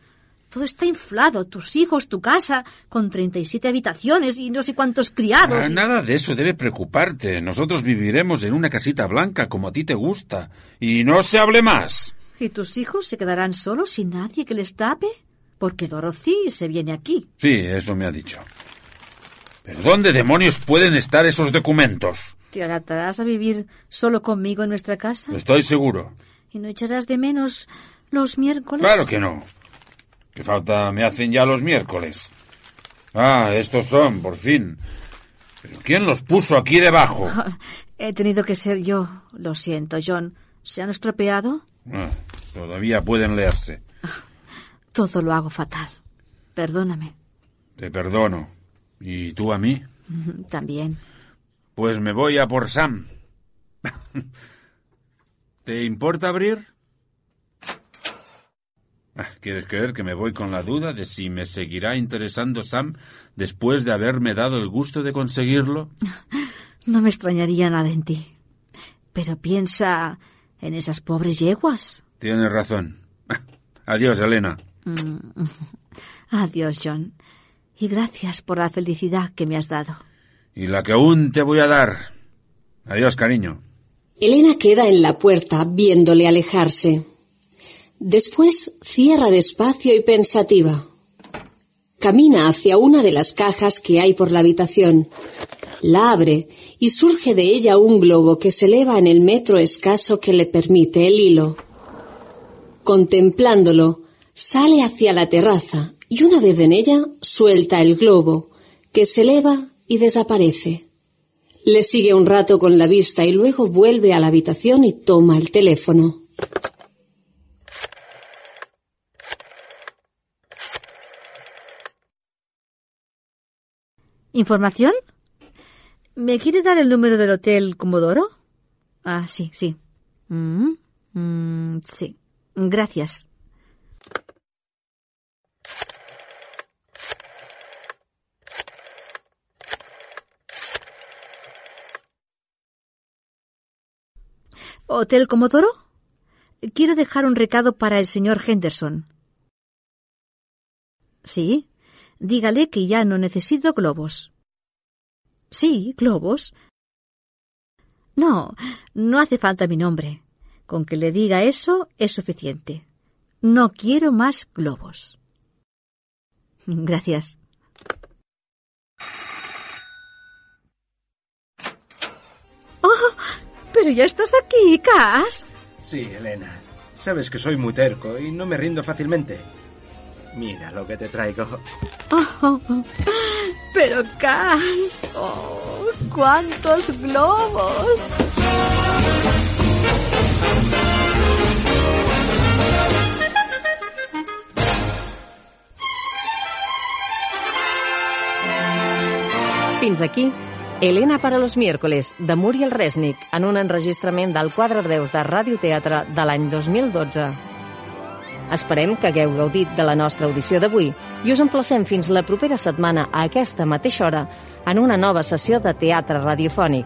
Todo está inflado, tus hijos, tu casa, con 37 habitaciones y no sé cuántos criados.
Ah, nada de eso debe preocuparte. Nosotros viviremos en una casita blanca como a ti te gusta. Y no se hable más.
¿Y tus hijos se quedarán solos sin nadie que les tape? Porque Dorothy se viene aquí.
Sí, eso me ha dicho. ¿Pero dónde demonios pueden estar esos documentos?
¿Te adaptarás a vivir solo conmigo en nuestra casa?
Estoy seguro.
¿Y no echarás de menos los miércoles?
Claro que no. ¿Qué falta me hacen ya los miércoles? Ah, estos son, por fin. ¿Pero quién los puso aquí debajo?
He tenido que ser yo. Lo siento, John. ¿Se han estropeado?
Ah, todavía pueden leerse.
Todo lo hago fatal. Perdóname.
Te perdono. ¿Y tú a mí?
También.
Pues me voy a por Sam. ¿Te importa abrir? Ah, ¿Quieres creer que me voy con la duda de si me seguirá interesando Sam después de haberme dado el gusto de conseguirlo?
No me extrañaría nada en ti. Pero piensa en esas pobres yeguas.
Tienes razón. Ah, Adiós, Elena.
Mm. Adiós, John. Y gracias por la felicidad que me has dado.
Y la que aún te voy a dar. Adiós, cariño.
Elena queda en la puerta viéndole alejarse. Después cierra despacio y pensativa. Camina hacia una de las cajas que hay por la habitación. La abre y surge de ella un globo que se eleva en el metro escaso que le permite el hilo. Contemplándolo, sale hacia la terraza y una vez en ella suelta el globo, que se eleva y desaparece. Le sigue un rato con la vista y luego vuelve a la habitación y toma el teléfono.
¿Información? ¿Me quiere dar el número del hotel Comodoro? Ah, sí, sí. Mm, mm, sí. Gracias. ¿Hotel Comodoro? Quiero dejar un recado para el señor Henderson. Sí, dígale que ya no necesito globos. Sí, globos. No, no hace falta mi nombre. Con que le diga eso es suficiente. No quiero más globos. Gracias. ¡Oh! Pero ya estás aquí, Cas.
Sí, Elena. Sabes que soy muy terco y no me rindo fácilmente. Mira lo que te traigo.
Oh, pero Cas. Oh, ¡Cuántos globos!
Fins aquí, Helena per a los miércoles, de Muriel Resnick, en un enregistrament del quadre breus de Radioteatre de l'any 2012. Esperem que hagueu gaudit de la nostra audició d'avui i us emplacem fins la propera setmana a aquesta mateixa hora en una nova sessió de teatre radiofònic.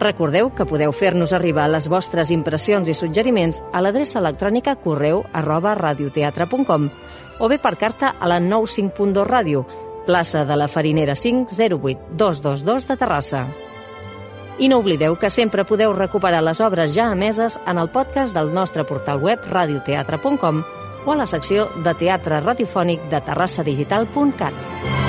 Recordeu que podeu fer-nos arribar les vostres impressions i suggeriments a l'adreça electrònica correu arroba radioteatre.com o bé per carta a la 95.2 Ràdio, plaça de la Farinera 5 08 222 de Terrassa. I no oblideu que sempre podeu recuperar les obres ja emeses en el podcast del nostre portal web radioteatre.com o a la secció de teatre radiofònic de terrassadigital.cat.